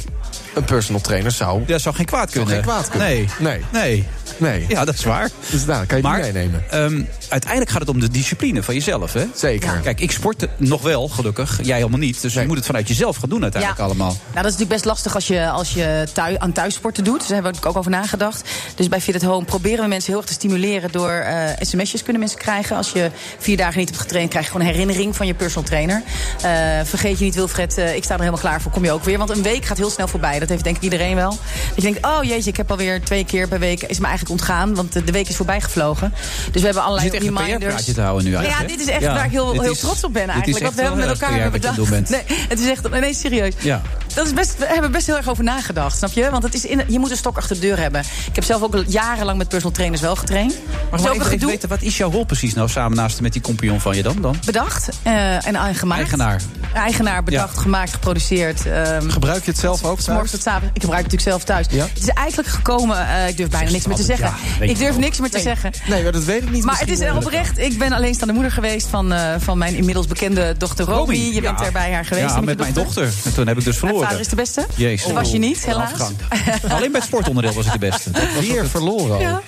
F: Een personal trainer zou...
E: Dat zou geen kwaad
F: zou
E: kunnen.
F: geen kwaad kunnen.
E: Nee.
F: Nee.
E: Nee.
F: Nee.
E: Ja, dat is waar.
F: Dus daar kan je die
E: maar,
F: meenemen.
E: ehm, uiteindelijk gaat het om de discipline van jezelf, hè?
F: Zeker.
E: Kijk, ik sport nog wel, gelukkig. Jij helemaal niet. Dus je moet het vanuit jezelf gaan doen uiteindelijk allemaal.
J: Nou, dat is natuurlijk best lastig als je, als je thui- aan thuissporten doet. Dus daar hebben we natuurlijk ook over nagedacht. Dus bij Fit at Home proberen we mensen heel erg te stimuleren... door eh, sms'jes kunnen mensen krijgen. Als je vier dagen niet hebt getraind... krijg je gewoon een herinnering van je personal trainer. Eh, vergeet je niet, Wilfred, eh, ik sta er helemaal klaar voor. Kom je ook weer. Want een week gaat heel snel voorbij. Dat heeft denk ik iedereen wel. Dat je denkt, oh jeetje, ik heb alweer twee keer per week... is me eigenlijk ontgaan, want eh, de week is voorbij gevlogen. Dus we hebben
E: Je
J: allerlei
E: zit echt een
J: reminders.
E: PR-praatje te houden nu
J: Nou ja,
E: eigenlijk, hè?
J: dit is echt
E: Ja,
J: waar ik heel,
E: dit
J: heel
E: is-
J: trots op ben
E: dit is
J: eigenlijk. Wat
E: echt
J: we hebben met
E: heel
J: elkaar
E: erg
J: hebben
E: wat je aan het
J: bedacht.
E: doen bent.
J: Nee, het is echt, nee, serieus.
E: Ja.
J: Dat is best, we hebben er best heel erg over nagedacht, snap je? Want het is in, je moet een stok achter de deur hebben. Ik heb zelf ook al jarenlang met personal trainers wel getraind.
E: Maar
J: Dus
E: gewoon
J: ook een
E: even, even
J: gedoe
E: weten, wat is jouw rol precies nou samen naast met die compagnon van je dan? dan?
J: bedacht eh, en aan- gemaakt.
E: Eigenaar.
J: Eigenaar, bedacht, gemaakt, geproduceerd. ehm,
F: Gebruik je het zelf ook
J: s morgens
F: thuis?
J: tot 's avonds. Ik gebruik het natuurlijk zelf thuis.
F: Ja.
J: Het is eigenlijk gekomen, eh, ik durf bijna niks meer te
F: altijd
J: zeggen.
F: ja, weet
J: ik
F: je
J: durf
F: wel.
J: niks meer te zeggen.
F: Nee, maar dat weet ik niet.
J: Maar het is
F: Misschien
J: er
F: horen we
J: oprecht. Ik ben alleenstaande moeder geweest van, eh, van mijn inmiddels bekende dochter Romy. Je
E: ja.
J: bent er bij haar geweest.
E: Ja,
J: hè,
E: met,
J: je
E: mijn dochter. En toen heb ik dus
J: Mijn
E: verloren.
J: vader is de beste.
E: Jezus.
J: Dat was je niet,
E: Wat een
J: helaas.
E: afgang. Alleen bij het sportonderdeel was ik de beste. Dat was
F: dat. Weer verloren al.
J: Ja.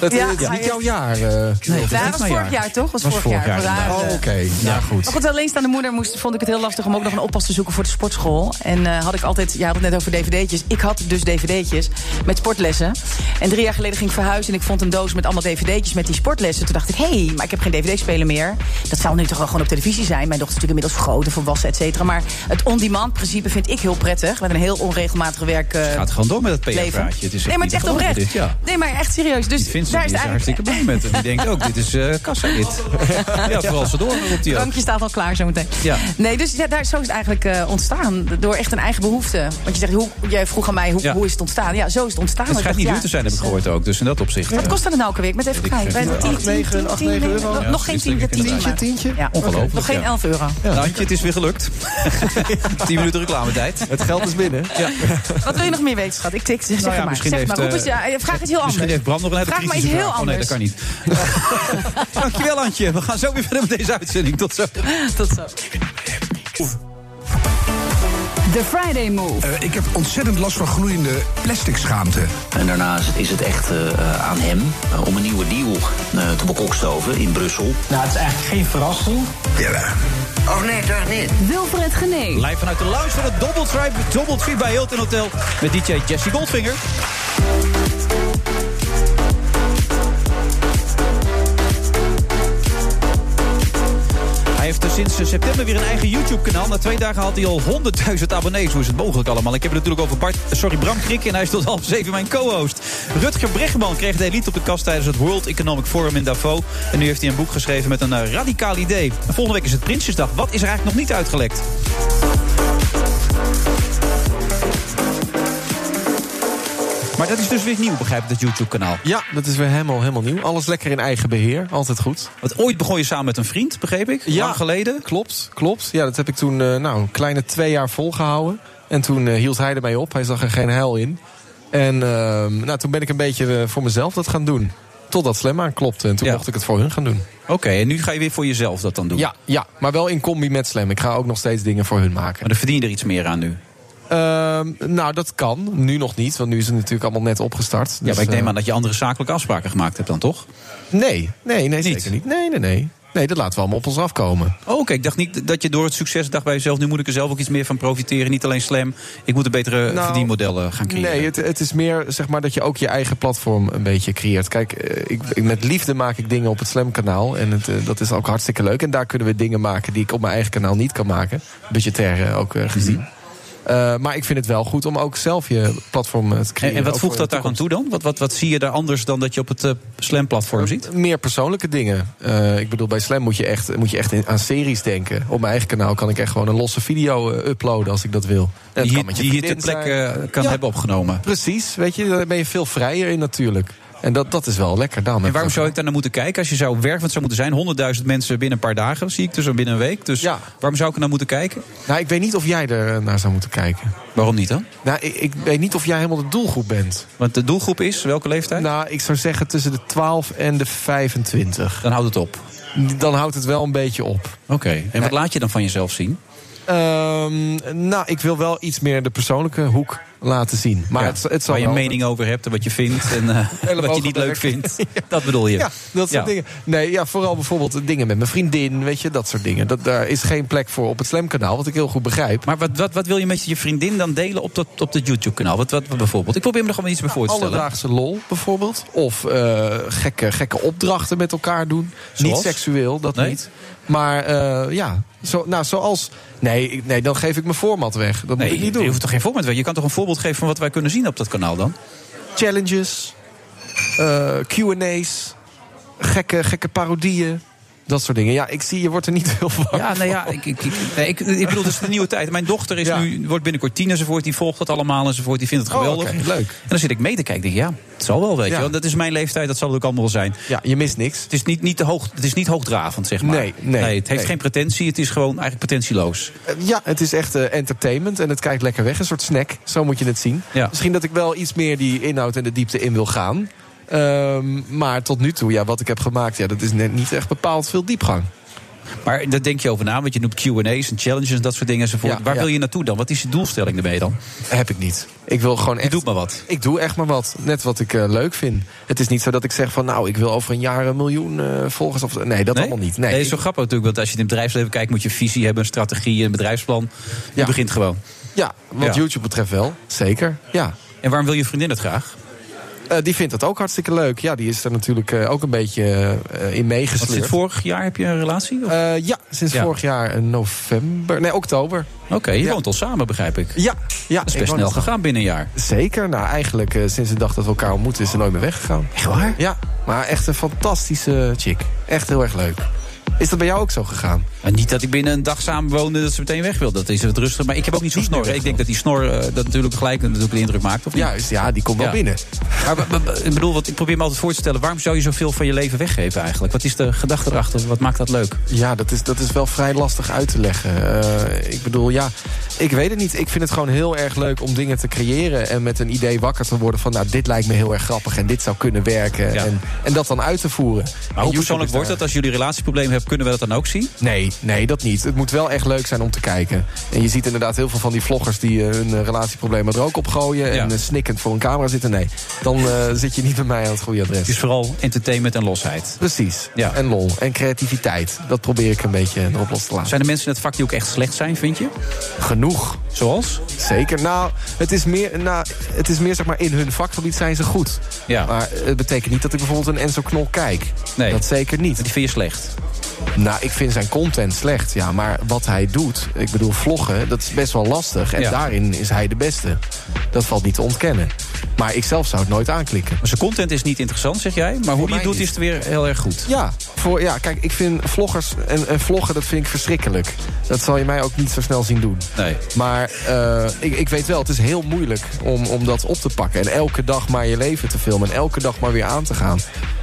F: Dat
J: Ja,
F: het is
J: hij
F: niet
J: heeft-
F: jouw jaar. eh, Wilfred.
J: dat was vorig jaar, toch? Was vorig jaar. Vandaar,
F: Oh,
J: eh,
F: oké. Ja,
J: Maar
F: goed.
J: goed, alleenstaande moeder moest, vond ik het heel lastig om ook nog een oppas te zoeken voor de sportschool. En eh, had ik altijd, je had het net over dvd'tjes. Ik had dus dvd'tjes met sportlessen. En drie jaar geleden ging ik verhuizen en ik vond een doos met allemaal dvd'tjes met die sportlessen. Toen dacht ik, hé, hey, maar ik heb geen dvd-speler meer. Dat zou nu toch wel gewoon op televisie zijn. Mijn dochter is natuurlijk inmiddels vergroten, volwassen, et cetera. Maar het on-demand principe vind ik heel prettig. Met een heel onregelmatig werk. eh,
E: gaat gewoon door met dat PR-praatje.
J: leven.
E: Het is echt
J: nee, maar
E: niet
J: het is echt
E: te geloven,
J: oprecht.
E: dit, ja.
J: Nee, maar echt serieus. Dus
E: Die vindt ze
J: daar
E: die
J: is
E: is
J: het
E: er hartstikke
J: eigenlijk.
E: blij met. En die denkt ook, dit is eh kassa dit. Ja, vooral ze door, roept hij ook.
J: Drankje staat al klaar zometeen.
E: Ja.
J: Nee, dus ja, daar, zo is het eigenlijk eh, ontstaan. Door echt een eigen behoefte. Want je zegt, hoe, jij vroeg aan mij, hoe,
E: Ja.
J: hoe is het ontstaan? Ja, zo is het ontstaan.
E: Het
J: Ik
E: schijnt
J: dacht,
E: niet
J: ja,
E: duur te zijn, heb ik gehoord ook. Dus in dat opzicht.
J: Wat
E: eh,
J: kost nou het dan elke week? Met even kijken. Bij
E: veel.
J: 10,
E: Acht,
J: 10, 10, 10, nee,
F: euro?
J: nog-
E: Ja,
J: Nog geen
E: is denk
J: 10,
E: ik
J: 10,
E: inderdaad.
F: tientje?
J: Ja,
E: Ongelooflijk,
J: Nog geen
E: ja.
J: 11 euro.
E: Nantje, Nou, het is weer gelukt. 10 minuten reclametijd.
F: Het geld is binnen.
E: Ja.
J: Wat wil je nog meer weten, schat? Ik tik, zeg
E: Nou ja,
J: maar.
E: misschien
J: Zeg
E: heeft,
J: maar, roep
E: eh,
J: eens, ja, eh, vraag iets heel
E: Misschien
J: anders.
E: heeft Bram nog een hele
J: Vraag maar iets
E: kritische
J: heel
E: vraag. Oh nee, dat
J: anders.
E: kan niet. Dankjewel, Antje. We gaan zo weer verder met deze uitzending. Tot zo.
J: Tot zo.
A: The Friday Move.
C: Eh, ik heb ontzettend last van gloeiende plastic schaamte.
B: En daarnaast is het echt eh, eh, aan hem eh, om een nieuwe deal eh, te bekokstoven in Brussel.
K: Nou, het is eigenlijk geen verrassing.
C: Jawel.
K: Oh nee, toch niet.
A: Wilfred Genee.
E: Live vanuit de lounge van het Double Tribe, Double Tree bij Hilton Hotel. Met DJ Jesse Goldfinger. Hij heeft er sinds eh, september weer een eigen YouTube-kanaal. Na twee dagen had hij al 100.000 abonnees. Hoe is het mogelijk allemaal? Ik heb het natuurlijk over Bart, sorry, Bram Krik. En hij is tot half zeven mijn co-host. Rutger Bregman kreeg de elite op de kast tijdens het World Economic Forum in Davos. En nu heeft hij een boek geschreven met een eh, radicaal idee. En volgende week is het Prinsjesdag. Wat is er eigenlijk nog niet uitgelekt? Maar dat is dus weer nieuw, begrijp ik, dat YouTube-kanaal.
F: Ja, dat is weer helemaal, helemaal nieuw. Alles lekker in eigen beheer. Altijd goed.
E: Want ooit begon je samen met een vriend, begreep ik?
F: Ja.
E: Lang geleden.
F: Klopt, klopt. Ja, dat heb ik toen eh, nou, een kleine twee jaar volgehouden. En toen eh, hield hij ermee op. Hij zag er geen heil in. En ehm, nou, toen ben ik een beetje eh, voor mezelf dat gaan doen. Totdat Slam aanklopte. En toen
E: Ja.
F: mocht ik het voor hun gaan doen.
E: Oké, en nu ga je weer voor jezelf dat dan doen.
F: Ja, ja, maar wel in combi met Slam. Ik ga ook nog steeds dingen voor hun maken.
E: Maar dan verdien je er iets meer aan nu.
F: Ehm, nou, dat kan. Nu nog niet, want nu is het natuurlijk allemaal net opgestart.
E: ja,
F: Dus,
E: maar ik
F: eh,
E: neem aan dat je andere zakelijke afspraken gemaakt hebt dan, toch?
F: Nee, nee, nee,
E: Niet?
F: zeker niet. Nee, nee, nee. Nee, dat laten we allemaal op ons afkomen.
E: Oh, oké. Ik dacht niet dat je door het succes dacht bij jezelf... nu moet ik er zelf ook iets meer van profiteren. Niet alleen slam. Ik moet een betere
F: Nou,
E: verdienmodellen gaan creëren.
F: Nee, het, het is meer zeg maar, dat je ook je eigen platform een beetje creëert. Kijk, eh, ik, ik- met liefde maak ik dingen op het Slam-kanaal. En het, eh, dat is ook hartstikke leuk. En daar kunnen we dingen maken die ik op mijn eigen kanaal niet kan maken. Budgetair eh, ook eh, gezien.
E: Mhm.
F: Eh, maar ik vind het wel goed om ook zelf je platform eh, te
E: en,
F: creëren.
E: en wat
F: ook
E: voegt
F: voor
E: dat
F: de
E: daar aan toe dan? Wat, wat, wat zie je daar anders dan dat je op het eh, slam-platform ziet?
F: Meer persoonlijke dingen. Eh, ik bedoel, bij Slam moet je echt, moet je echt in- aan series denken. Op mijn eigen kanaal kan ik echt gewoon een losse video eh, uploaden als ik dat wil. En dat
E: Die,
F: kan met je
E: die je ter
F: vriendin
E: plekke
F: zijn.
E: eh, kan
F: Ja.
E: hebben opgenomen.
F: Precies, weet je, daar ben je veel vrijer in natuurlijk. En dat, dat is wel lekker. Daarom
E: En
F: heb
E: waarom
F: ik-
E: zou ik daar naar moeten kijken? Als je zou wervend zou moeten zijn, 100.000 mensen binnen een paar dagen, zie ik dus, en binnen een week. Dus
F: Ja.
E: waarom zou ik er naar moeten kijken?
F: Nou, ik weet niet of jij er eh, naar zou moeten kijken.
E: Waarom niet dan?
F: Nou, ik, ik weet niet of jij helemaal de doelgroep bent.
E: Want de doelgroep is, welke leeftijd?
F: Nou, ik zou zeggen tussen de 12 en de 25.
E: Dan houdt het op.
F: Dan houdt het wel een beetje op.
E: Oké. En wat laat je dan van jezelf zien?
F: Ehm, nou, ik wil wel iets meer de persoonlijke hoek laten zien. Maar
E: Ja,
F: het, het zal
E: waar je
F: wel-
E: mening over hebt en wat je vindt en eh, wat je niet leuk vindt. Dat bedoel je?
F: Ja, dat soort
E: Ja.
F: dingen. Nee, ja, vooral bijvoorbeeld eh, dingen met mijn vriendin, weet je, dat soort dingen. Dat, daar is geen plek voor op het Slamkanaal, wat ik heel goed begrijp.
E: Maar wat, wat, wat wil je met je vriendin dan delen op dat, op dat YouTube-kanaal? Wat, wat, wat bijvoorbeeld? Ik probeer me er gewoon iets bij voor te stellen.
F: Alledaagse lol bijvoorbeeld. Of eh, gekke, gekke opdrachten met elkaar doen.
E: Zoals?
F: Niet seksueel, dat
E: Nee?
F: niet. Maar eh, ja, zo, nou, zoals. Nee, ik- nee, dan geef ik mijn format weg. Dat
E: Nee,
F: moet ik niet doen.
E: Je hoeft toch geen voorbeeld te Je kan toch een voorbeeld geven van wat wij kunnen zien op dat kanaal dan?
F: Challenges, eh, QA's, gekke, gekke parodieën. Dat soort dingen. Ja, ik zie, je wordt er niet heel van.
E: Ja, nou ja, ik, ik, ik, nee, ik, ik bedoel, dat is de nieuwe tijd. Mijn dochter is nu, wordt binnenkort tien enzovoort. Die volgt dat allemaal enzovoort. Die vindt het
F: Oh,
E: geweldig.
F: oké, leuk.
E: En dan zit ik mee te kijken. Denk, ik, ja, het zal wel, weet
F: Ja.
E: je wel. Dat is mijn leeftijd, dat zal het ook allemaal wel zijn.
F: Ja, je mist niks.
E: Het is niet, niet, te hoog, het is niet hoogdravend, zeg maar.
F: Nee, nee,
E: het heeft
F: nee.
E: geen pretentie. Het is gewoon eigenlijk pretentieloos.
F: Ja, het is echt eh, entertainment en het kijkt lekker weg. Een soort snack, zo moet je het zien. Misschien dat ik wel iets meer die inhoud en de diepte in wil gaan. Ehm, maar tot nu toe, ja, wat ik heb gemaakt, ja, dat is net niet echt bepaald veel diepgang.
E: Maar daar denk je over na, want je noemt QA's en challenges en dat soort dingen enzovoort.
F: Ja,
E: Waar
F: ja.
E: wil je naartoe dan? Wat is je doelstelling ermee dan?
F: Heb ik niet. Ik wil gewoon echt.
E: Je doet maar wat.
F: Ik doe echt maar wat, net wat ik eh, leuk vind. Het is niet zo dat ik zeg van, nou, ik wil over een jaar een miljoen eh, volgers. Of, nee, dat allemaal niet. Nee,
E: het is zo grappig natuurlijk, want als je in het bedrijfsleven kijkt, moet je een visie hebben, een strategie, een bedrijfsplan. Je begint gewoon.
F: Ja, wat YouTube betreft wel, zeker. Ja.
E: En waarom wil je vriendin het graag?
F: Eh, die vindt dat ook hartstikke leuk. Ja, die is er natuurlijk eh, ook een beetje eh, in
E: Want
F: meegesleurd.
E: sinds vorig jaar heb je een relatie? Of?
F: Eh, ja, sinds
E: Ja.
F: vorig jaar eh, november. Nee, oktober.
E: Oké, je woont al samen, begrijp ik.
F: Ja, ja.
E: Dat is best snel gegaan binnen een jaar.
F: Zeker. Nou, eigenlijk eh, sinds de dag dat we elkaar ontmoeten is ze nooit meer weggegaan. Echt
E: waar?
F: Ja, maar echt een fantastische chick. Echt heel erg leuk. Is dat bij jou ook zo gegaan?
E: En niet dat ik binnen een dag samen woonde dat ze meteen weg wil. Dat is wat rustig. Maar ik heb ook niet zo'n snor. Ik denk dat die snor eh, dat natuurlijk gelijk natuurlijk een indruk maakt. Of niet?
F: Juist, ja, die komt wel binnen.
E: Maar, maar, maar, ik bedoel, wat, ik probeer me altijd voor te stellen. Waarom zou je zoveel van je leven weggeven eigenlijk? Wat is de gedachte erachter? Wat maakt dat leuk?
F: Ja, dat is, dat is wel vrij lastig uit te leggen. Eh, ik bedoel, ja, ik weet het niet. Ik vind het gewoon heel erg leuk om dingen te creëren... en met een idee wakker te worden van... nou, dit lijkt me heel erg grappig en dit zou kunnen werken. En, en dat dan uit te voeren.
E: Maar hoe persoonlijk wordt dat? Als jullie relatieproblemen hebben, kunnen we dat dan ook zien?
F: Nee, nee, dat niet. Het moet wel echt leuk zijn om te kijken. En je ziet inderdaad heel veel van die vloggers die eh, hun eh, relatieproblemen er ook op gooien. En eh, snikkend voor een camera zitten. Nee, dan eh, zit je niet bij mij aan het goede adres.
E: Het is vooral entertainment en losheid.
F: Precies.
E: Ja.
F: En lol. En creativiteit. Dat probeer ik een beetje erop los te laten.
E: Zijn er mensen in het vak die ook echt slecht zijn, vind je?
F: Genoeg.
E: Zoals?
F: Zeker. Nou, het is meer, nou, het is meer zeg maar in hun vakgebied zijn ze goed.
E: Ja.
F: Maar het betekent niet dat ik bijvoorbeeld een Enzo Knol kijk.
E: Nee.
F: Dat zeker niet.
E: Die vind je slecht?
F: Nou, ik vind zijn content slecht, ja. Maar wat hij doet, ik bedoel vloggen, dat is best wel lastig. En
E: Ja.
F: daarin is hij de beste. Dat valt niet te ontkennen. Maar ik zelf zou het nooit aanklikken.
E: Maar zijn content is niet interessant, zeg jij. Maar hoe die
F: mij
E: het doet,
F: niet.
E: is het weer heel erg goed.
F: Ja, voor, ja, kijk, ik vind vloggers en, en vloggen, dat vind ik verschrikkelijk. Dat zal je mij ook niet zo snel zien doen.
E: Nee.
F: Maar eh, ik, ik weet wel, het is heel moeilijk om, om dat op te pakken. En elke dag maar je leven te filmen. En elke dag maar weer aan te gaan.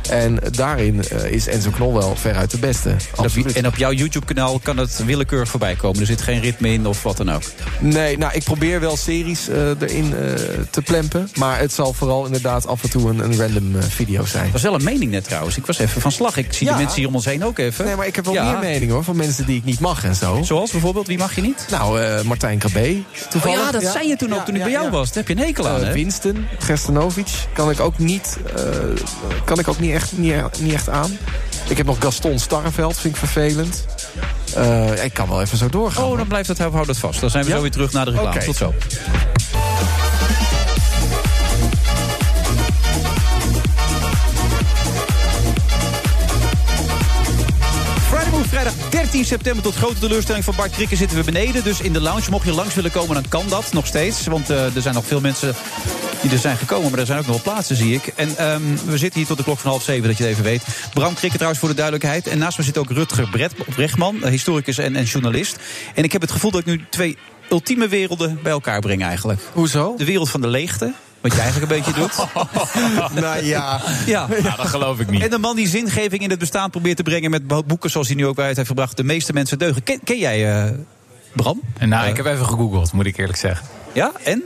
F: En daarin eh, is Enzo Knol wel veruit de beste.
E: En op, en op jouw YouTube-kanaal kan het willekeurig voorbij komen. Er zit geen ritme in of wat dan ook.
F: Nee, nou, ik probeer wel series eh, erin eh, te plempen. Maar het zal vooral inderdaad af en toe een, een random eh, video zijn.
E: Dat was wel een mening net trouwens. Ik was even van slag. Ik zie
F: Ja.
E: de mensen hier om ons heen ook even.
F: Nee, maar ik heb wel
E: Ja.
F: meer mening hoor, van mensen die ik niet mag en zo.
E: Zoals bijvoorbeeld, wie mag je niet?
F: Nou, eh, Martijn Krabbe. Toevallig.
E: Oh ja, dat zei je toen ook toen ik bij jou was. Daar heb je een hekel aan,
F: Eh,
E: hè?
F: Winston, Gerstanovic, kan ik ook niet, eh, kan ik ook niet, echt, niet, niet echt aan. Ik heb nog Gaston Starreveld, vind ik vervelend. Eh, ik kan wel even zo doorgaan.
E: Oh, dan blijft dat, hou dat vast. Dan zijn we
F: Ja?
E: zo weer terug naar de reclame.
F: Oké.
E: Tot zo. Friday Move, vrijdag 13 september. Tot grote teleurstelling van Bart Krikken zitten we beneden. Dus in de lounge, mocht je langs willen komen, dan kan dat nog steeds. Want eh, er zijn nog veel mensen die er zijn gekomen. Maar er zijn ook nog wel plaatsen, zie ik. En ehm, we zitten hier tot de klok van half zeven, dat je het even weet. Bram Krikken trouwens voor de duidelijkheid. En naast me zit ook Rutger Bret, Brechtman, eh, historicus en, en journalist. En ik heb het gevoel dat ik nu twee ultieme werelden bij elkaar breng eigenlijk.
F: Hoezo?
E: De wereld van de leegte. Wat je eigenlijk een beetje doet.
F: nou ja.
E: ja.
L: Nou, dat geloof ik niet.
E: En de man die zingeving in het bestaan probeert te brengen met bo- boeken zoals hij nu ook uit heeft gebracht. De meeste mensen deugen. Ken, ken jij eh, Bram?
L: Nou, ik heb even gegoogeld, moet ik eerlijk zeggen.
E: Ja, en?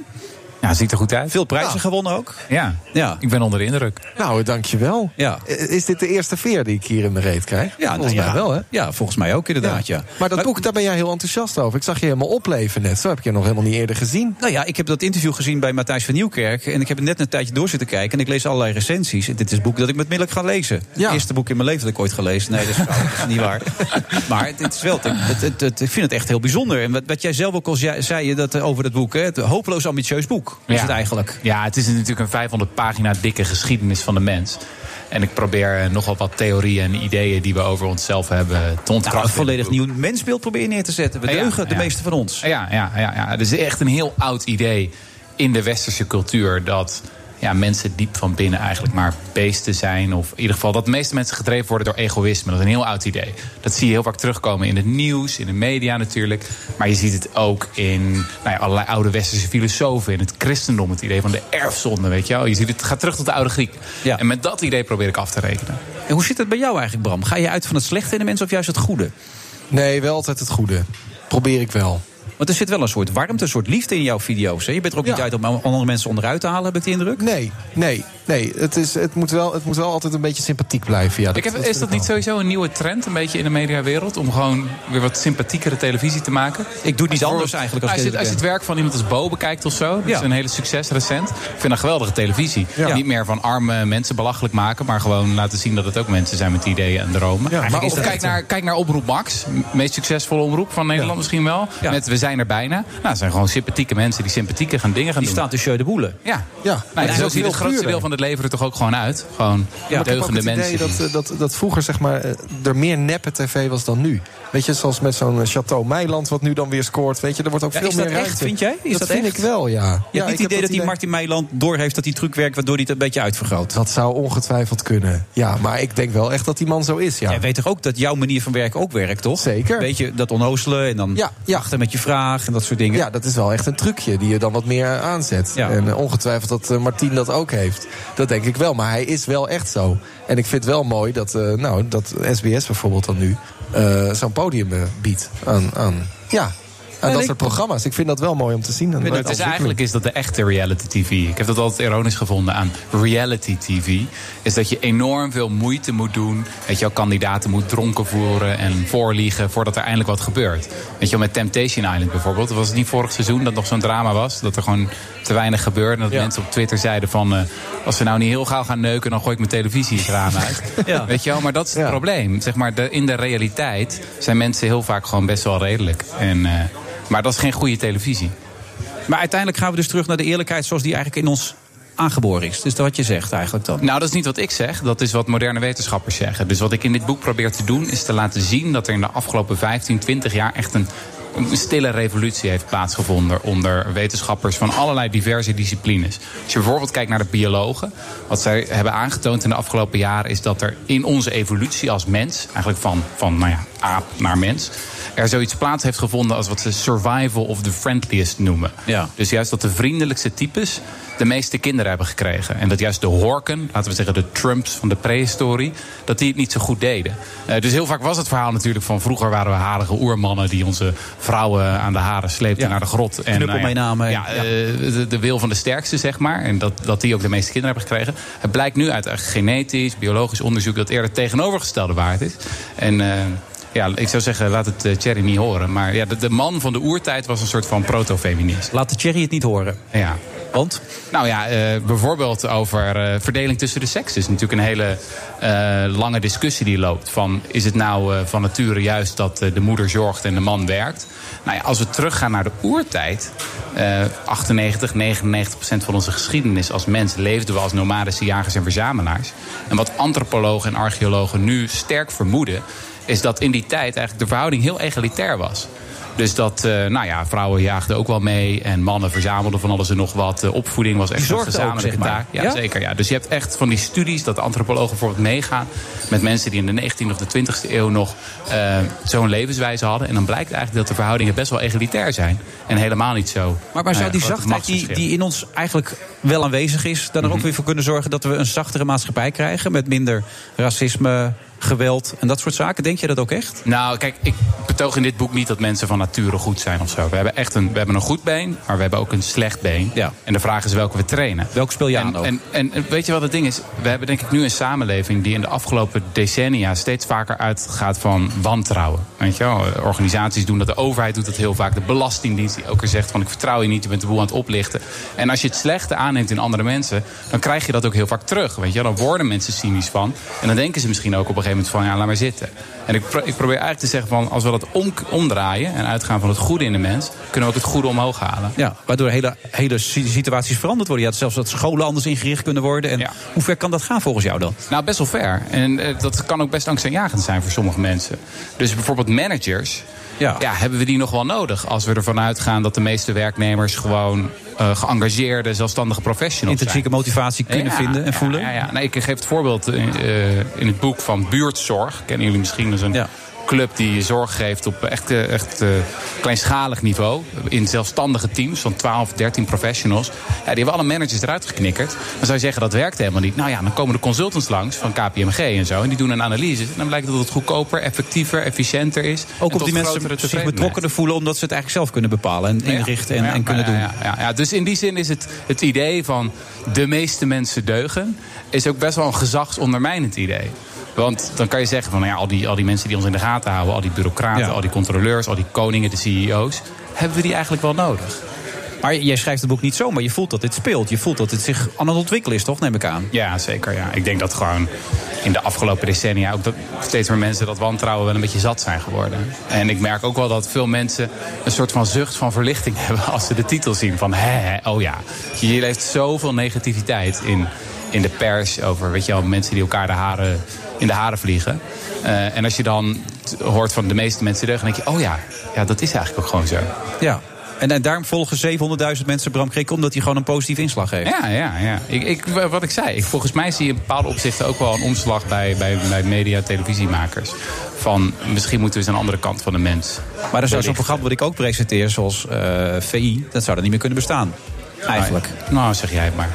L: Ja, ziet er goed uit.
E: Veel prijzen gewonnen ook.
L: Ja. ja, ik ben onder de indruk.
F: Nou, dankjewel. Eh,
E: Ja.
F: Is dit de eerste veer die ik hier in de reet krijg?
E: Ja,
F: volgens
E: nou
F: mij
E: ja.
F: wel, hè?
E: Ja, volgens mij ook inderdaad, ja.
F: Maar dat boek, daar ben jij heel enthousiast over. Ik zag je helemaal opleven net. Zo heb ik je nog helemaal niet eerder gezien.
E: Nou ja, ik heb dat interview gezien bij Matthijs van Nieuwkerk. En ik heb het net een tijdje door zitten kijken. En ik lees allerlei recensies. En dit is het boek dat ik met middellijk ga lezen. Het eerste boek in mijn leven dat ik ooit ga lezen. Nee, dat is, flauw, dat is niet waar. Maar het, het is wel, het, het, het- het- ik vind het echt heel bijzonder. En wat, wat jij zelf ook al zei, zei je dat, eh, over dat boek. Hè, het hopeloos ambitieus boek is
L: Ja.
E: het eigenlijk.
L: Ja, het is natuurlijk een 500 pagina dikke geschiedenis van de mens. En ik probeer eh, nogal wat theorieën en ideeën die we over onszelf hebben te ontkrachten.
E: Nou, een
L: in het
E: volledig
L: boek.
E: nieuw mensbeeld probeer je neer te zetten. We
L: Ja,
E: deugen de
L: ja.
E: meeste van ons.
L: Ja, ja, ja, ja. Het is echt een heel oud idee in de westerse cultuur dat ja, mensen diep van binnen eigenlijk maar beesten zijn. Of in ieder geval dat de meeste mensen gedreven worden door egoïsme. Dat is een heel oud idee. Dat zie je heel vaak terugkomen in het nieuws, in de media natuurlijk. Maar je ziet het ook in nou ja, allerlei oude westerse filosofen, in het christendom, het idee van de erfzonde, weet je wel. Je ziet het gaat terug tot de oude Griek. En met dat idee probeer ik af te rekenen.
E: En hoe zit het bij jou eigenlijk, Bram? Ga je uit van het slechte in de mens of juist het goede?
F: Nee, wel altijd het goede. Probeer ik wel.
E: Want er zit wel een soort warmte, een soort liefde in jouw video's. Hè? Je bent er ook niet uit om andere mensen onderuit te halen, heb ik de indruk?
F: Nee, nee, nee. Het, is, het, moet wel, het moet wel altijd een beetje sympathiek blijven. Ja,
L: Ik heb, is dat niet sowieso een nieuwe trend, een beetje in de mediawereld, om gewoon weer wat sympathiekere televisie te maken?
E: Ik doe iets anders eigenlijk als
L: als, je,
E: ik
L: als je het werk van iemand als Bo bekijkt of zo, dat is een hele succes recent. Ik vind dat geweldige televisie.
E: Ja.
L: Niet meer van arme mensen belachelijk maken, maar gewoon laten zien dat het ook mensen zijn met ideeën en dromen.
E: maar
L: maar
E: is dat eh,
L: kijk
E: echt
L: naar, kijk naar Omroep Max, m- meest succesvolle omroep van Nederland misschien wel. eh, Met We zijn er bijna. Nou, dat zijn gewoon sympathieke mensen die sympathieke gaan dingen gaan
E: Die
L: doen.
E: staat de show de boelen.
L: Ja.
F: Ja,
L: Nou, en zo ziet het grootste deel van het leven er toch ook gewoon uit. Gewoon
F: Ja, ik heb ook
L: deugende
F: het
L: mensen.
F: idee
L: die-
F: dat, eh, dat, dat vroeger zeg maar, eh, er meer neppe tv was dan nu. Weet je, zoals met zo'n eh, Château Meiland, wat nu dan weer scoort. Weet je, er wordt ook
E: Ja,
F: veel
E: is
F: meer
E: dat echt,
F: ruimte.
E: vind jij? Is
F: dat,
E: dat
F: vind
E: echt?
F: ik wel, ja.
E: Je
F: Ja,
E: hebt
F: ik
E: niet het idee
F: heb
E: dat die Martin Meiland doorheeft dat hij truc werkt... waardoor hij het een beetje uitvergroot.
F: Dat zou ongetwijfeld kunnen. Ja, maar ik denk wel echt dat die man zo is, ja.
E: Jij weet toch ook dat jouw manier van werken ook werkt, toch? Zeker. Weet je, dat onnozelen en dan wachten met je vraag en dat soort dingen.
F: Ja, dat is wel echt een trucje die je dan wat meer eh, aanzet. En eh, ongetwijfeld dat eh, Martien dat ook heeft. Dat denk ik wel, maar hij is wel echt zo. En ik vind het wel mooi dat, eh, nou, dat SBS bijvoorbeeld dan nu eh, zo'n podium eh, biedt aan, aan, ja, aan dat
L: ik-
F: soort programma's. Ik vind dat wel mooi om te zien.
L: Maar het is eigenlijk is dat de echte reality TV. Ik heb dat altijd ironisch gevonden aan reality TV. Is dat je enorm veel moeite moet doen. Weet je wel, kandidaten moet dronken voeren en voorliegen voordat er eindelijk wat gebeurt. Weet je wel, met Temptation Island bijvoorbeeld. Dat was het niet vorig seizoen dat nog zo'n drama was. Dat er gewoon te weinig gebeurde. En dat mensen op Twitter zeiden van... eh, als ze nou niet heel gauw gaan neuken, dan gooi ik mijn televisie het raam uit. Weet je wel, maar dat is het probleem. Zeg maar, de, in de realiteit zijn mensen heel vaak gewoon best wel redelijk. En, eh, maar dat is geen goede televisie.
E: Maar uiteindelijk gaan we dus terug naar de eerlijkheid zoals die eigenlijk in ons aangeboren is. Dus dat wat je zegt eigenlijk dan.
L: Nou, dat is niet wat ik zeg. Dat is wat moderne wetenschappers zeggen. Dus wat ik in dit boek probeer te doen, is te laten zien dat er in de afgelopen 15, 20 jaar echt een. Een stille revolutie heeft plaatsgevonden onder wetenschappers van allerlei diverse disciplines. Als je bijvoorbeeld kijkt naar de biologen, wat zij hebben aangetoond in de afgelopen jaren is dat er in onze evolutie als mens, eigenlijk van, van nou ja, aap naar mens, er zoiets plaats heeft gevonden als wat ze survival of the friendliest noemen. Dus juist dat de vriendelijkste types de meeste kinderen hebben gekregen. En dat juist de horken, laten we zeggen de Trumps van de prehistorie, dat die het niet zo goed deden. Eh, dus heel vaak was het verhaal natuurlijk van vroeger waren we harige oermannen die onze vrouwen aan de haren sleepten naar de grot. En,
E: Knuppel
L: nou ja,
E: meenamen.
L: Ja, eh, de, de wil van de sterkste, zeg maar. En dat, dat die ook de meeste kinderen hebben gekregen. Het blijkt nu uit echt genetisch, biologisch onderzoek dat eerder het tegenovergestelde waard is. En eh, ja, ik zou zeggen, laat het eh, Thierry niet horen. Maar ja, de, de man van de oertijd was een soort van proto-feminist.
E: Laat de Thierry het niet horen.
L: Ja.
E: Want?
L: Nou ja, eh, bijvoorbeeld over eh, verdeling tussen de seksen. is natuurlijk een hele eh, lange discussie die loopt. Van is het nou eh, van nature juist dat eh, de moeder zorgt en de man werkt? Nou ja, als we teruggaan naar de oertijd. eh 98, 99 procent van onze geschiedenis als mens leefden we als nomadische jagers en verzamelaars. En wat antropologen en archeologen nu sterk vermoeden. is dat in die tijd eigenlijk de verhouding heel egalitair was. Dus dat, eh, nou ja, vrouwen jaagden ook wel mee. En mannen verzamelden van alles en nog wat. De opvoeding was echt een
E: zorgden ook,
L: gezamenlijke
E: zeg maar.
L: taak. Ja,
E: Ja?
L: zeker. Ja. Dus je hebt echt van die studies dat de antropologen bijvoorbeeld meegaan. met mensen die in de 19e of de 20e eeuw nog eh, zo'n levenswijze hadden. En dan blijkt eigenlijk dat de verhoudingen best wel egalitair zijn. En helemaal niet zo.
E: Maar, maar zou
L: eh,
E: die
L: grote
E: zachtheid die,
L: machtsverschillen.
E: die in ons eigenlijk wel aanwezig is... dan er ook weer voor kunnen zorgen dat we een zachtere maatschappij krijgen... met minder racisme, geweld en dat soort zaken. Denk je dat ook echt?
L: Nou, kijk, ik betoog in dit boek niet dat mensen van nature goed zijn of zo. We hebben echt een, we hebben een goed been, maar we hebben ook een slecht been. En de vraag is welke we trainen.
E: Welk speel je
L: en,
E: aan ook?
L: En, en en weet je wat het ding is? We hebben denk ik nu een samenleving die in de afgelopen decennia steeds vaker uitgaat van wantrouwen. Weet je wel? Organisaties doen dat, de overheid doet dat heel vaak. De belastingdienst die elke keer zegt van ik vertrouw je niet, je bent de boel aan het oplichten. En als je het slechte aanneemt in andere mensen, dan krijg je dat ook heel vaak terug. Weet je wel? Dan worden mensen cynisch van. En dan denken ze misschien ook op een gegeven moment van ja, laat maar zitten. En ik, pro- ik probeer eigenlijk te zeggen van als we dat om- omdraaien en uitgaan van het goede in de mens, kunnen we ook het goede omhoog halen.
E: Ja, waardoor hele, hele si- situaties veranderd worden. Je had zelfs dat scholen anders ingericht kunnen worden. En hoe ver kan dat gaan volgens jou dan?
L: Nou, best wel ver. En eh, dat kan ook best angstaanjagend zijn voor sommige mensen. Dus bijvoorbeeld managers. Ja. hebben we die nog wel nodig? Als we ervan uitgaan dat de meeste werknemers gewoon eh geëngageerde, zelfstandige professionals zijn.
E: Intrinsieke motivatie kunnen
L: Ja,
E: vinden en
L: ja,
E: voelen.
L: Ja, ja. Nee, ik geef het voorbeeld in, eh, in het boek van Buurtzorg. Kennen jullie misschien als een club die zorg geeft op echt, eh, echt eh, kleinschalig niveau. In zelfstandige teams van 12, 13 professionals. Ja, die hebben alle managers eruit geknikkerd. Dan zou je zeggen dat werkt helemaal niet. Nou ja, dan komen de consultants langs van KPMG en zo. En die doen een analyse. En dan blijkt dat het goedkoper, effectiever, efficiënter is.
E: Ook
L: En
E: op die
L: tot
E: mensen
L: grotere
E: zich
L: tevredenheid.
E: betrokkener voelen omdat ze het eigenlijk zelf kunnen bepalen en inrichten en,
L: Ja,
E: en kunnen
L: ja,
E: doen.
L: ja, ja, ja. Dus in die zin is het, het idee van de meeste mensen deugen... is ook best wel een gezagsondermijnend idee. Want dan kan je zeggen van nou ja, al, die, al die mensen die ons in de gaten houden... al die bureaucraten, al die controleurs, al die koningen, de CEO's... hebben we die eigenlijk wel nodig?
E: Maar jij schrijft het boek niet zo, maar je voelt dat dit speelt. Je voelt dat dit zich aan het ontwikkelen is, toch? Neem ik aan.
L: Ja, zeker. Ja. Ik denk dat gewoon in de afgelopen decennia ook dat steeds meer mensen dat wantrouwen wel een beetje zat zijn geworden. En ik merk ook wel dat veel mensen een soort van zucht van verlichting hebben als ze de titel zien. Van hè, hè, oh ja. Je leeft zoveel negativiteit in, in de pers over, weet je wel, mensen die elkaar de haren, in de haren vliegen. Eh, en als je dan t- hoort van de meeste mensen deugen, dan denk je, oh ja, ja, dat is eigenlijk ook gewoon zo.
E: Ja. En, en daarom volgen 700.000 mensen Bram Krik omdat hij gewoon een positieve inslag heeft.
L: Ja, ja, ja. Ik, ik, wat ik zei, ik, volgens mij zie je in bepaalde opzichten ook wel een omslag bij, bij, bij media, televisiemakers. Van misschien moeten we eens een andere kant van de mens.
E: Maar dan zou zo'n
L: belichten.
E: programma wat ik ook presenteer, zoals eh, VI, dat zou dan niet meer kunnen bestaan. Eigenlijk.
L: Nou, zeg jij het maar.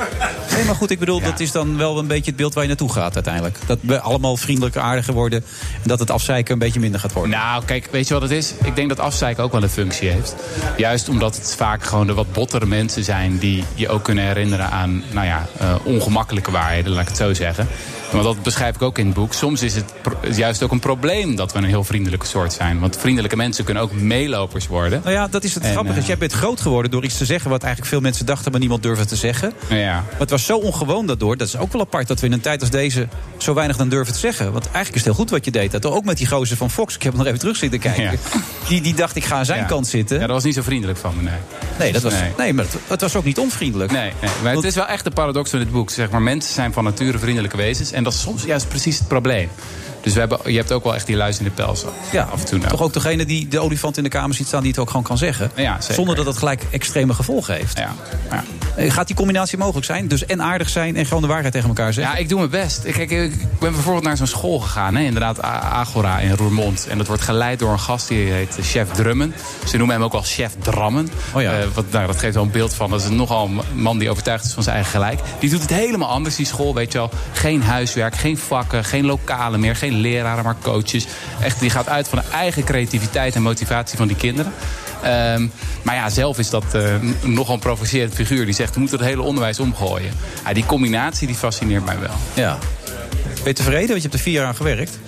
E: Nee, maar goed, ik bedoel, dat is dan wel een beetje het beeld waar je naartoe gaat uiteindelijk. Dat we allemaal vriendelijker, aardiger worden. En dat het afzeiken een beetje minder gaat worden.
L: Nou, kijk, weet je wat het is? Ik denk dat afzeiken ook wel een functie heeft. Juist omdat het vaak gewoon de wat bottere mensen zijn... die je ook kunnen herinneren aan, nou ja, eh, ongemakkelijke waarheden, laat ik het zo zeggen. Want dat beschrijf ik ook in het boek. Soms is het pro- juist ook een probleem dat we een heel vriendelijke soort zijn. Want vriendelijke mensen kunnen ook meelopers worden.
E: Nou ja, dat is het
L: En,
E: grappige.
L: eh,
E: Jij bent groot geworden door iets te zeggen wat eigenlijk veel mensen dachten, maar niemand durfde te zeggen.
L: Nou Ja.
E: Maar het was zo ongewoon daardoor. Dat is ook wel apart dat we in een tijd als deze zo weinig dan durven te zeggen. Want eigenlijk is het heel goed wat je deed. Dat ook met die gozer van Fox. Ik heb hem nog even terug zitten kijken. Die, die dacht, ik ga aan zijn
L: Ja.
E: kant zitten.
L: Ja, dat was niet zo vriendelijk van me, nee.
E: Nee, dat was, nee.
L: Nee.
E: maar het, het was ook niet onvriendelijk.
L: Nee, nee, maar het is wel echt een paradox van dit boek. Zeg maar, mensen zijn van nature vriendelijke wezens. En dat is soms juist precies het probleem. Dus we hebben, je hebt ook wel echt die luis in de pels.
E: Ja,
L: af en toe nou.
E: Toch ook degene die de olifant in de kamer ziet staan, die het ook gewoon kan zeggen.
L: Ja, zeker,
E: zonder dat dat gelijk extreme gevolgen heeft. Eh, Gaat die combinatie mogelijk zijn? Dus en aardig zijn en gewoon de waarheid tegen elkaar zeggen?
L: Ja, ik doe mijn best. Ik- Kijk, ik ben bijvoorbeeld naar zo'n school gegaan. Hè, inderdaad, A- Agora in Roermond. En dat wordt geleid door een gast die heet eh, Chef Drummen. Ze noemen hem ook wel Chef Drammen. Oh ja. wat, nou, dat geeft wel een beeld van. Dat is nogal een man die overtuigd is van zijn eigen gelijk. Die doet het helemaal anders, die school, weet je wel. Geen huiswerk, geen vakken, geen lokalen meer, geen leraren, maar coaches. Echt, die gaat uit van de eigen creativiteit en motivatie van die kinderen. Ehm, maar ja, zelf is dat eh, n- nogal een provocerend figuur. Die zegt, we moeten het hele onderwijs omgooien. Ja, die combinatie die fascineert mij wel.
E: Ja. Ben je tevreden? Want je hebt er vier jaar aan gewerkt.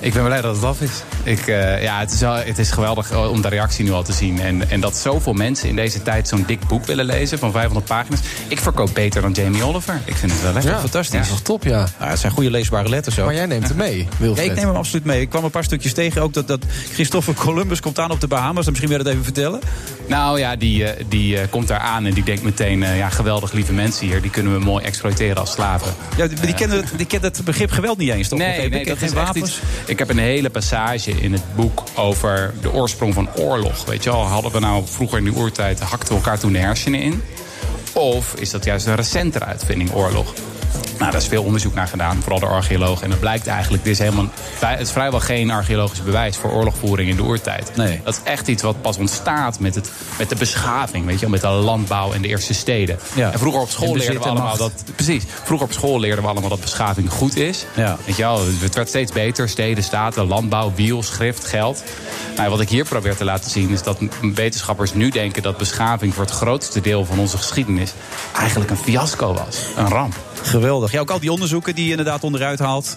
L: Ik ben blij dat het af is. Ik, eh, ja, het, is wel, het is geweldig eh, om de reactie nu al te zien. En, en dat zoveel mensen in deze tijd zo'n dik boek willen lezen van 500 pagina's. Ik verkoop beter dan Jamie Oliver. Ik vind het wel echt
F: Ja,
L: fantastisch.
F: dat is toch top, ja.
E: Nou, het zijn goede leesbare letters ook.
F: Maar jij neemt hem mee,
E: Ja,
F: Wilfred.
E: ik neem hem absoluut mee. Ik kwam een paar stukjes tegen. Ook dat, dat Christopher Columbus komt aan op de Bahamas. Dan Misschien wil je dat even vertellen.
L: Nou ja, die, eh, die eh, komt daar aan en die denkt meteen... eh, ja, geweldig lieve mensen hier, die kunnen we mooi exploiteren als slaven.
E: Ja, die, die
L: Eh.
E: kennen het, die kennen het begrip geweld niet eens, toch?
L: Nee,
E: Begreep
L: nee
E: ik?
L: dat
E: Geen
L: is echt
E: wapens.
L: iets. Ik heb een hele passage in het boek over de oorsprong van oorlog. Weet je wel, hadden we nou vroeger in die oertijd, hakten we elkaar toen de hersenen in? Of is dat juist een recentere uitvinding, oorlog? Nou, daar is veel onderzoek naar gedaan, vooral door archeologen. En dat blijkt eigenlijk, dit is helemaal, het is vrijwel geen archeologisch bewijs voor oorlogvoering in de oertijd. Nee. Dat is echt iets wat pas ontstaat met, het, met de beschaving, weet je, wel, met de landbouw en de eerste steden.
E: Ja.
L: En vroeger op school
E: En bezit
L: leerden we
E: en
L: allemaal dat.
E: macht.
L: Precies. Vroeger op school leerden we allemaal dat beschaving goed is.
E: Ja.
L: Weet je wel, het werd steeds beter. Steden, staten, landbouw, wiel, schrift, geld. Nou, wat ik hier probeer te laten zien is dat m- wetenschappers nu denken dat beschaving voor het grootste deel van onze geschiedenis eigenlijk een fiasco was. Een ramp.
E: Geweldig. Ja, ook al die onderzoeken die je inderdaad onderuit haalt.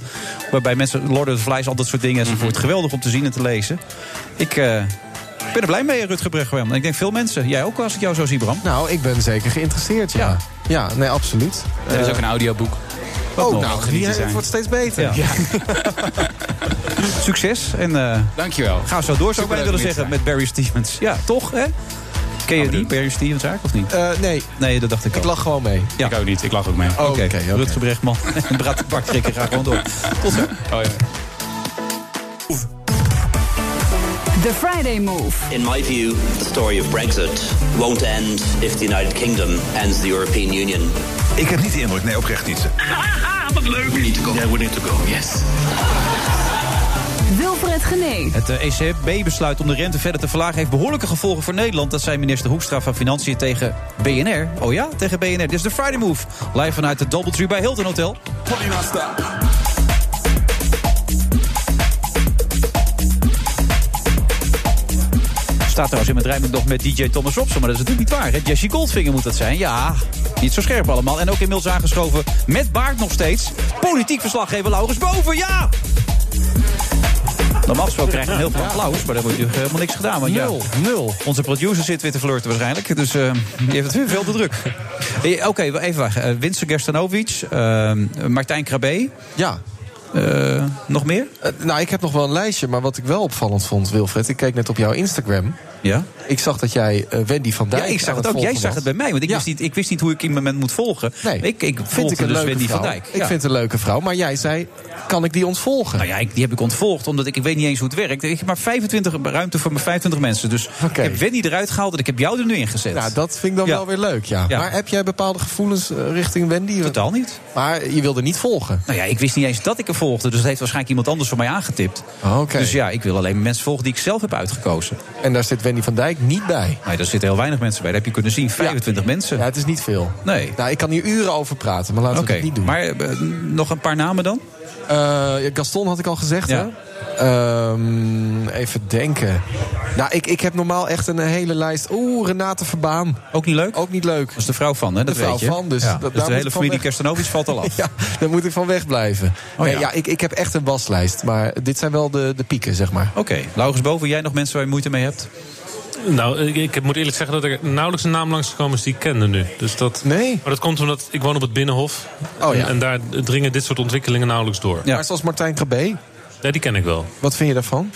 E: Waarbij mensen Lord of the Flies, al dat soort
L: Mhm.
E: dingen enzovoort. Geweldig om te zien en te lezen. Ik eh, ben er blij mee, Rutger Bregman. En ik denk veel mensen. Jij ook, als ik jou zo zie, Bram.
F: Nou, ik ben zeker geïnteresseerd, ja. Ja, nee, absoluut.
L: Er is
F: Eh,
L: ook een audioboek.
F: Oh,
L: nog?
F: nou,
L: Genieten
F: die
L: zijn.
F: wordt steeds beter.
E: Ja. Succes. En, eh,
L: Dankjewel.
E: Ga zo door, zou ik bijna
L: Superleuk
E: willen
L: om hier te
E: zeggen, met Barry Stevens. Ja, toch, hè? Ken je die, Barry Stevens eigenlijk, of niet?
F: Eh, nee.
E: Nee, dat dacht ik ook. Ik
F: lach gewoon mee. Oh,
E: Ja.
L: Ik ook niet, ik lach ook mee.
E: Oké, Rutger Bregman en Brat Bartkrikker gaan gewoon door. Tot zo.
L: Oh, ja.
A: The Friday Move.
B: In my view, the story of Brexit won't end if the United Kingdom ends the European Union.
M: Ik heb niet de indruk, nee, oprecht niet.
D: Haha, wat leuk.
M: We need to go. Yeah, we need to go, yes.
A: Wilfred Genee.
E: Het eh, ECB-besluit om de rente verder te verlagen heeft behoorlijke gevolgen voor Nederland. Dat zei minister Hoekstra van Financiën tegen BNR. Oh ja, tegen BNR. Dit is de Friday Move. Live vanuit de Doubletree bij Hilton Hotel. Staat trouwens in mijn rijming nog met DJ Thomas Robson, maar dat is natuurlijk niet waar. Hè? Jesse Goldfinger moet dat zijn. Ja, niet zo scherp allemaal. En ook inmiddels aangeschoven met baard nog steeds. Politiek verslaggever Laurens Boven, ja! Normaal gesproken krijg je een heel veel applaus, maar daar wordt natuurlijk helemaal niks gedaan. Want nul,
F: nul.
E: Onze producer zit weer te flirten waarschijnlijk, dus eh, die heeft het weer veel te druk. Eh, Oké, wel even wachten. Eh, Winston Gerstanovic, eh, Martijn Krabbe. Eh,
F: Ja.
E: nog meer?
F: nou, ik heb nog wel een lijstje, maar wat ik wel opvallend vond, Wilfred... ik keek net op jouw Instagram.
E: Ja?
F: Ik zag dat jij eh, Wendy van Dijk
E: Ja, ik
F: aan
E: zag het ook. Jij
F: volgen
E: zag
F: was.
E: het bij mij, want ik, wist, niet, ik wist niet hoe ik iemand moet volgen.
F: Nee,
E: ik, ik
F: vind
E: volgde
F: ik een
E: dus
F: leuke
E: Wendy
F: vrouw.
E: van Dijk.
F: Ik vind het een leuke vrouw, maar jij zei, kan ik die ontvolgen?
E: Nou ja, ik- die heb ik ontvolgd, omdat ik, ik weet niet eens hoe het werkt. Ik heb maar 25, ruimte voor mijn 25 mensen. Dus ik heb Wendy eruit gehaald en ik heb jou er nu in gezet.
F: Nou, dat vind ik dan
E: Ja.
F: wel weer leuk, ja.
E: Ja.
F: Maar heb jij bepaalde gevoelens eh, richting Wendy?
E: Totaal niet.
F: Maar je wilde niet volgen?
E: Nou ja, ik wist niet eens dat ik er volgde. Dus dat heeft waarschijnlijk iemand anders voor mij aangetipt. Dus ja, ik wil alleen mensen volgen die ik zelf heb uitgekozen.
F: Oh, En daar zit Wendy van Dijk niet bij.
E: Nee, daar zitten heel weinig mensen bij. Dat heb je kunnen zien. 25 mensen.
F: Ja, het is niet veel.
E: Nee.
F: Nou, ik kan hier uren over praten, maar laten
E: Oké,
F: we dat niet doen.
E: maar eh, nog een paar namen dan?
F: Eh, Gaston had ik al gezegd,
E: Ja.
F: hè? Ehm, even denken. Nou, ik, ik heb normaal echt een hele lijst. Oeh, Renate Verbaan.
E: Ook niet leuk?
F: Ook niet leuk. Dat
E: is de vrouw van, hè? Dat
F: de vrouw
E: weet je.
F: van, dus...
E: Ja.
F: dat-
E: Dus
F: daar
E: de
F: moet
E: hele
F: ik van
E: familie
F: weg.
E: Kerstanovic valt al af.
F: ja, daar moet ik van weg blijven.
E: Oh,
F: nee,
E: ja.
F: ja. ik, ik heb echt een waslijst. Maar dit zijn wel de, de pieken, zeg maar.
E: Oké, Laurens Boven, jij nog mensen waar je moeite mee hebt?
N: Nou, ik, ik moet eerlijk zeggen dat er nauwelijks een naam langsgekomen is die ik kende nu. Dus dat, nee. Maar dat komt omdat ik woon op het Binnenhof.
F: Oh, ja.
N: en, en daar dringen dit soort ontwikkelingen nauwelijks door.
F: Maar zoals Martijn Krabbe,
N: Ja, die ken ik wel.
F: wat vind je daarvan?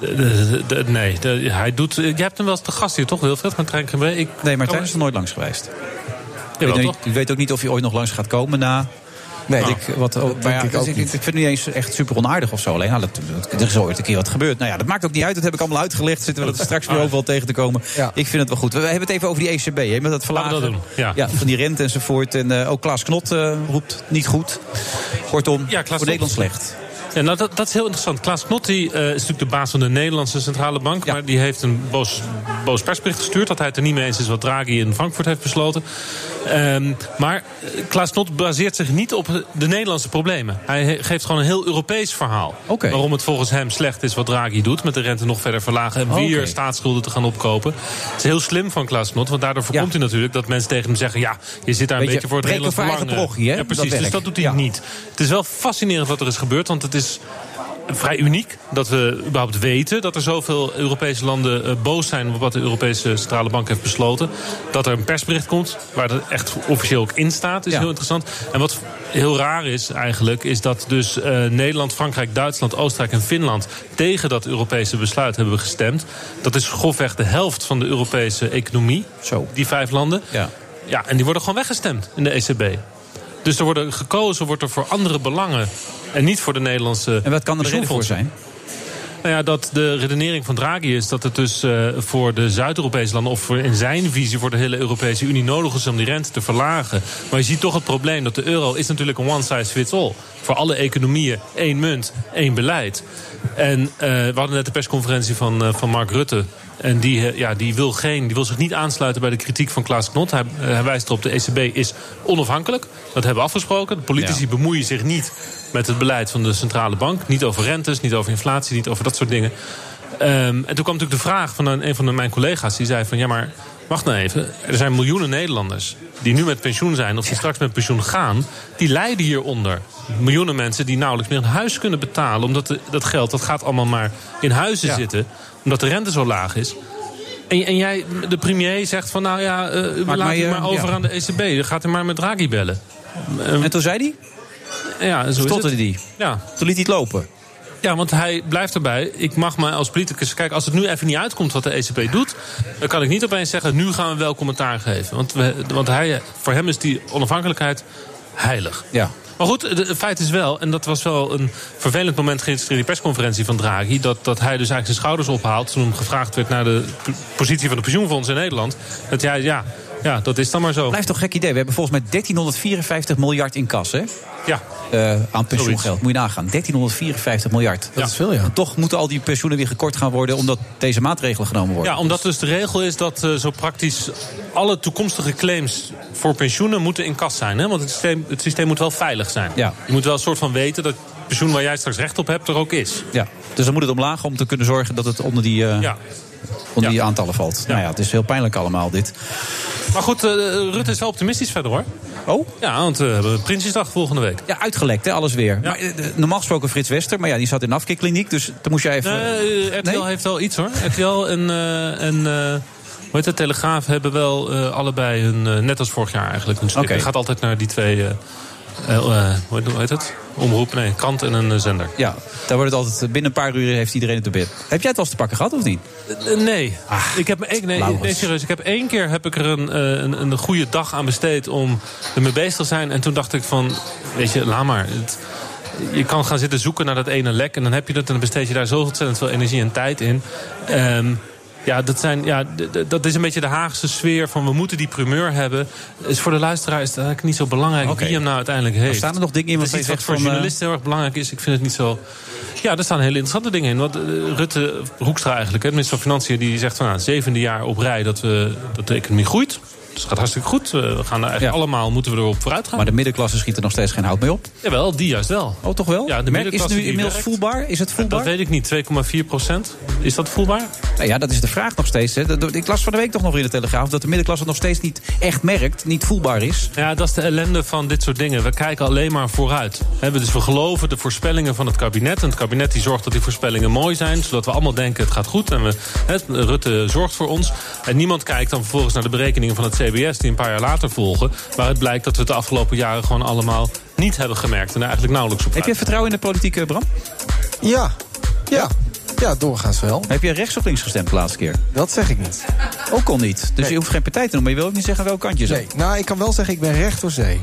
N: De- de- de- nee, de- hij doet... Je hebt hem wel eens te gast hier, toch, Wilfred? Martijn Krabbe? Ik,
E: Nee, Martijn is er nooit langs geweest.
N: Jawel,
E: ik, weet,
N: toch?
E: ik weet ook niet of hij ooit nog langs gaat komen na.
F: Nee,
E: ik, wat, oh, maar ja,
N: ik ook
E: dus ik, ik vind het niet eens echt super onaardig of zo. Alleen, nou, dat, dat- er is ooit een keer wat gebeurd. Nou ja, dat maakt ook niet uit. Dat heb ik allemaal uitgelegd. Zitten we dat straks weer overal tegen te komen. Ik vind het wel goed. We, we hebben het even over die ECB. Hè, met dat verlagen
N: Laten we dat doen, ja.
E: van die rente enzovoort. En eh, ook Klaas Knot eh, roept niet goed. Kortom, voor Nederland slecht.
N: Ja, nou, dat, dat is heel interessant. Klaas Knot die, eh, is natuurlijk de baas van de Nederlandse Centrale Bank. Maar die heeft een boos, boos persbericht gestuurd... dat hij het er niet mee eens is wat Draghi in Frankfurt heeft besloten. Ehm, maar eh, Klaas Knot baseert zich niet op de Nederlandse problemen. Hij he- geeft gewoon een heel Europees verhaal. Waarom het volgens hem slecht is wat Draghi doet... met de rente nog verder verlagen en weer
E: Oké.
N: staatsschulden te gaan opkopen. Het is heel slim van Klaas Knot, want daardoor voorkomt hij natuurlijk... dat mensen tegen hem zeggen, ja, je zit daar een
E: Beetje
N: beetje voor het
E: preken
N: Nederlands
E: voor eigen
N: belang. eh.
E: parochie, hè?
N: Ja, precies,
E: Dat
N: dus
E: werkt.
N: dat doet hij
E: Ja.
N: niet. Het is wel fascinerend wat er is gebeurd, want het is vrij uniek dat we überhaupt weten dat er zoveel Europese landen eh, boos zijn op wat de Europese Centrale Bank heeft besloten. Dat er een persbericht komt waar het echt officieel ook in staat, is
E: Ja.
N: heel interessant. En wat heel raar is eigenlijk, is dat dus eh, Nederland, Frankrijk, Duitsland, Oostenrijk en Finland tegen dat Europese besluit hebben gestemd. Dat is grofweg de helft van de Europese economie, die vijf landen.
E: Ja.
N: Ja, en die worden gewoon weggestemd in de E ECB. Dus er worden gekozen wordt er voor andere belangen en niet voor de Nederlandse.
E: En wat kan er de reden voor zijn?
N: Nou ja, dat de redenering van Draghi is dat het dus eh, voor de Zuid-Europese landen... of voor in zijn visie voor de hele Europese Unie nodig is om die rente te verlagen. Maar je ziet toch het probleem dat de euro is natuurlijk een one size fits all. Voor alle economieën één munt, één beleid. En eh, we hadden net de persconferentie van, eh, van Mark Rutte... En die, eh, ja, die, wil geen, die wil zich niet aansluiten bij de kritiek van Klaas Knot. Hij, eh, hij wijst erop, de ECB is onafhankelijk. Dat hebben we afgesproken. De politici bemoeien zich niet met het beleid van de centrale bank. Niet over rentes, niet over inflatie, niet over dat soort dingen. Ehm, en toen kwam natuurlijk de vraag van een, een van mijn collega's. Die zei van, ja maar, wacht nou even. Er zijn miljoenen Nederlanders die nu met pensioen zijn... of die straks met pensioen gaan, die lijden hieronder. Miljoenen mensen die nauwelijks meer een huis kunnen betalen... omdat de- dat geld, dat gaat allemaal maar in huizen zitten... omdat de rente zo laag is. En, en jij, de premier, zegt van nou ja, eh,
E: maar
N: laat het
E: je-
N: maar over
E: ja.
N: aan de ECB. Dan gaat hij maar met Draghi bellen.
E: en toen zei
N: hij? Ja, zo
E: Stotterde
N: is het.
E: die.
N: Ja.
E: Toen liet hij het lopen.
N: Ja, want hij blijft erbij. Ik mag mij als politicus... Kijk, als het nu even niet uitkomt wat de ECB doet... dan kan ik niet opeens zeggen, nu gaan we wel commentaar geven. Want, we, want hij, voor hem is die onafhankelijkheid heilig.
E: Ja.
N: Maar goed, de- het feit is wel, en dat was wel een vervelend moment gisteren in die persconferentie van Draghi, dat, dat hij dus eigenlijk zijn schouders ophaalt toen hem gevraagd werd naar de p- positie van de pensioenfondsen in Nederland. Dat jij, ja, ja, dat is dan maar zo.
E: Blijft toch een gek idee. We hebben volgens mij 1354 miljard in kas, hè? Eh,
N: Ja.
E: aan pensioengeld. Moet je nagaan. 1354 miljard. Dat is veel, ja. En toch moeten al die pensioenen weer gekort gaan worden... omdat deze maatregelen genomen worden.
N: Ja, omdat dus de regel is dat eh, zo praktisch alle toekomstige claims voor pensioenen moeten in kas zijn. Hè? Want het systeem, het systeem moet wel veilig zijn.
E: Ja.
N: Je moet wel een soort van weten dat het pensioen waar jij straks recht op hebt er ook is.
E: Ja. Dus dan moet het omlaag om te kunnen zorgen dat het onder die, eh, onder die aantallen valt. Nou ja, het is heel pijnlijk allemaal, dit.
N: Maar goed, eh, Rutte is wel optimistisch verder hoor.
E: Oh?
N: Ja, want eh, we hebben Prinsjesdag volgende week.
E: Ja, uitgelekt, hè, alles weer. Maar, eh, de- normaal gesproken Frits Wester, maar ja, die zat in de afkikkliniek. Dus toen moest jij even...
N: Nee, eh, RTL heeft wel iets hoor. RTL en, eh en eh, hoe heet het, Telegraaf hebben wel eh, allebei hun, eh, net als vorig jaar eigenlijk, een stuk.
E: Oké.
N: Het gaat altijd naar die twee, eh, eh, eh, hoe heet- hoe heet het? Omroep, nee, krant en een eh, zender.
E: Ja, daar wordt het altijd... eh, Binnen een paar uur heeft iedereen het op bed. Heb jij het al eens te pakken gehad, of niet?
N: Eh, Nee, ik heb me één- nee,
E: Laurens.
N: nee, serieus. Ik heb één keer heb ik er een, eh, een, een goede dag aan besteed om ermee bezig te zijn. En toen dacht ik van, weet je, laat maar. Het- je kan gaan zitten zoeken naar dat ene lek en dan heb je dat en dan besteed je daar zo ontzettend veel energie en tijd in. Ehm, ja, dat, zijn, ja, d- d- dat is een beetje de Haagse sfeer van we moeten die primeur hebben. Is voor de luisteraar is het eigenlijk niet zo belangrijk
E: Oké.
N: wie hem nou uiteindelijk heeft.
E: Maar staan er nog dingen in wat
N: Dat is
E: je
N: iets
E: zegt
N: wat voor
E: van, eh,
N: journalisten heel erg belangrijk is. Ik vind het niet zo... Ja, er staan hele interessante dingen in. Want eh, Rutte Hoekstra eigenlijk, hè, de minister van Financiën... die zegt van nou, het zevende jaar op rij dat, we, dat de economie groeit. Dus het gaat hartstikke goed. Eh, We gaan er eigenlijk allemaal, moeten we erop vooruit gaan.
E: Maar de middenklasse schiet er nog steeds geen hout mee op.
N: Jawel, die juist wel.
E: Oh, toch wel?
N: Ja, de
E: Merk, is het
N: middenklasse
E: nu
N: die
E: inmiddels
N: werkt.
E: voelbaar? Is het voelbaar?
N: Dat weet ik niet. 2,4 procent. Is dat voelbaar?
E: Nou ja, dat is de vraag nog steeds. Hè. Dat- dat- Ik las van de week toch nog in de Telegraaf... dat de middenklasse het nog steeds niet echt merkt, niet voelbaar is.
N: Ja, dat is de ellende van dit soort dingen. We kijken alleen maar vooruit. Hè, we- dus we geloven de voorspellingen van het kabinet. En het kabinet die zorgt dat die voorspellingen mooi zijn. Zodat we allemaal denken het gaat goed. En we, hè, Rutte zorgt voor ons. En niemand kijkt dan vervolgens naar de berekeningen van het CBS... die een paar jaar later volgen. Waaruit blijkt dat we het de afgelopen jaren gewoon allemaal niet hebben gemerkt. En er eigenlijk nauwelijks op
E: Heb je
N: uit.
E: vertrouwen in de politiek, eh, Bram?
F: Ja. Ja. Ja, doorgaans wel.
E: Heb je rechts of links gestemd de laatste keer?
F: Dat zeg ik niet.
E: Ook al niet. Dus je hoeft geen partij te noemen. Maar je wil ook niet zeggen welk kant je zat.
F: Nee, nou, ik kan wel zeggen, ik ben recht door zee.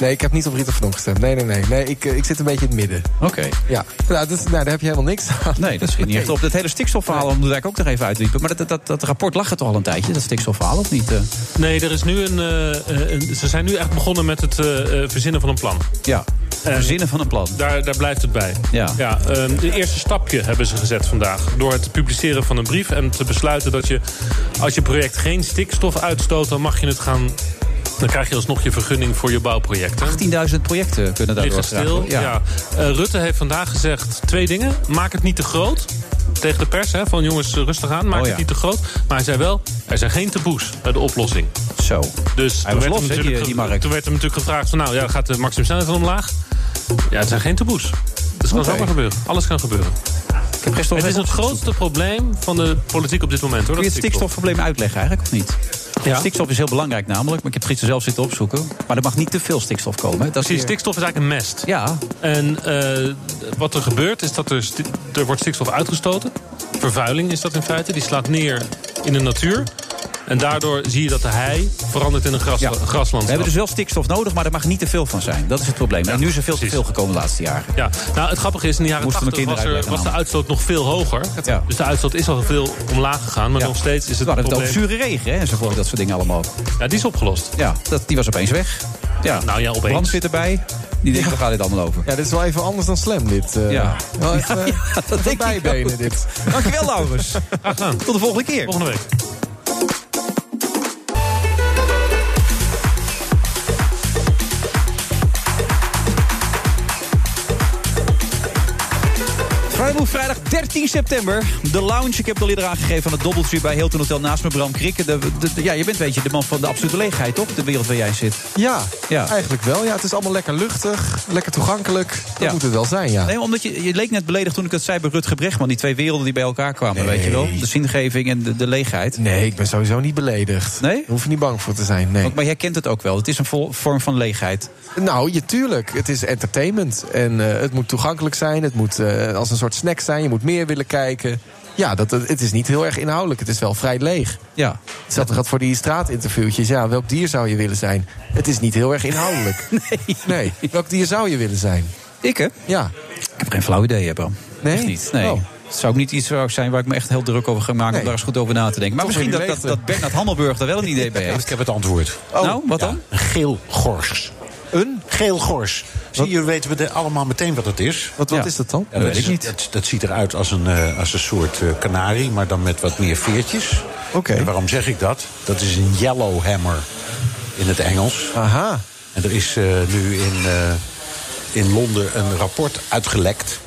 F: Nee, ik heb niet op Rita van Donk gestemd. Nee, nee, nee. nee ik, eh, ik zit een beetje in het midden.
E: Oké.
F: Ja, nou, dat, nou, daar heb je helemaal niks aan.
E: Nee, dat schiet niet echt op. Dat hele stikstofverhaal, om daar ook nog even uitwiepen. Maar dat, dat, dat, dat rapport lag er toch al een tijdje, dat stikstofverhaal, of niet? eh?
N: Nee, er is nu een, eh, een- Ze zijn nu echt begonnen met het eh, eh, verzinnen van een plan.
E: Ja, verzinnen van een plan.
N: Eh, Daar, daar blijft het bij.
E: Ja.
N: Ja, ehm, de eerste stapje hebben ze gezet vandaag. Door het publiceren van een brief en te besluiten dat je... als je project geen stikstof uitstoot, dan mag je het gaan... dan krijg je alsnog je vergunning voor je bouwproject. hè.
E: 18.000 projecten kunnen daardoor
N: Liggen
E: geraakt
N: stil.
E: worden.
N: Ja. Eh, Rutte heeft vandaag gezegd twee dingen. Maak het niet te groot. Tegen de pers, hè, van jongens, eh, rustig aan. Maak
E: Oh, ja.
N: het niet te groot. Maar hij zei wel, er zijn geen taboes bij de oplossing.
E: Zo.
N: Dus toen,
E: Hij was
N: werd hem
E: los, hè,
N: natuurlijk
E: die- die
N: ge-
E: markt.
N: toen werd hem natuurlijk gevraagd van... nou ja, gaat de maximumsnelheid dan omlaag? Ja, het zijn geen taboes. Dus Dat kan zomaar gebeuren. Alles kan gebeuren.
E: gisteren
N: het
E: nog
N: is
E: even
N: het grootste probleem van de politiek op dit moment. Hoor,
E: Kun je het
N: dat stikstof.
E: stikstofprobleem uitleggen eigenlijk, of niet?
N: Ja.
E: Stikstof is heel belangrijk namelijk, maar ik heb het gisteren zelf zitten opzoeken. Maar er mag niet te veel stikstof komen. hè. Dat is
N: Precies,
E: weer-
N: stikstof is eigenlijk een mest.
E: Ja.
N: En eh, wat er gebeurt is dat er, sti- er wordt stikstof uitgestoten. Vervuiling is dat in feite. Die slaat neer in de natuur. En daardoor zie je dat de hei verandert in een gras, grasland.
E: We hebben dus wel stikstof nodig, maar er mag niet te veel van zijn. Dat is het probleem. en nu is er veel te veel gekomen de laatste jaren.
N: Ja, nou het grappige is, in de jaren
E: Moesten
N: 80
E: mijn
N: was,
E: kinderen
N: er, was de uitstoot nog veel hoger.
E: Ja.
N: Dus de uitstoot is al veel omlaag gegaan, maar nog steeds is het
E: Nou, dan hebben we
N: probleem...
E: het over zure regen hè, enzovoort, dat soort dingen allemaal.
N: Ja, die is opgelost.
E: Ja, dat, die was opeens weg. Ja.
N: Nou ja, opeens.
E: Brand zit erbij. Die denkt, we gaan dit allemaal over.
F: Ja, dit is wel even anders dan slam, dit. eh.
E: Ja.
F: Wel even, eh, even
E: denk ik
F: bijbenen,
E: ook.
F: dit.
E: Dankjewel, Laurens. Tot de volgende keer. Volgende
N: week.
E: Vrijmoed vrijdag 13 september. De lounge, ik heb het al eerder aangegeven van het dobbeltje bij Hilton Hotel naast me, Bram Krikke. De, de- de- ja, je bent weet je, de man van de absolute leegheid, toch? De wereld waar jij zit.
F: Ja,
E: Ja.
F: eigenlijk wel. Ja, het is allemaal lekker luchtig, lekker toegankelijk. Dat
E: Ja.
F: moet het wel zijn, ja.
E: Nee, omdat je, je leek net beledigd toen ik dat zei bij Rutger Brechtman. Die twee werelden die bij elkaar kwamen, weet je wel. De zingeving en de, de leegheid.
F: Nee, ik ben sowieso niet beledigd.
E: Nee? Daar
F: hoef je niet bang voor te zijn, nee.
E: Want- maar jij kent het ook wel. Het is een vol- vorm van leegheid.
F: Nou, je, tuurlijk. Het is entertainment. En eh, het moet toegankelijk zijn. Het moet eh, als een soort snack zijn. Je moet meer willen kijken. Ja, dat, het is niet heel erg inhoudelijk. Het is wel vrij leeg.
E: Ja.
F: Zat er gaat voor die straatinterviewtjes. Ja, welk dier zou je willen zijn? Het is niet heel erg inhoudelijk. nee. Welk dier zou je willen zijn?
E: Ik, hè?
F: Ja.
E: Ik heb geen flauw idee, hè, Bram.
F: Nee?
E: Echt niet. Nee.
F: Oh.
E: Het zou ook niet iets zou zijn waar ik me echt heel druk over ga maken... om daar eens goed over na te denken. Maar
O: Toch
E: misschien
O: in
E: dat,
O: die
E: dat, dat Bernard Hammelburg daar wel een idee bij heeft.
O: Ik heb het antwoord.
E: nou, wat dan?
O: Een geel gors.
F: Een
O: geel gors. Zie, jullie weten we de- allemaal meteen wat het is.
F: Wat,
E: wat Ja. is dat dan? Ja, dat weet ik niet.
O: Dat, dat ziet eruit als een, eh, als een soort eh, kanarie, maar dan met wat meer veertjes. En waarom zeg ik dat? Dat is een yellowhammer in het Engels.
F: Aha.
O: En er is eh, nu in, eh, in Londen een rapport uitgelekt...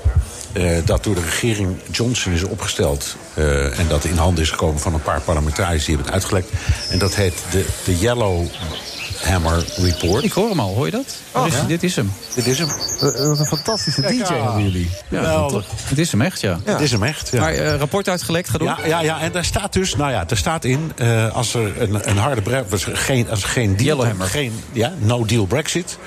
O: eh, dat door de regering Johnson is opgesteld. eh, en dat in handen is gekomen van een paar parlementariërs die hebben het uitgelekt. En dat heet de, de Yellowhammer Report.
E: Ik hoor hem al, hoor je dat? Daar is-
O: Oh, ja?
E: Dit is hem.
O: Dit is hem.
F: Wat een fantastische
O: Kijk,
F: DJ
O: ja.
F: hebben jullie.
E: Ja,
O: Geweldig.
E: toch? Het is hem echt, ja.
O: Het is hem echt, ja.
E: Maar eh, rapport uitgelekt, ga door.
O: Ja, ja, ja, en daar staat dus, nou ja, daar staat in, eh, als er een, een harde bre- was er geen, als er geen deal,
E: Yellowhammer.
O: geen, ja, no deal Brexit,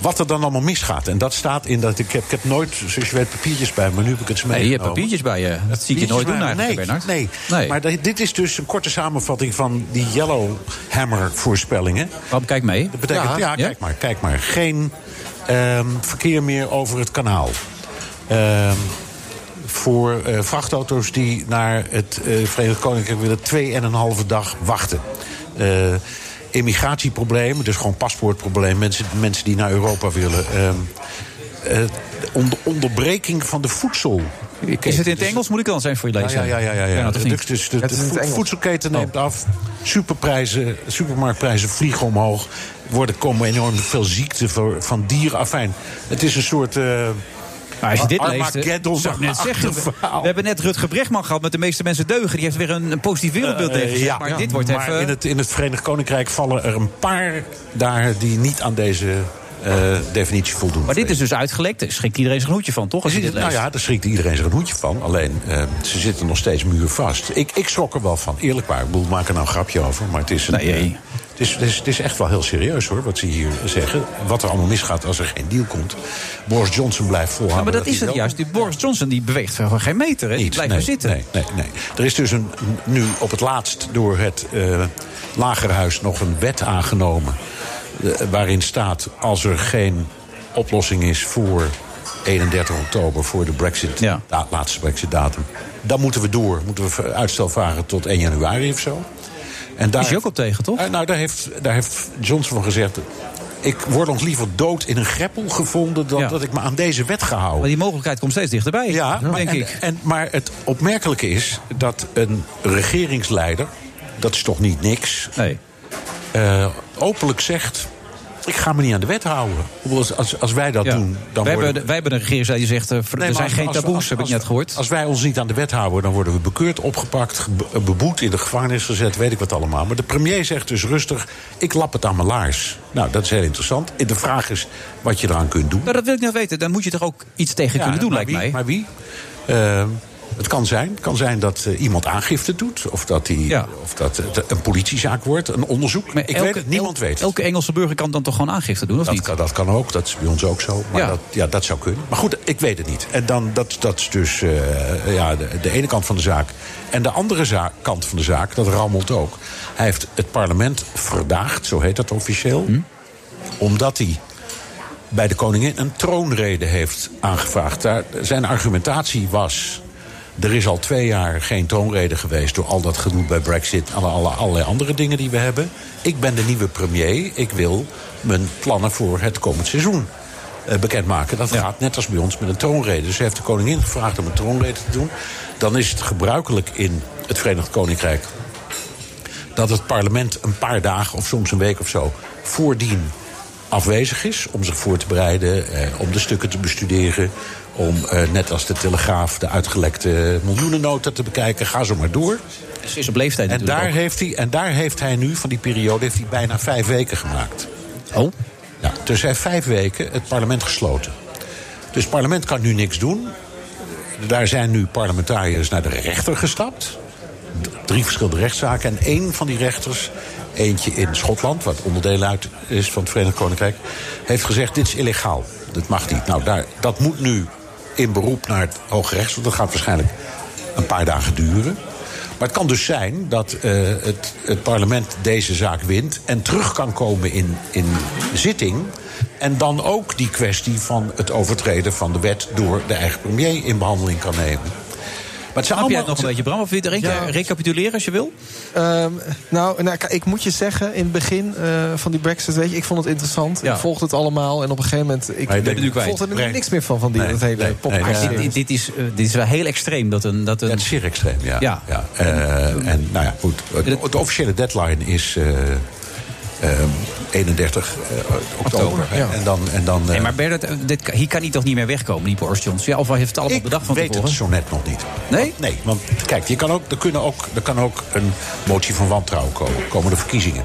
O: wat er dan allemaal misgaat. En dat staat in dat ik heb, ik heb nooit, zoals je weet, papiertjes bij me, nu heb ik het eens
E: Nee, je hebt
O: meegenomen.
E: papiertjes bij je. Dat zie ik je nooit doen
O: Papiertjes bij me.
E: eigenlijk, Bernard.
O: nee, nee. maar dit- dit is dus een korte samenvatting van die Yellowhammer voorspellingen.
E: Bram, kijk mee.
O: Dat betekent, ja,
E: Ja?
O: kijk maar, kijk maar. Geen ehm, verkeer meer over het kanaal. Ehm, voor eh, vrachtauto's die naar het eh, Verenigd Koninkrijk willen... twee en een halve dag wachten. Eh immigratieprobleem, dus gewoon paspoortprobleem. Mensen, mensen die naar Europa willen. Ehm eh, onder- onderbreking van de voedsel.
E: Is het in het Engels? Moet ik dan zijn voor je
O: Ja,
E: lezen?
O: ja, ja, ja, ja, ja.
E: Bernard, of niet?
O: Dus, dus de, de voed- voedselketen neemt af. Superprijzen, supermarktprijzen vliegen omhoog. Worden komen enorm veel ziekten voor- van dieren. Afijn, het is een soort. eh
E: Maar als je dit leest, hè,
O: Armageddon,
E: zou ik net zeggen, we,
O: verhaal.
E: we hebben net Rutger Brechtman gehad met de meeste mensen deugen. Die heeft weer een, een positief wereldbeeld
O: Eh,
E: tegen.
O: ja,
E: maar dit wordt
O: maar
E: even...
O: In, het, in het Verenigd Koninkrijk vallen er een paar daar die niet aan deze eh, definitie voldoen.
E: Maar dit is dus uitgelekt. Daar schrikt iedereen zijn hoedje van, toch? Als je dit
O: nou
E: leest.
O: ja, daar schrikt iedereen zich een hoedje van. Alleen, eh, ze zitten nog steeds muurvast. Ik, ik schrok er wel van, eerlijk waar. Ik bedoel, we maken er nou een grapje over, maar het is... Een, eh,
E: Nee, jee.
O: het is, het, is, het is echt wel heel serieus, hoor, wat ze hier zeggen. Wat er allemaal misgaat als er geen deal komt. Boris Johnson blijft volhouden.
E: Ja, maar dat
O: hij
E: is het
O: wel-
E: juist. Die Boris Johnson die beweegt gewoon eh, geen meter. Hè? Die
O: Niet,
E: blijft
O: nee,
E: maar zitten.
O: Nee, nee, nee. Er is dus een, nu op het laatst door het eh, Lagerhuis nog een wet aangenomen. eh, waarin staat als er geen oplossing is voor 31 oktober, voor de Brexit, da- laatste Brexit-datum. Dan moeten we door. Moeten we uitstel vragen tot 1 januari of zo. En daar,
E: Is je ook op tegen, toch?
O: Eh, nou, daar heeft, daar heeft Johnson van gezegd. Ik word nog liever dood in een greppel gevonden dan dat ik me aan deze wet ga houden.
E: Maar die mogelijkheid komt steeds dichterbij,
O: Ja, maar,
E: denk
O: en,
E: ik.
O: En, maar het opmerkelijke is dat een regeringsleider, dat is toch niet niks, eh, openlijk zegt: Ik ga me niet aan de wet houden. Ik bedoel, Als, als, als wij dat
E: Ja.
O: doen, dan
E: wij,
O: worden
E: hebben, wij hebben een regering die zegt... eh, ver-
O: Nee, maar
E: er zijn
O: als-
E: geen
O: als-
E: taboes,
O: als-
E: heb ik
O: als-
E: net gehoord.
O: Als wij ons niet aan de wet houden, dan worden we bekeurd, opgepakt, gebe- beboet, in de gevangenis gezet, weet ik wat allemaal. Maar de premier zegt dus rustig: Ik lap het aan mijn laars. Nou, dat is heel interessant. De vraag is wat je eraan kunt doen.
E: Nou, dat wil ik net weten. Dan moet je toch ook iets tegen kunnen doen,
O: maar
E: lijkt
O: wie,
E: mij.
O: Maar wie? Ehm, Het kan zijn, Het kan zijn dat eh, iemand aangifte doet. Of dat, die, of dat het een politiezaak wordt, een onderzoek. ik
E: elke-
O: weet het, niemand weet het.
E: Elke Engelse burger kan dan toch gewoon aangifte doen, of
O: dat
E: niet?
O: Kan, dat kan ook, dat is bij ons ook zo. Maar
E: Ja.
O: Dat, ja, dat zou kunnen. Maar goed, ik weet het niet. En dan, dat, dat is dus eh, ja, de, de ene kant van de zaak. En de andere zaak, kant van de zaak, dat rammelt ook. Hij heeft het parlement verdaagd, zo heet dat officieel.
E: Hm?
O: Omdat hij bij de koningin een troonrede heeft aangevraagd. Daar, zijn argumentatie was... Er is al twee jaar geen troonrede geweest door al dat gedoe bij Brexit... alle, alle, allerlei andere dingen die we hebben. Ik ben de nieuwe premier. Ik wil mijn plannen voor het komend seizoen eh, bekendmaken. Dat gaat net als bij ons met een troonrede. Dus heeft de koningin gevraagd om een troonrede te doen. Dan is het gebruikelijk in het Verenigd Koninkrijk dat het parlement een paar dagen of soms een week of zo voordien afwezig is om zich voor te bereiden, eh, om de stukken te bestuderen, om eh, net als de Telegraaf de uitgelekte miljoenennota te bekijken. Ga zo maar door.
E: Ze is op leeftijd
O: En
E: natuurlijk
O: daar,
E: ook.
O: heeft hij, en daar heeft hij nu van die periode heeft hij bijna vijf weken gemaakt.
E: Oh?
O: Ja, dus hij heeft vijf weken het parlement gesloten. Dus het parlement kan nu niks doen. Daar zijn nu parlementariërs naar de rechter gestapt. D- Drie verschillende rechtszaken. En één van die rechters, eentje in Schotland, wat onderdeel uit is van het Verenigd Koninkrijk, heeft gezegd: dit is illegaal. Dat mag niet. Nou, daar, dat moet nu in beroep naar het Hoge Rechtshof. Dat gaat waarschijnlijk een paar dagen duren. Maar het kan dus zijn dat eh, het, het parlement deze zaak wint en terug kan komen in, in zitting. En dan ook die kwestie van het overtreden van de wet door de eigen premier in behandeling kan nemen. Maar het zijn
E: Snap jij
O: allemaal-
E: het nog een beetje, Bram? Of wil je er eentje
F: Ja.
E: recapituleren als je wil?
F: Ehm, nou, nou, kijk, ik moet je zeggen, in het begin eh, van die Brexit, weet je, ik vond het interessant.
E: Ja.
F: Ik volgde het allemaal en op een gegeven moment. Ik,
E: Maar je bent nu kwijt.
F: volgde er
E: Breng-
F: niks meer van, van die, dat hele popcorn.
E: Maar dit, dit, dit is, eh, dit is wel heel extreem. Dat een, dat een...
O: het is zeer extreem, ja.
E: Ja.
O: Ja, eh, en nou ja, goed. De, de officiële deadline is eh, eh, 31 eh, oktober. hè.
E: ja.
O: En dan, en dan eh,
E: Nee, maar Bernard, eh, dit, kan- hier kan hij toch niet meer wegkomen, die Boris Johnson? Ja, of hij heeft het allemaal bedacht van
O: weet het
E: tevoren?
O: zo net nog niet. Nee? Nee, want kijk, je kan ook, er, kunnen ook, er kan ook een motie van wantrouwen komen. Komen de verkiezingen.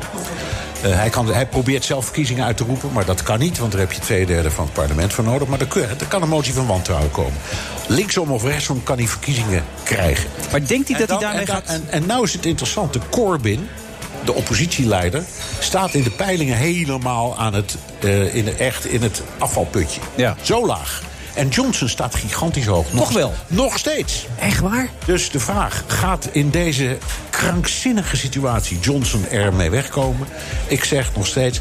O: Eh, hij, kan, hij probeert zelf verkiezingen uit te roepen, maar dat kan niet, want daar heb je twee derde van het parlement voor nodig. Maar er, kun- er kan een motie van wantrouwen komen. Linksom of rechtsom kan hij verkiezingen krijgen.
E: Maar denkt hij
O: En dan-
E: dat hij daarmee
O: en dan-
E: gaat...
O: En, en nou is het interessante, Corbyn, de oppositieleider... staat in de peilingen helemaal aan het, eh, in, echt in het afvalputje. Zo laag. En Johnson staat gigantisch hoog. Nog wel? Nog steeds.
E: Echt waar?
O: Dus de vraag, gaat in deze krankzinnige situatie Johnson ermee wegkomen? Ik zeg nog steeds,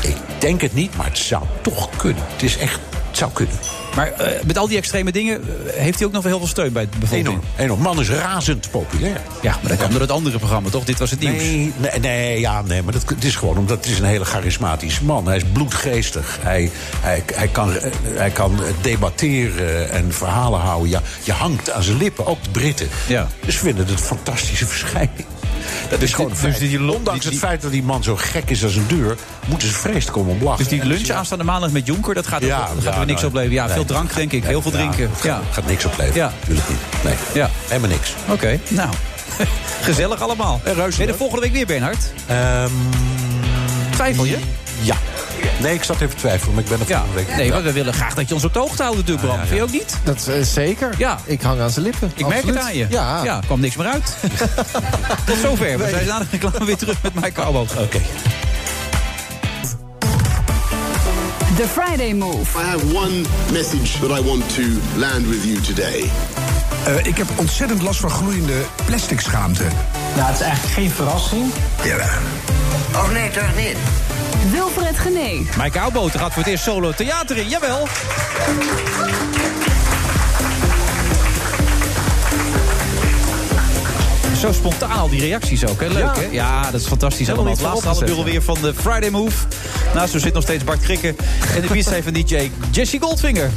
O: ik denk het niet, maar het zou toch kunnen. Het is echt, het zou kunnen.
E: Maar eh, met al die extreme dingen eh, heeft hij ook nog wel heel veel steun bij de bevolking.
O: Enorm, enorm. Man is razend populair.
E: Ja, maar dat kwam door het andere programma, toch? Dit was het nieuws.
O: Nee, nee, nee, ja, nee maar dat, het is gewoon omdat het is een hele charismatische man. Hij is bloedgeestig. Hij, hij, hij, kan, eh, hij kan debatteren en verhalen houden. Ja, je hangt aan zijn lippen, ook de Britten.
E: Ja.
O: Dus vinden het een fantastische verschijning. Dat is gewoon een
E: dus
O: feit. Ondanks het feit dat die man zo gek is als een deur... moeten ze vreest komen om lachen.
E: Dus die
O: En dat
E: lunch
O: is-
E: aanstaande maandag met Jonker, dat gaat,
O: Ja,
E: ook, gaat
O: ja,
E: er niks
O: nou,
E: opleveren. Ja,
O: nee.
E: veel drank denk ik, heel veel
O: Ja,
E: drinken.
O: het
E: Ja,
O: gaat, gaat niks opleveren,
E: Ja.
O: natuurlijk niet. Nee,
E: Ja.
O: helemaal niks.
E: oké. Nou, gezellig allemaal.
O: Eh,
E: Ben je er volgende week weer, Bernhard? Twijfel je?
O: Ehm, Ja. Nee, ik zat even te twijfelen, maar ik ben er volgende week.
E: Nee, maar we willen graag dat je ons op de hoogte houdt natuurlijk, Bram. Vind je ook niet?
F: Dat is zeker.
E: Ja.
F: Ik hang aan zijn lippen.
E: Ik merk het
F: absoluut.
E: aan je.
F: Ja.
E: ja kwam niks meer uit. Tot zover. We
F: Nee.
E: zijn na de reclame weer terug met Mike Albo. Oké.
A: The Friday Move.
H: I have one message that I want to land with you today.
C: Eh, ik heb ontzettend last van gloeiende plastic schaamte.
K: Nou, het is eigenlijk geen verrassing.
C: Jawel.
K: Oh nee, toch niet?
A: Wilfred Genee.
E: Mike Auwboter gaat voor het eerst solo theater in. Jawel. Zo spontaan al die reacties ook, hè? Leuk,
F: Ja.
E: hè? Ja, dat is fantastisch
F: Helemaal
E: allemaal. Het
F: niet
E: laatste half
F: vooropgezet,
E: uur alweer van de Friday Move. Naast ons zit nog steeds Bart Krikke. En de beat van DJ Jesse Goldfinger.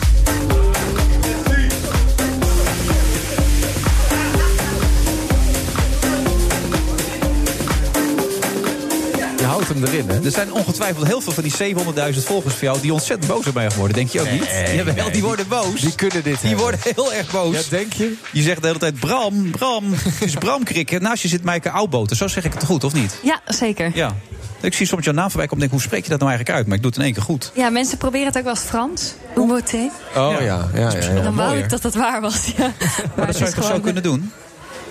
F: Je houdt hem erin, hè?
E: Er zijn ongetwijfeld heel veel van die 700.000 volgers van jou... die ontzettend boos op mij worden, denk je ook niet?
F: Nee,
E: Jawel,
F: nee.
E: die worden boos. Die kunnen dit Die worden heel erg boos.
F: Ja, denk je?
E: Je zegt de hele tijd Bram, Bram. Het is Bram Krikke. Naast je zit Maaike Oudboter. Zo zeg ik het goed, of niet?
A: Ja, zeker.
E: Ja. Ik zie soms jouw naam voorbij komen en denk, hoe spreek je dat nou eigenlijk uit? Maar ik doe het in één keer goed.
P: Ja, mensen proberen het ook wel eens Frans. Umoté.
E: Oh ja, ja, ja.
P: Dan wou ik dat dat waar was. Ja. Maar,
E: Maar dat
P: het
E: zou
P: is
E: je toch zo
P: gewoon-
E: kunnen doen?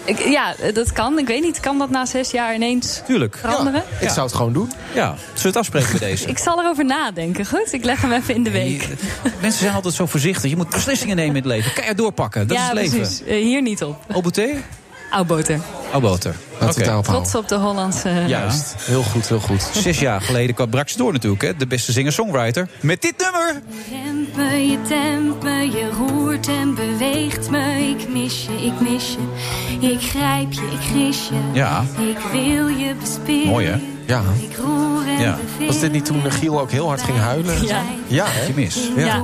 P: Ik, ja, dat kan. Ik weet niet, kan dat na zes jaar ineens
E: Tuurlijk.
P: veranderen?
E: Ik zou
F: het gewoon doen.
E: Ja, zullen we het afspreken bij deze?
P: Ik zal erover nadenken, goed? Ik leg hem even in de week.
E: Mensen zijn altijd zo voorzichtig. Je moet beslissingen nemen in het leven. Kan je doorpakken. Dat
P: ja,
E: is het leven.
P: precies. Eh, hier niet op.
E: Oboté?
P: Oudboter.
E: Oh, boter.
F: Laten we het daarop houden.
P: Trots op de Hollandse...
E: Juist.
F: Heel goed, heel goed.
E: Zes jaar geleden kwam brak ze door natuurlijk, hè? De beste singer-songwriter. Met dit nummer!
Q: rent me, je tempt me, je roert en beweegt me. Ik mis je, ik mis je. Ik grijp je, ik gris je.
F: Ja.
Q: Ik wil je bespelen.
F: Ja.
Q: Ik roer en
F: ja.
Q: beveer
F: Was dit niet toen eh, Giel ook heel hard ging huilen?
Q: Ja.
F: Ja,
E: Had je mis.
F: Ja.
E: Ja.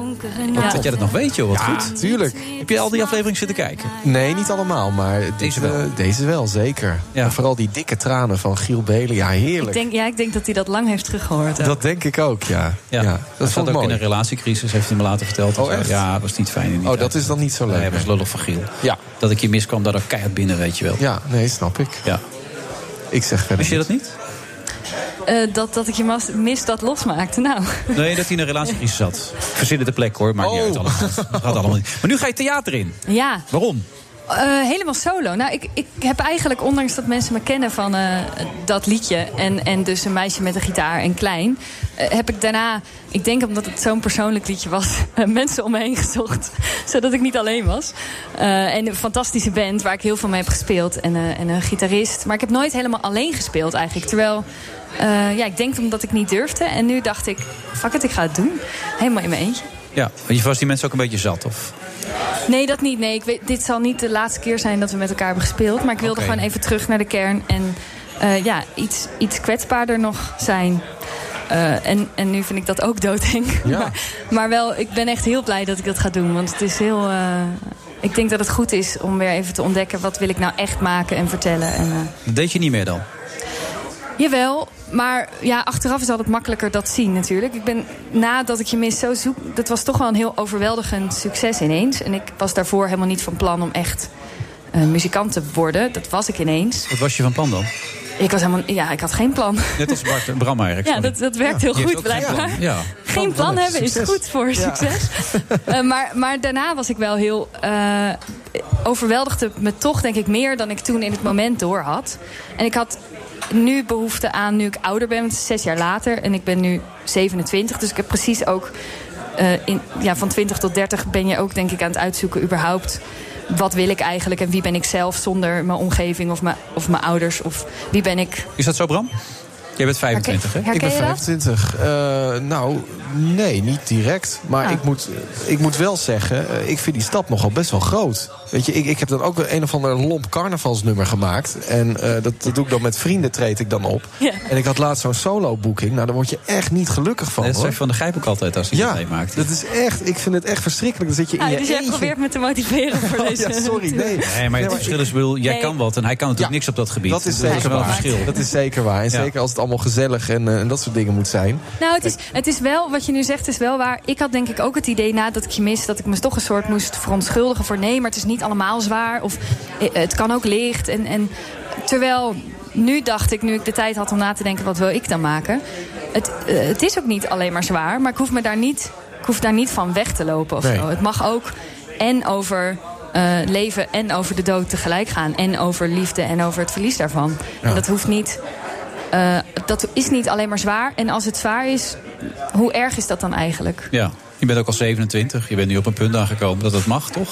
F: Wat
E: Dat jij dat nog weet, joh. Wat
F: Ja,
E: goed.
F: tuurlijk.
E: Heb je al die aflevering zitten kijken?
F: Nee, niet allemaal, maar dit, eh, deze wel. zeker. En vooral die dikke tranen van Giel Belen, ja, heerlijk.
P: Ik denk, ja, ik denk dat hij dat lang heeft teruggehoord. ook.
F: Dat denk ik ook, ja. ja.
E: Dat
F: vond
E: zat
F: ik
E: ook
F: mooi.
E: in een relatiecrisis, heeft hij me later verteld.
F: Oh, echt?
E: Ja, dat was niet fijn. in die
F: Oh,
E: tijd.
F: dat is dan niet zo leuk,
E: Nee, dat was
F: hè?
E: lullig van Giel.
F: Ja.
E: Dat ik je miskwam, dat ik keihard binnen, weet je wel.
F: Ja, nee, snap ik.
E: Ja.
F: Ik zeg verder
E: Wist je dat niet?
P: Eh, dat, dat ik je mas- mis dat losmaakte. Nou,
E: Nee, dat hij in een relatiecrisis zat. Verzinnen de plek hoor, maakt
F: Oh.
E: niet uit. Allemaal. Dat gaat allemaal niet. Maar nu ga je theater in.
P: ja.
E: Waarom?
P: Eh, helemaal solo. Nou, ik, ik heb eigenlijk, ondanks dat mensen me kennen van eh, dat liedje... En, en dus een meisje met een gitaar en klein... eh, heb ik daarna, ik denk omdat het zo'n persoonlijk liedje was... eh, mensen om me heen gezocht, zodat ik niet alleen was. Eh, en een fantastische band waar ik heel veel mee heb gespeeld. En, eh, en een gitarist. Maar ik heb nooit helemaal alleen gespeeld eigenlijk. Terwijl, eh, ja, ik denk omdat ik niet durfde. En nu dacht ik, fuck it, ik ga het doen. Helemaal in mijn eentje.
E: Ja, want je was die mensen ook een beetje zat, of?
P: Nee, dat niet. Nee, ik weet, dit zal niet de laatste keer zijn dat we met elkaar hebben gespeeld. Maar ik wilde
E: Oké.
P: gewoon even terug naar de kern. En eh, ja, iets, iets kwetsbaarder nog zijn. Eh, en, en nu vind ik dat ook doodeng. Maar, maar wel, ik ben echt heel blij dat ik dat ga doen. Want het is heel... eh, ik denk dat het goed is om weer even te ontdekken... wat wil ik nou echt maken en vertellen. En, eh,
E: Dat deed je niet meer dan.
P: Jawel, maar ja, achteraf is altijd makkelijker dat zien natuurlijk. Ik ben nadat ik je mis zo zoek, dat was toch wel een heel overweldigend succes ineens. En ik was daarvoor helemaal niet van plan om echt eh, muzikant te worden. Dat was ik ineens.
E: Wat was je van plan dan?
P: Ik was helemaal, ja, ik had geen plan.
E: Net als Bart, Bram eigenlijk.
P: Ja, dat, dat werkt heel
E: Die heeft
P: goed
E: ook geen plan.
P: blijkbaar.
E: Ja.
P: Geen plan hebben is goed voor
E: Ja.
P: succes. Eh, maar, maar daarna was ik wel heel. eh, overweldigde me toch, denk ik, meer dan ik toen in het moment door had. En ik had nu behoefte aan, nu ik ouder ben, want het is zes jaar later. En ik ben nu 27, dus ik heb precies ook. eh, in, ja, van 20 tot 30 ben je ook, denk ik, aan het uitzoeken, überhaupt. Wat wil ik eigenlijk en wie ben ik zelf zonder mijn omgeving of mijn, of mijn ouders? Of wie ben ik
E: Is dat zo, Bram? Jij bent 25, hè?
P: Herken
F: ik ben
P: je dat?
F: 25. Eh, nou, nee, niet direct. Maar
P: Ah.
F: ik, moet, ik moet wel zeggen, eh, ik vind die stap nogal best wel groot. Weet je, ik, ik heb dan ook een of ander lomp carnavalsnummer gemaakt. En eh, dat, dat doe ik dan met vrienden, treed ik dan op.
P: Ja.
F: En ik had laatst zo'n solo-boeking. Nou, daar word je echt niet gelukkig van.
E: Dat
F: hoor.
E: zegt Van de Gijp ook altijd als hij
F: Ja,
E: dat meemaakt.
F: dat is echt, ik vind het echt verschrikkelijk. Dan zit je in
P: Ah,
F: je
P: dus jij
F: eentje.
P: probeert me te motiveren voor
F: Oh,
P: deze.
F: ja, sorry, nee.
E: Nee, maar het verschil is, ik bedoel, jij
P: Nee.
E: kan wat en hij kan natuurlijk niks op dat gebied.
F: Dat is
E: wel
F: zeker
E: een
F: waar.
E: verschil.
F: Dat is zeker waar. En
E: Ja.
F: zeker als het allemaal gezellig en, eh, en dat soort dingen moet zijn.
P: Nou, het is, het is wel, wat je nu zegt is wel waar. Ik had denk ik ook het idee nadat ik je mis... dat ik me toch een soort moest verontschuldigen voor... nee, maar het is niet allemaal zwaar. Of eh, het kan ook licht. En, en terwijl nu dacht ik, nu ik de tijd had om na te denken... wat wil ik dan maken? Het, eh, het is ook niet alleen maar zwaar. Maar ik hoef, me daar, niet, ik hoef daar niet van weg te lopen of
R: Nee.
P: zo. Het mag ook en over... eh, leven en over de dood tegelijk gaan. En over liefde en over het verlies daarvan. En
R: Ja.
P: dat hoeft niet eh, dat is niet alleen maar zwaar. En als het zwaar is, hoe erg is dat dan eigenlijk?
E: Ja. Je bent ook al 27. Je bent nu op een punt aangekomen dat dat mag, toch?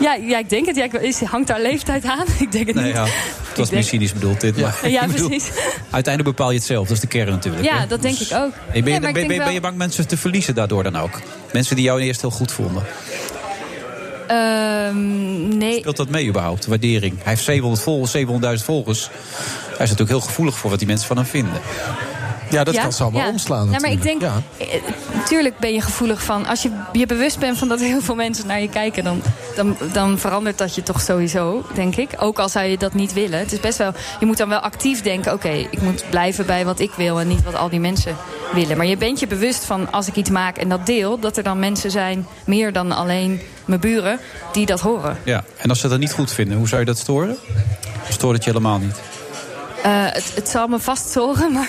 P: Ja, ja ik denk het. Ja, ik, is, hangt daar leeftijd aan? Ik denk het
E: Nee,
P: niet.
E: Nou ja. Het was meer cynisch bedoeld, dit. Maar
P: Ja,
E: ik bedoel,
P: precies.
E: Uiteindelijk bepaal je het zelf. Dat is de kern natuurlijk. hè?
P: Ja, dat denk ik ook.
E: Hey, ben, je,
P: Nee, maar
E: ben,
P: ik
E: ben,
P: denk
E: ben
P: wel-
E: je bang mensen te verliezen daardoor dan ook? Mensen die jou eerst heel goed vonden.
P: Ehm, nee,
E: Speelt dat mee überhaupt? Waardering. Hij heeft 700 vol- 700.000 volgers. Hij is natuurlijk heel gevoelig voor wat die mensen van hem vinden.
F: Ja,
P: Ja, ja. Ja, maar ik denk, eh, tuurlijk ben je gevoelig van. Als je je bewust bent van dat heel veel mensen naar je kijken, dan, dan, dan verandert dat je toch sowieso, denk ik. Ook al zou je dat niet willen. Het is best wel, je moet dan wel actief denken: oké, ik moet blijven bij wat ik wil en niet wat al die mensen willen. Maar je bent je bewust van als ik iets maak en dat deel, dat er dan mensen zijn, meer dan alleen mijn buren, die dat horen.
E: Ja, en als ze dat niet goed vinden, hoe zou je dat storen? Stoor het je helemaal niet?
P: Eh, het, het zal me vast zorgen, maar,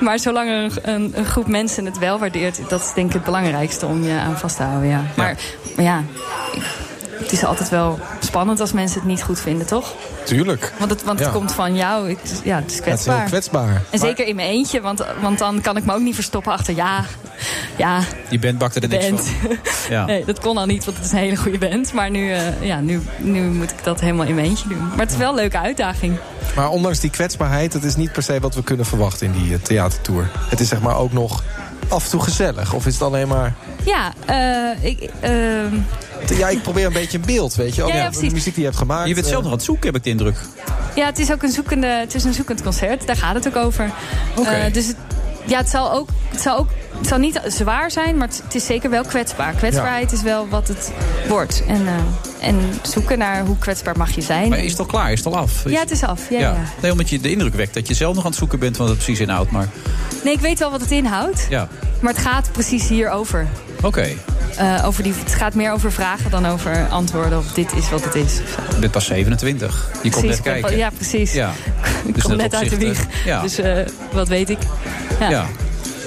P: maar zolang er een, een, een groep mensen het wel waardeert... dat is denk ik het belangrijkste om je aan vast te houden, ja. Maar, maar ja, ik- het is altijd wel spannend als mensen het niet goed vinden, toch?
F: Tuurlijk.
P: Want het, want het
F: Ja.
P: komt van jou, het, ja, het is
F: Ja, het is heel
P: kwetsbaar.
F: kwetsbaar.
P: En zeker in mijn eentje, want, want dan kan ik me ook niet verstoppen achter... ja, ja,
E: Je band bakte er niks
P: band.
E: van. Ja.
P: Nee, dat kon al niet, want het is een hele goede band. Maar nu, eh, ja, nu, nu moet ik dat helemaal in mijn eentje doen. Maar het is wel een leuke uitdaging.
F: Maar ondanks die kwetsbaarheid, dat is niet per se wat we kunnen verwachten in die eh, theatertour. Het is zeg maar ook nog af en toe gezellig. Of is het alleen maar...
P: Ja, eh, ik, ehm,
F: Ja, ik probeer een beetje een beeld, weet je. Ook
P: Ja, ja,
F: de
P: precies.
F: muziek die je hebt gemaakt.
E: Je bent zelf nog aan het zoeken, heb ik de indruk.
P: ja, het is ook een, zoekende, het is een zoekend concert. Daar gaat het ook over. Eh, dus het, ja, het zal ook, het zal ook het zal niet zwaar zijn, maar het, het is zeker wel kwetsbaar. Kwetsbaarheid is wel wat het wordt. En, eh, en zoeken naar hoe kwetsbaar mag je zijn.
E: Maar is het al klaar? Is het al af?
P: Ja, het is af. Ja, ja.
E: Nee, omdat je de indruk wekt dat je zelf nog aan het zoeken bent wat het precies inhoudt. Maar
P: Nee, ik weet wel wat het inhoudt.
E: ja,
P: Maar het gaat precies hierover.
E: oké.
P: Eh, over die, het gaat meer over vragen dan over antwoorden of dit is wat het is. of zo.
E: Je bent pas 27. Je komt
P: Precies,
E: net
P: ik ben
E: kijken.
P: pas- ja, precies.
E: Ja.
P: Ik
E: Dus
P: kom
E: in dat
P: net uit de
E: opzicht,
P: wieg.
E: eh, ja.
P: Dus eh, wat weet ik. Ja.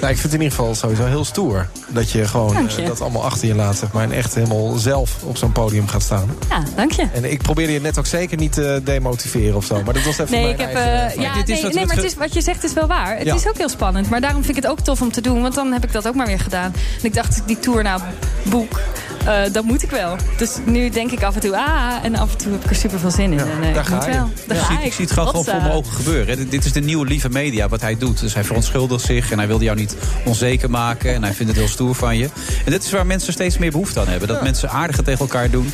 F: Nou, ik vind het in ieder geval sowieso heel stoer. Dat je gewoon
P: Dank je.
F: eh, dat allemaal achter je laat. zeg Maar en echt helemaal zelf op zo'n podium gaat staan.
P: Ja, dank je.
F: En ik probeerde je net ook zeker niet te demotiveren of zo. Maar dat was even
P: Nee,
F: mijn
P: ik heb,
F: eigen...
P: eh, ja,
F: Dit is
P: nee,
F: wat
P: nee,
F: we
P: maar
F: ge-
P: het is, wat je zegt is wel waar. Het
F: Ja.
P: is ook heel spannend. Maar daarom vind ik het ook tof om te doen. Want dan heb ik dat ook maar weer gedaan. En ik dacht, als ik die tour nou boek, eh, dat moet ik wel. Dus nu denk ik af en toe, ah, en af en toe heb ik er super veel zin in. en, eh,
E: Daar
P: ik
E: ga
P: moet
E: je.
P: wel. Daar
E: ik,
P: ga
E: zie, ik zie het gewoon gewoon
P: Hotsa.
E: voor mijn ogen gebeuren. hè. Dit- Dit is de nieuwe lieve media, wat hij doet. Dus hij verontschuldigt zich en hij wilde jou niet onzeker maken. En hij vindt het heel stoer van je. En dit is waar mensen steeds meer behoefte aan hebben. Dat mensen aardiger tegen elkaar doen.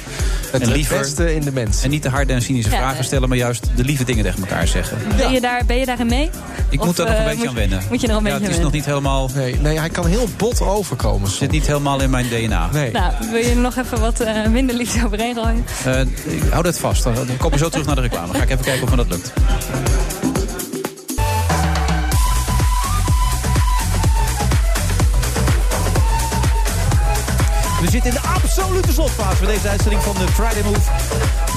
F: Het beste in de mens.
E: En niet de harde en cynische
P: Ja,
E: vragen
P: eh.
E: stellen, maar juist de lieve dingen tegen elkaar zeggen.
P: Ben, je daar, ben je daarin mee?
E: Ik
P: Of,
E: moet daar nog een
P: eh,
E: beetje aan wennen.
P: Moet je er een
E: ja,
P: beetje
E: Het is
P: aan
E: nog niet helemaal...
F: Nee, nee, hij kan heel bot overkomen.
E: zit niet helemaal in mijn DNA.
F: Nee.
P: Nou, wil je er nog even wat eh, minder liefde overheen gooien?
E: Eh, ik hou dat vast. Dan dan komen we zo terug naar de reclame. Dan ga ik even kijken of me dat lukt. We zitten in de absolute slotfase van deze uitzending van de Friday Move.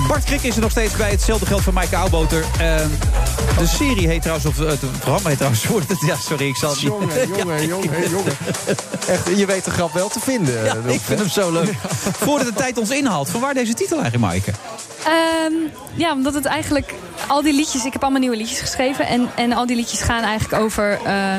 E: Bart Krik is er nog steeds bij. Hetzelfde geldt voor Maaike Oudboter. Eh, de serie heet trouwens, of eh, het programma heet trouwens... wordt het- Ja, sorry, ik zal het niet...
F: Jongen, jongen, jongen, jongen. Echt, je weet de grap wel te vinden. eh,
E: Ja,
F: Rolf,
E: ik vind
F: hè?
E: hem zo leuk. Voordat de tijd ons inhaalt, van waar deze titel eigenlijk, Maaike?
P: Ehm, ja, omdat het eigenlijk al die liedjes, ik heb allemaal nieuwe liedjes geschreven en, en al die liedjes gaan eigenlijk over eh,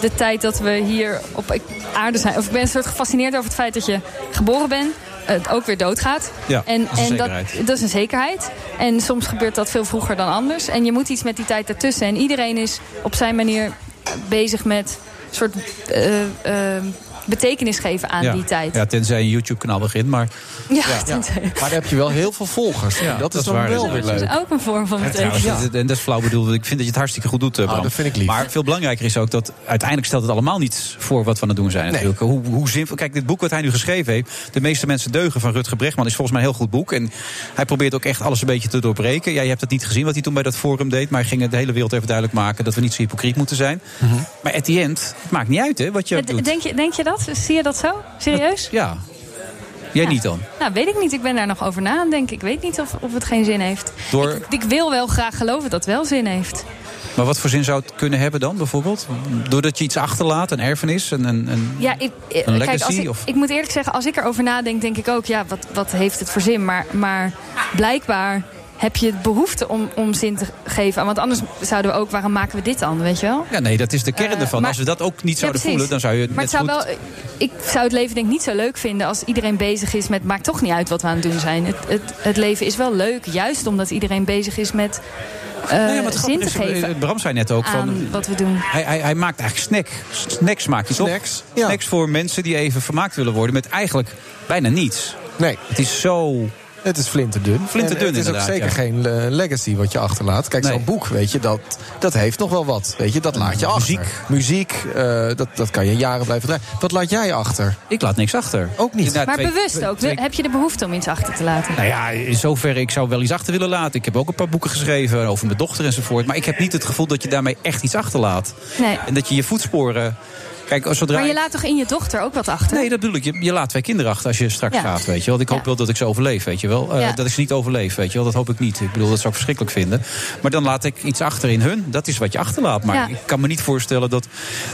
P: de tijd dat we hier op aarde zijn. Of ik ben een soort gefascineerd over het feit dat je geboren bent, het ook weer doodgaat.
R: Ja,
P: en
R: dat is een
P: en
R: zekerheid.
P: dat, dat is een zekerheid. En soms gebeurt dat veel vroeger dan anders. En je moet iets met die tijd daartussen. En iedereen is op zijn manier bezig met een soort eh, eh, betekenis geven aan
E: ja.
P: die tijd.
E: Ja, tenzij je een YouTube-kanaal begint, maar...
P: Ja, tenzij-
F: Maar dan heb je wel heel veel volgers.
E: Ja,
F: dat
E: dat
F: is
E: is
F: dan
E: waar,
F: wel
E: dat
F: weer
E: is waar.
F: leuk.
P: Dat is ook een vorm van
E: Ja,
P: betekenis.
E: trouwens, dit- dit- en dat is flauw bedoeld. want Ik vind dat je het hartstikke goed doet, eh, Bram.
F: Ah, dat vind ik lief.
E: Maar veel belangrijker is ook dat uiteindelijk stelt het allemaal niets voor wat we aan het doen zijn. Natuurlijk. Hoe, hoe zinvol. Kijk, dit boek wat hij nu geschreven heeft, De meeste mensen deugen van Rutger Bregman, is volgens mij een heel goed boek. En hij probeert ook echt alles een beetje te doorbreken. Ja, je hebt dat niet gezien wat hij toen bij dat forum deed, maar hij ging de hele wereld even duidelijk maken dat we niet zo hypocriet moeten zijn.
F: Mhm.
E: Maar at the end, het maakt niet uit hè, wat je ook
P: Eh,
E: doet.
P: Denk je, denk je dat? Zie je dat zo? Serieus?
E: Ja. Jij
P: Ja.
E: niet dan?
P: Nou, weet ik niet. Ik ben daar nog over na aan het denken. Ik weet niet of, of het geen zin heeft.
E: Door,
P: Ik wil wel graag geloven dat het wel zin heeft.
E: maar wat voor zin zou het kunnen hebben dan bijvoorbeeld? Doordat je iets achterlaat, een erfenis, een, een, een
P: Ja, ik, eh,
E: Een
P: kijk, als
E: legacy,
P: ik,
E: of?
P: ik moet eerlijk zeggen, als ik erover nadenk, denk ik ook... ja, wat, wat heeft het voor zin? Maar, maar blijkbaar heb je het behoefte om, om zin te geven. Want anders zouden we ook, waarom maken we dit dan, weet je wel?
E: Ja, nee, dat is de kern
P: Eh,
E: ervan.
P: maar-
E: Als we dat ook niet
P: Ja,
E: zouden
P: precies.
E: voelen, dan zou je het
P: maar het
E: net
P: zou
E: goed...
P: wel, ik zou het leven denk ik niet zo leuk vinden als iedereen bezig is met. Maakt toch niet uit wat we aan het doen zijn. Het, het, het leven is wel leuk, juist omdat iedereen bezig is met eh,
E: Nou ja, maar het
P: zin
E: grappige
P: te
E: is, eh,
P: geven.
E: Bram zei net ook van...
P: aan wat we doen.
E: Hij, hij, hij maakt eigenlijk snack. Snacks maakt hij toch? Snacks, Snacks voor mensen die even vermaakt willen worden met eigenlijk bijna niets.
F: Nee.
E: Het is zo...
F: Het is flinterdun.
E: Flinterdun,
F: En Het is ook
E: inderdaad,
F: zeker
E: ja.
F: geen eh, legacy wat je achterlaat. Kijk, zo'n boek, weet je, dat, dat heeft nog wel wat. Weet je, dat laat je achter. Muziek. Muziek, eh, dat, dat kan je jaren blijven draaien. Wat laat jij achter?
E: Ik laat niks achter. nou,
F: Ook niet.
E: Inderdaad,
P: maar
E: twee-
P: bewust ook. Heb je de behoefte om iets achter te laten?
E: Nou ja, in zoverre, ik zou wel iets achter willen laten. Ik heb ook een paar boeken geschreven over mijn dochter enzovoort. Maar ik heb niet het gevoel dat je daarmee echt iets achterlaat.
P: Nee.
E: En dat je je voetsporen Kijk, als zodra
P: Maar je
E: ik-
P: laat toch in je dochter ook wat achter?
E: Nee, dat bedoel ik. Je, je laat twee kinderen achter als je straks
P: Ja.
E: gaat, weet je wel. Ik hoop
P: Ja.
E: wel dat ik ze overleef, weet je wel. Eh,
P: Ja.
E: Dat ik ze niet overleef, weet je wel. Dat hoop ik niet. Ik bedoel, dat zou ik verschrikkelijk vinden. Maar dan laat ik iets achter in hun. Dat is wat je achterlaat. Maar
P: Ja.
E: ik kan me niet voorstellen dat,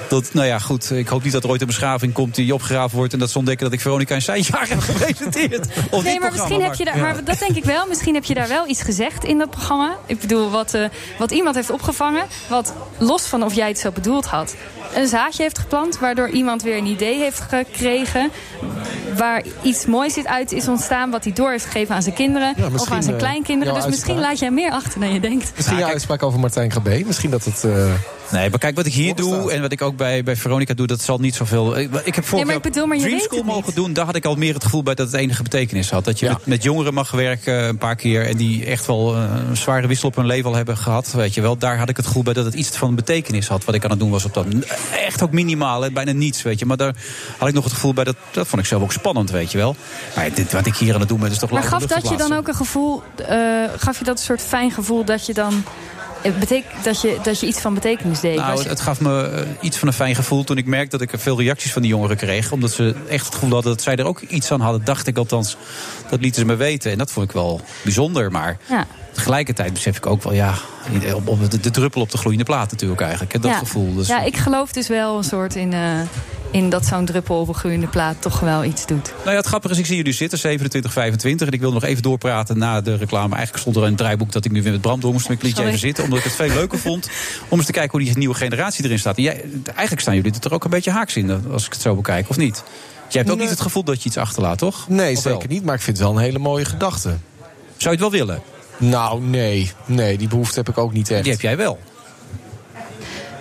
E: dat... Nou ja, goed. Ik hoop niet dat er ooit een beschaving komt die opgegraven wordt... en dat ze ontdekken dat ik Veronica en Sijnjaar heb gepresenteerd. Of dit
P: nee, maar
E: programma
P: misschien heb je
E: maak.
P: daar, maar dat denk ik wel. Misschien heb je daar wel iets gezegd in dat programma. Ik bedoel, wat, eh, wat iemand heeft opgevangen, wat los van of jij het zo bedoeld had, een zaadje heeft geplant, waardoor iemand weer een idee heeft gekregen, waar iets moois zit uit is ontstaan, wat hij door heeft gegeven aan zijn kinderen
F: Ja,
P: of
F: misschien,
P: aan zijn
F: eh,
P: kleinkinderen.
F: jouw
P: Dus misschien
F: uitspraak.
P: laat jij meer achter dan je denkt.
F: Misschien jouw uitspraak over Martijn Grabé. Misschien dat het... eh,
E: Nee, maar kijk, wat ik hier doe en wat ik ook bij, bij Veronica doe... dat zal niet zoveel... Ik, ik heb vorig
P: maar
E: jaar
P: ik bedoel, maar je
E: Dream
P: weet
E: School
P: het niet.
E: mogen doen. Daar had ik al meer het gevoel bij dat het enige betekenis had. Dat je met, met jongeren mag werken een paar keer... en die echt wel eh, een zware wissel op hun leven al hebben gehad. Weet je wel. Daar had ik het gevoel bij dat het iets van betekenis had. Wat ik aan het doen was op dat... Echt ook minimaal, hè, bijna niets, weet je. Maar daar had ik nog het gevoel bij dat... Dat vond ik zelf ook spannend, weet je wel. Maar ja, dit, wat ik hier aan het doen ben, is toch
P: Maar
E: louter
P: gaf dat je dan
E: luchtverplaatsen.
P: ook een gevoel, eh, gaf je dat een soort fijn gevoel dat je dan, eh, betek- dat je, dat je iets van betekenis deed? Was
E: Nou,
P: je-
E: het, het gaf me eh, iets van een fijn gevoel toen ik merkte dat ik veel reacties van die jongeren kreeg. Omdat ze echt het gevoel hadden dat zij er ook iets aan hadden, dacht ik althans. Dat lieten ze me weten en dat vond ik wel bijzonder. Maar
P: Ja.
E: tegelijkertijd besef ik ook wel, ja, op, op de, de druppel op de gloeiende plaat natuurlijk eigenlijk. Hè, dat
P: ja.
E: gevoel. Dus,
P: Ja, ik geloof dus wel een soort in, eh, in dat zo'n druppel op een groeiende plaat toch wel iets doet.
E: Nou ja, het grappige is, ik zie jullie zitten, 27, 25. En ik wil nog even doorpraten na de reclame. Eigenlijk stond er een draaiboek dat ik nu weer met Bram door moest. Maar ik liet je
P: Sorry.
E: even zitten, omdat ik het veel leuker vond. Om eens te kijken hoe die nieuwe generatie erin staat. En jij, eigenlijk staan jullie het er ook een beetje haaks in, als ik het zo bekijk, of niet? Jij hebt ook niet het gevoel dat je iets achterlaat, toch?
F: Nee,
E: Of wel?
F: zeker niet. Maar ik vind het wel een hele mooie gedachte.
E: Zou je het wel willen?
F: Nou, nee. Nee, die behoefte heb ik ook niet echt. Die heb
E: jij wel.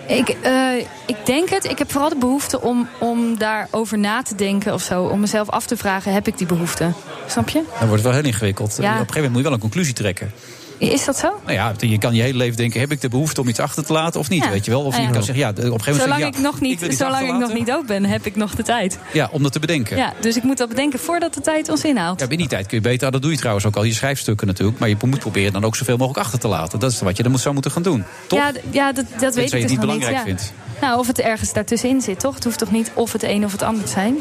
P: Ik, eh, ik denk het. Ik heb vooral de behoefte om, om daarover na te denken of zo. Om mezelf af te vragen, heb ik die behoefte? Snap je?
E: Dan wordt het wel heel ingewikkeld.
P: Ja.
E: Op een gegeven moment moet je wel een conclusie trekken.
P: Is dat zo?
E: Nou ja, je kan je hele leven denken: heb ik de behoefte om iets achter te laten of niet?
P: Ja.
E: Weet je wel? Of
P: Nou
E: je
P: ja.
E: kan zeggen: ja, op een gegeven moment.
P: Zolang
E: zeg je,
P: ik
E: ja,
P: nog niet,
E: wil iets
P: zolang ik nog
E: achterlaten.
P: niet dood ben, heb ik nog de tijd.
E: Ja, om dat te bedenken.
P: Ja, dus ik moet dat bedenken voordat de tijd ons inhaalt.
E: Ja, binnen die tijd kun je beter. Dat doe je trouwens ook al je schrijfstukken natuurlijk. Maar je moet proberen dan ook zoveel mogelijk achter te laten. Dat is wat je dan moet- zou moeten gaan doen. Toch?
P: Ja, d- ja dat, dat weet
E: je
P: ik
E: het
P: dus
E: niet
P: nog
E: belangrijk
P: niet. ja.
E: vindt.
P: Nou, of het ergens daartussenin zit, toch? Het hoeft toch niet of het een of het ander te zijn?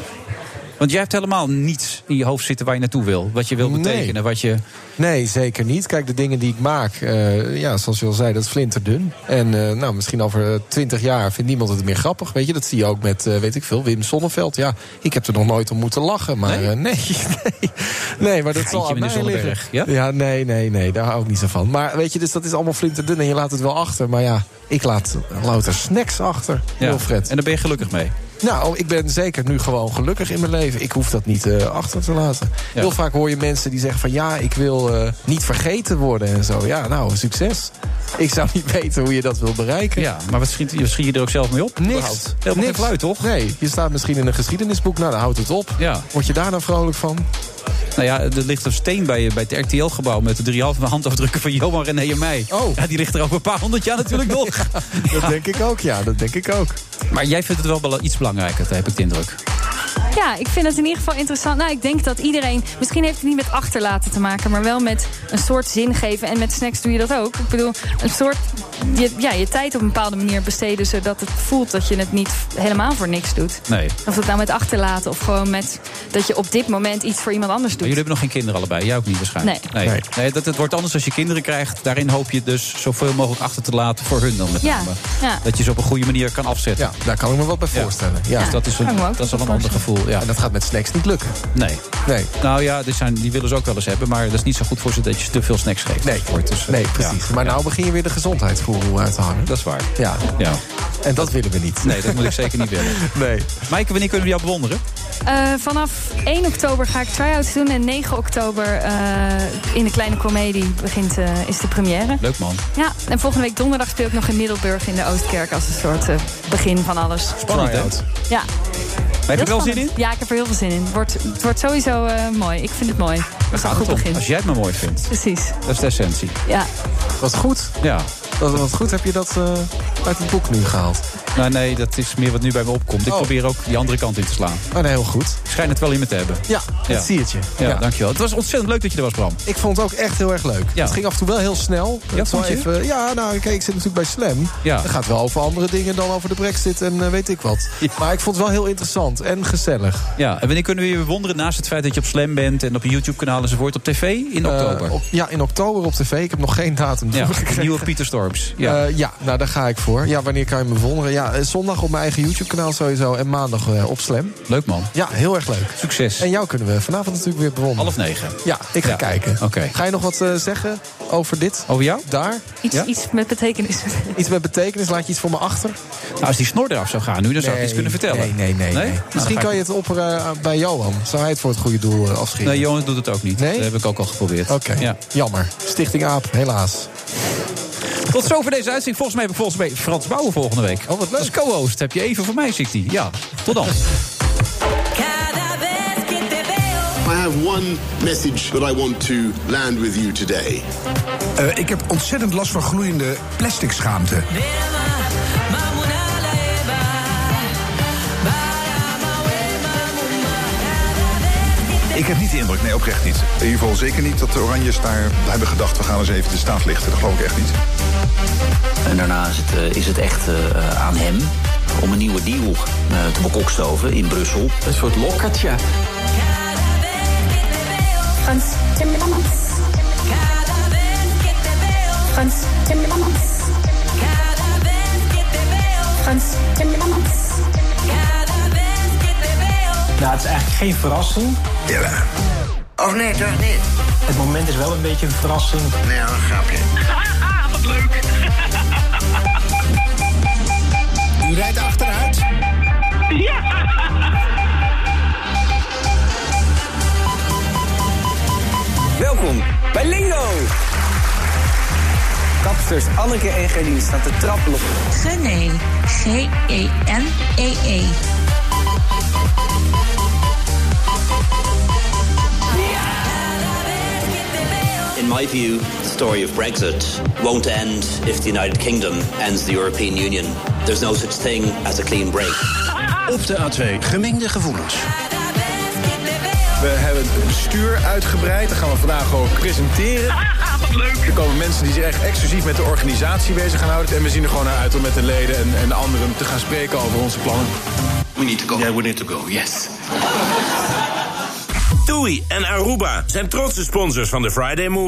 E: Want jij hebt helemaal niets in je hoofd zitten waar je naartoe wil. Wat je wil betekenen. Wat je...
F: Nee, zeker niet. Kijk, de dingen die ik maak, eh, ja, zoals je al zei, dat is flinterdun. En eh, nou, misschien over twintig jaar vindt niemand het meer grappig. Weet je, dat zie je ook met, eh, weet ik veel, Wim Sonneveld. Ja, ik heb er nog nooit om moeten lachen, maar eh, nee. nee. Nee, maar dat zal aan
E: Geintje, meneer
F: mij liggen.
E: Zonneberg,
F: Ja?
E: ja?
F: nee, nee, nee, daar hou ik niet zo van. Maar weet je, dus dat is allemaal flinterdun en je laat het wel achter. Maar ja, ik laat louter snacks achter,
E: Ja.
F: Wilfred.
E: En daar ben je gelukkig mee.
F: Nou, ik ben zeker nu gewoon gelukkig in mijn leven. Ik hoef dat niet eh, achter te laten.
E: Ja.
F: Heel vaak hoor je mensen die zeggen van... ja, ik wil eh, niet vergeten worden en zo. Ja, nou, succes. Ik zou niet weten hoe je dat wil bereiken.
E: Ja, maar wat schiet, schiet je er ook zelf mee op?
F: Niks.
E: überhaupt? Helemaal geen
F: Niks.
E: fluit, toch?
F: Nee, je staat misschien in een geschiedenisboek. Nou, dan houdt het op.
E: Ja.
F: Word je daar nou vrolijk van?
E: Nou ja, er ligt een steen bij, je- bij het RTL-gebouw met de drie halve handafdrukken van Johan René en mij. Oh. Ja, die ligt er over een paar honderd jaar natuurlijk nog.
F: Dat denk ik ook, ja, dat denk ik ook.
E: Maar jij vindt het wel bela- iets belangrijker, dat heb ik de indruk.
P: Ja, ik vind het in ieder geval interessant. Nou, ik denk dat iedereen... Misschien heeft het niet met achterlaten te maken... maar wel met een soort zin geven. En met snacks doe je dat ook. Ik bedoel, een soort... Je, ja, je tijd op een bepaalde manier besteden... zodat het voelt dat je het niet helemaal voor niks doet.
E: Nee.
P: Of dat nou met achterlaten of gewoon met... dat je op dit moment iets voor iemand anders
E: Maar
P: doet.
E: jullie hebben nog geen kinderen allebei, jij ook niet waarschijnlijk.
P: Nee.
E: nee. Nee, dat, het wordt anders als je kinderen krijgt. Daarin hoop je dus zoveel mogelijk achter te laten voor hun dan met
P: Ja,
E: name.
P: ja.
E: Dat je ze op een goede manier kan afzetten.
F: Ja, daar kan ik me wat bij voorstellen. Ja.
E: Dus dat is,
F: Kan
E: een,
F: ik me ook
E: dat is wel een ander gevoel. Ja.
F: En dat gaat met snacks niet lukken.
E: Nee.
F: nee.
E: Nou ja, dit zijn, die willen ze ook wel eens hebben. Maar dat is niet zo goed voor ze dat je ze te veel snacks geeft. dus, eh, Nee,
F: Nee, precies. Maar nou begin je weer de gezondheidsvoerboel uit te hangen.
E: Dat is waar.
F: Ja.
E: ja.
F: En dat willen we niet.
E: Nee, dat moet ik zeker niet willen.
F: Nee.
E: Maaike, wanneer kunnen we jou bewonderen?
P: Eh, vanaf 1 oktober ga ik try-outs doen. En 9 oktober eh, in de Kleine Comedie begint, eh, is de première.
E: Leuk man.
P: Ja, en volgende week donderdag speel ik nog in Middelburg in de Oostkerk... als een soort eh, begin van alles.
E: Spannend, hè?
P: Ja.
E: Heb je er
P: Heel
E: wel zin in?
P: spannend. Ja, ik heb er heel veel zin in. Het wordt, het wordt sowieso eh, mooi. Ik vind het mooi. Dat is een
E: Gaat
P: goed
E: het om,
P: begin.
E: Als jij het maar mooi vindt.
P: Precies.
E: Dat is de essentie.
P: Ja.
F: Wat goed.
E: Ja.
F: Wat, wat goed heb je dat eh, uit het boek nu gehaald.
E: Nou, nee, dat is meer wat nu bij me opkomt. Ik probeer ook die andere kant in te slaan.
F: Oh, nee, heel goed.
E: Schijn het wel in me te hebben.
F: Ja, dat zie het je.
E: Ja,
F: Ja.
E: dankjewel. Het was ontzettend leuk dat je er was, Bram.
F: Ik vond het ook echt heel erg leuk.
E: Ja.
F: Het ging af en toe wel heel snel.
E: Ja,
F: Dat
E: vond
F: wel
E: je?
F: even- ja nou, kijk, ik zit natuurlijk bij Slam.
E: Ja.
F: Het gaat wel over andere dingen dan over de brexit en eh, weet ik wat. Maar ik vond het wel heel interessant en gezellig.
E: Ja, en wanneer kunnen we je bewonderen naast het feit dat je op Slam bent... en op een YouTube-kanaal enzovoort op tv in
F: Eh,
E: oktober?
F: op- ja, in oktober op tv. Ik heb nog geen datum
E: ja,
F: doorgekregen.
E: nieuwe Pieter Storms. Ja.
F: Ja. ja, nou daar ga ik voor. Ja, wanneer kan je me bewonderen? Ja, eh, zondag op mijn eigen YouTube-kanaal sowieso. En maandag eh, op Slam.
E: Leuk man.
F: Ja, heel erg leuk.
E: Succes.
F: En jou kunnen we vanavond natuurlijk weer bewonderen.
E: Half negen.
F: Ja, ik ga
E: Ja.
F: kijken.
E: Oké.
F: Ga je nog wat eh, zeggen over dit?
E: Over jou?
F: Daar?
P: Iets,
E: Ja?
P: iets met betekenis.
F: Iets met betekenis? Laat je iets voor me achter?
E: Nou, als die snor eraf zou gaan nu, dan zou ik
F: Nee,
E: iets kunnen vertellen.
F: nee, nee, nee, nee.
E: Nou,
F: Misschien
E: dan ga
F: kan
E: ik-
F: je het opperen aan- bij Johan. Zou hij het voor het goede doel eh, afschieten?
E: Nee, Johan doet het ook niet. Dat heb ik ook al geprobeerd.
F: Oké,
E: Ja.
F: jammer. Stichting AAP, helaas.
E: Tot zover deze uitzending. Volgens mij heb ik volgens mij Frans Bouwen volgende week. Oh, wat leuk. Als co-host heb je even voor mij, ziet hij. Ja, tot dan.
H: I have one message that I want to land with you today.
C: Eh, ik heb ontzettend last van gloeiende plastic schaamte.
M: Ik heb niet de indruk, nee, oprecht niet. In ieder geval zeker niet dat de Oranjes daar hebben gedacht... we gaan eens even de staat lichten. Dat geloof ik echt niet.
B: En daarna is het, eh, is het echt eh, eh, aan hem om een nieuwe deal eh, te bekokstoven in Brussel. Een soort lokkertje.
R: Frans Timmermans. Frans Timmermans. Frans Timmermans.
K: Nou, het is eigenlijk geen verrassing.
M: Ja.
K: Oh nee, toch niet? Het moment is wel een beetje een verrassing. Nee, een grapje.
D: Wat leuk.
C: U rijdt achteruit?
D: Ja.
S: Welkom bij Lingo! Kapsters Anneke en Gerlien staan te trappelen.
T: Genee. G-E-N-E-E.
B: In my view, the story of Brexit won't end if the United Kingdom ends the European Union. There's no such thing as a clean break.
M: Op de A2, gemengde gevoelens. We hebben het bestuur uitgebreid. Dat gaan we vandaag ook presenteren. Wat leuk. Er komen mensen die zich echt exclusief met de organisatie bezig gaan houden. En we zien er gewoon naar uit om met de leden en, en de anderen te gaan spreken over onze plannen.
D: We need to go. Yeah, we need to go, yes.
U: TUI en Aruba zijn trotse sponsors van de Friday Move.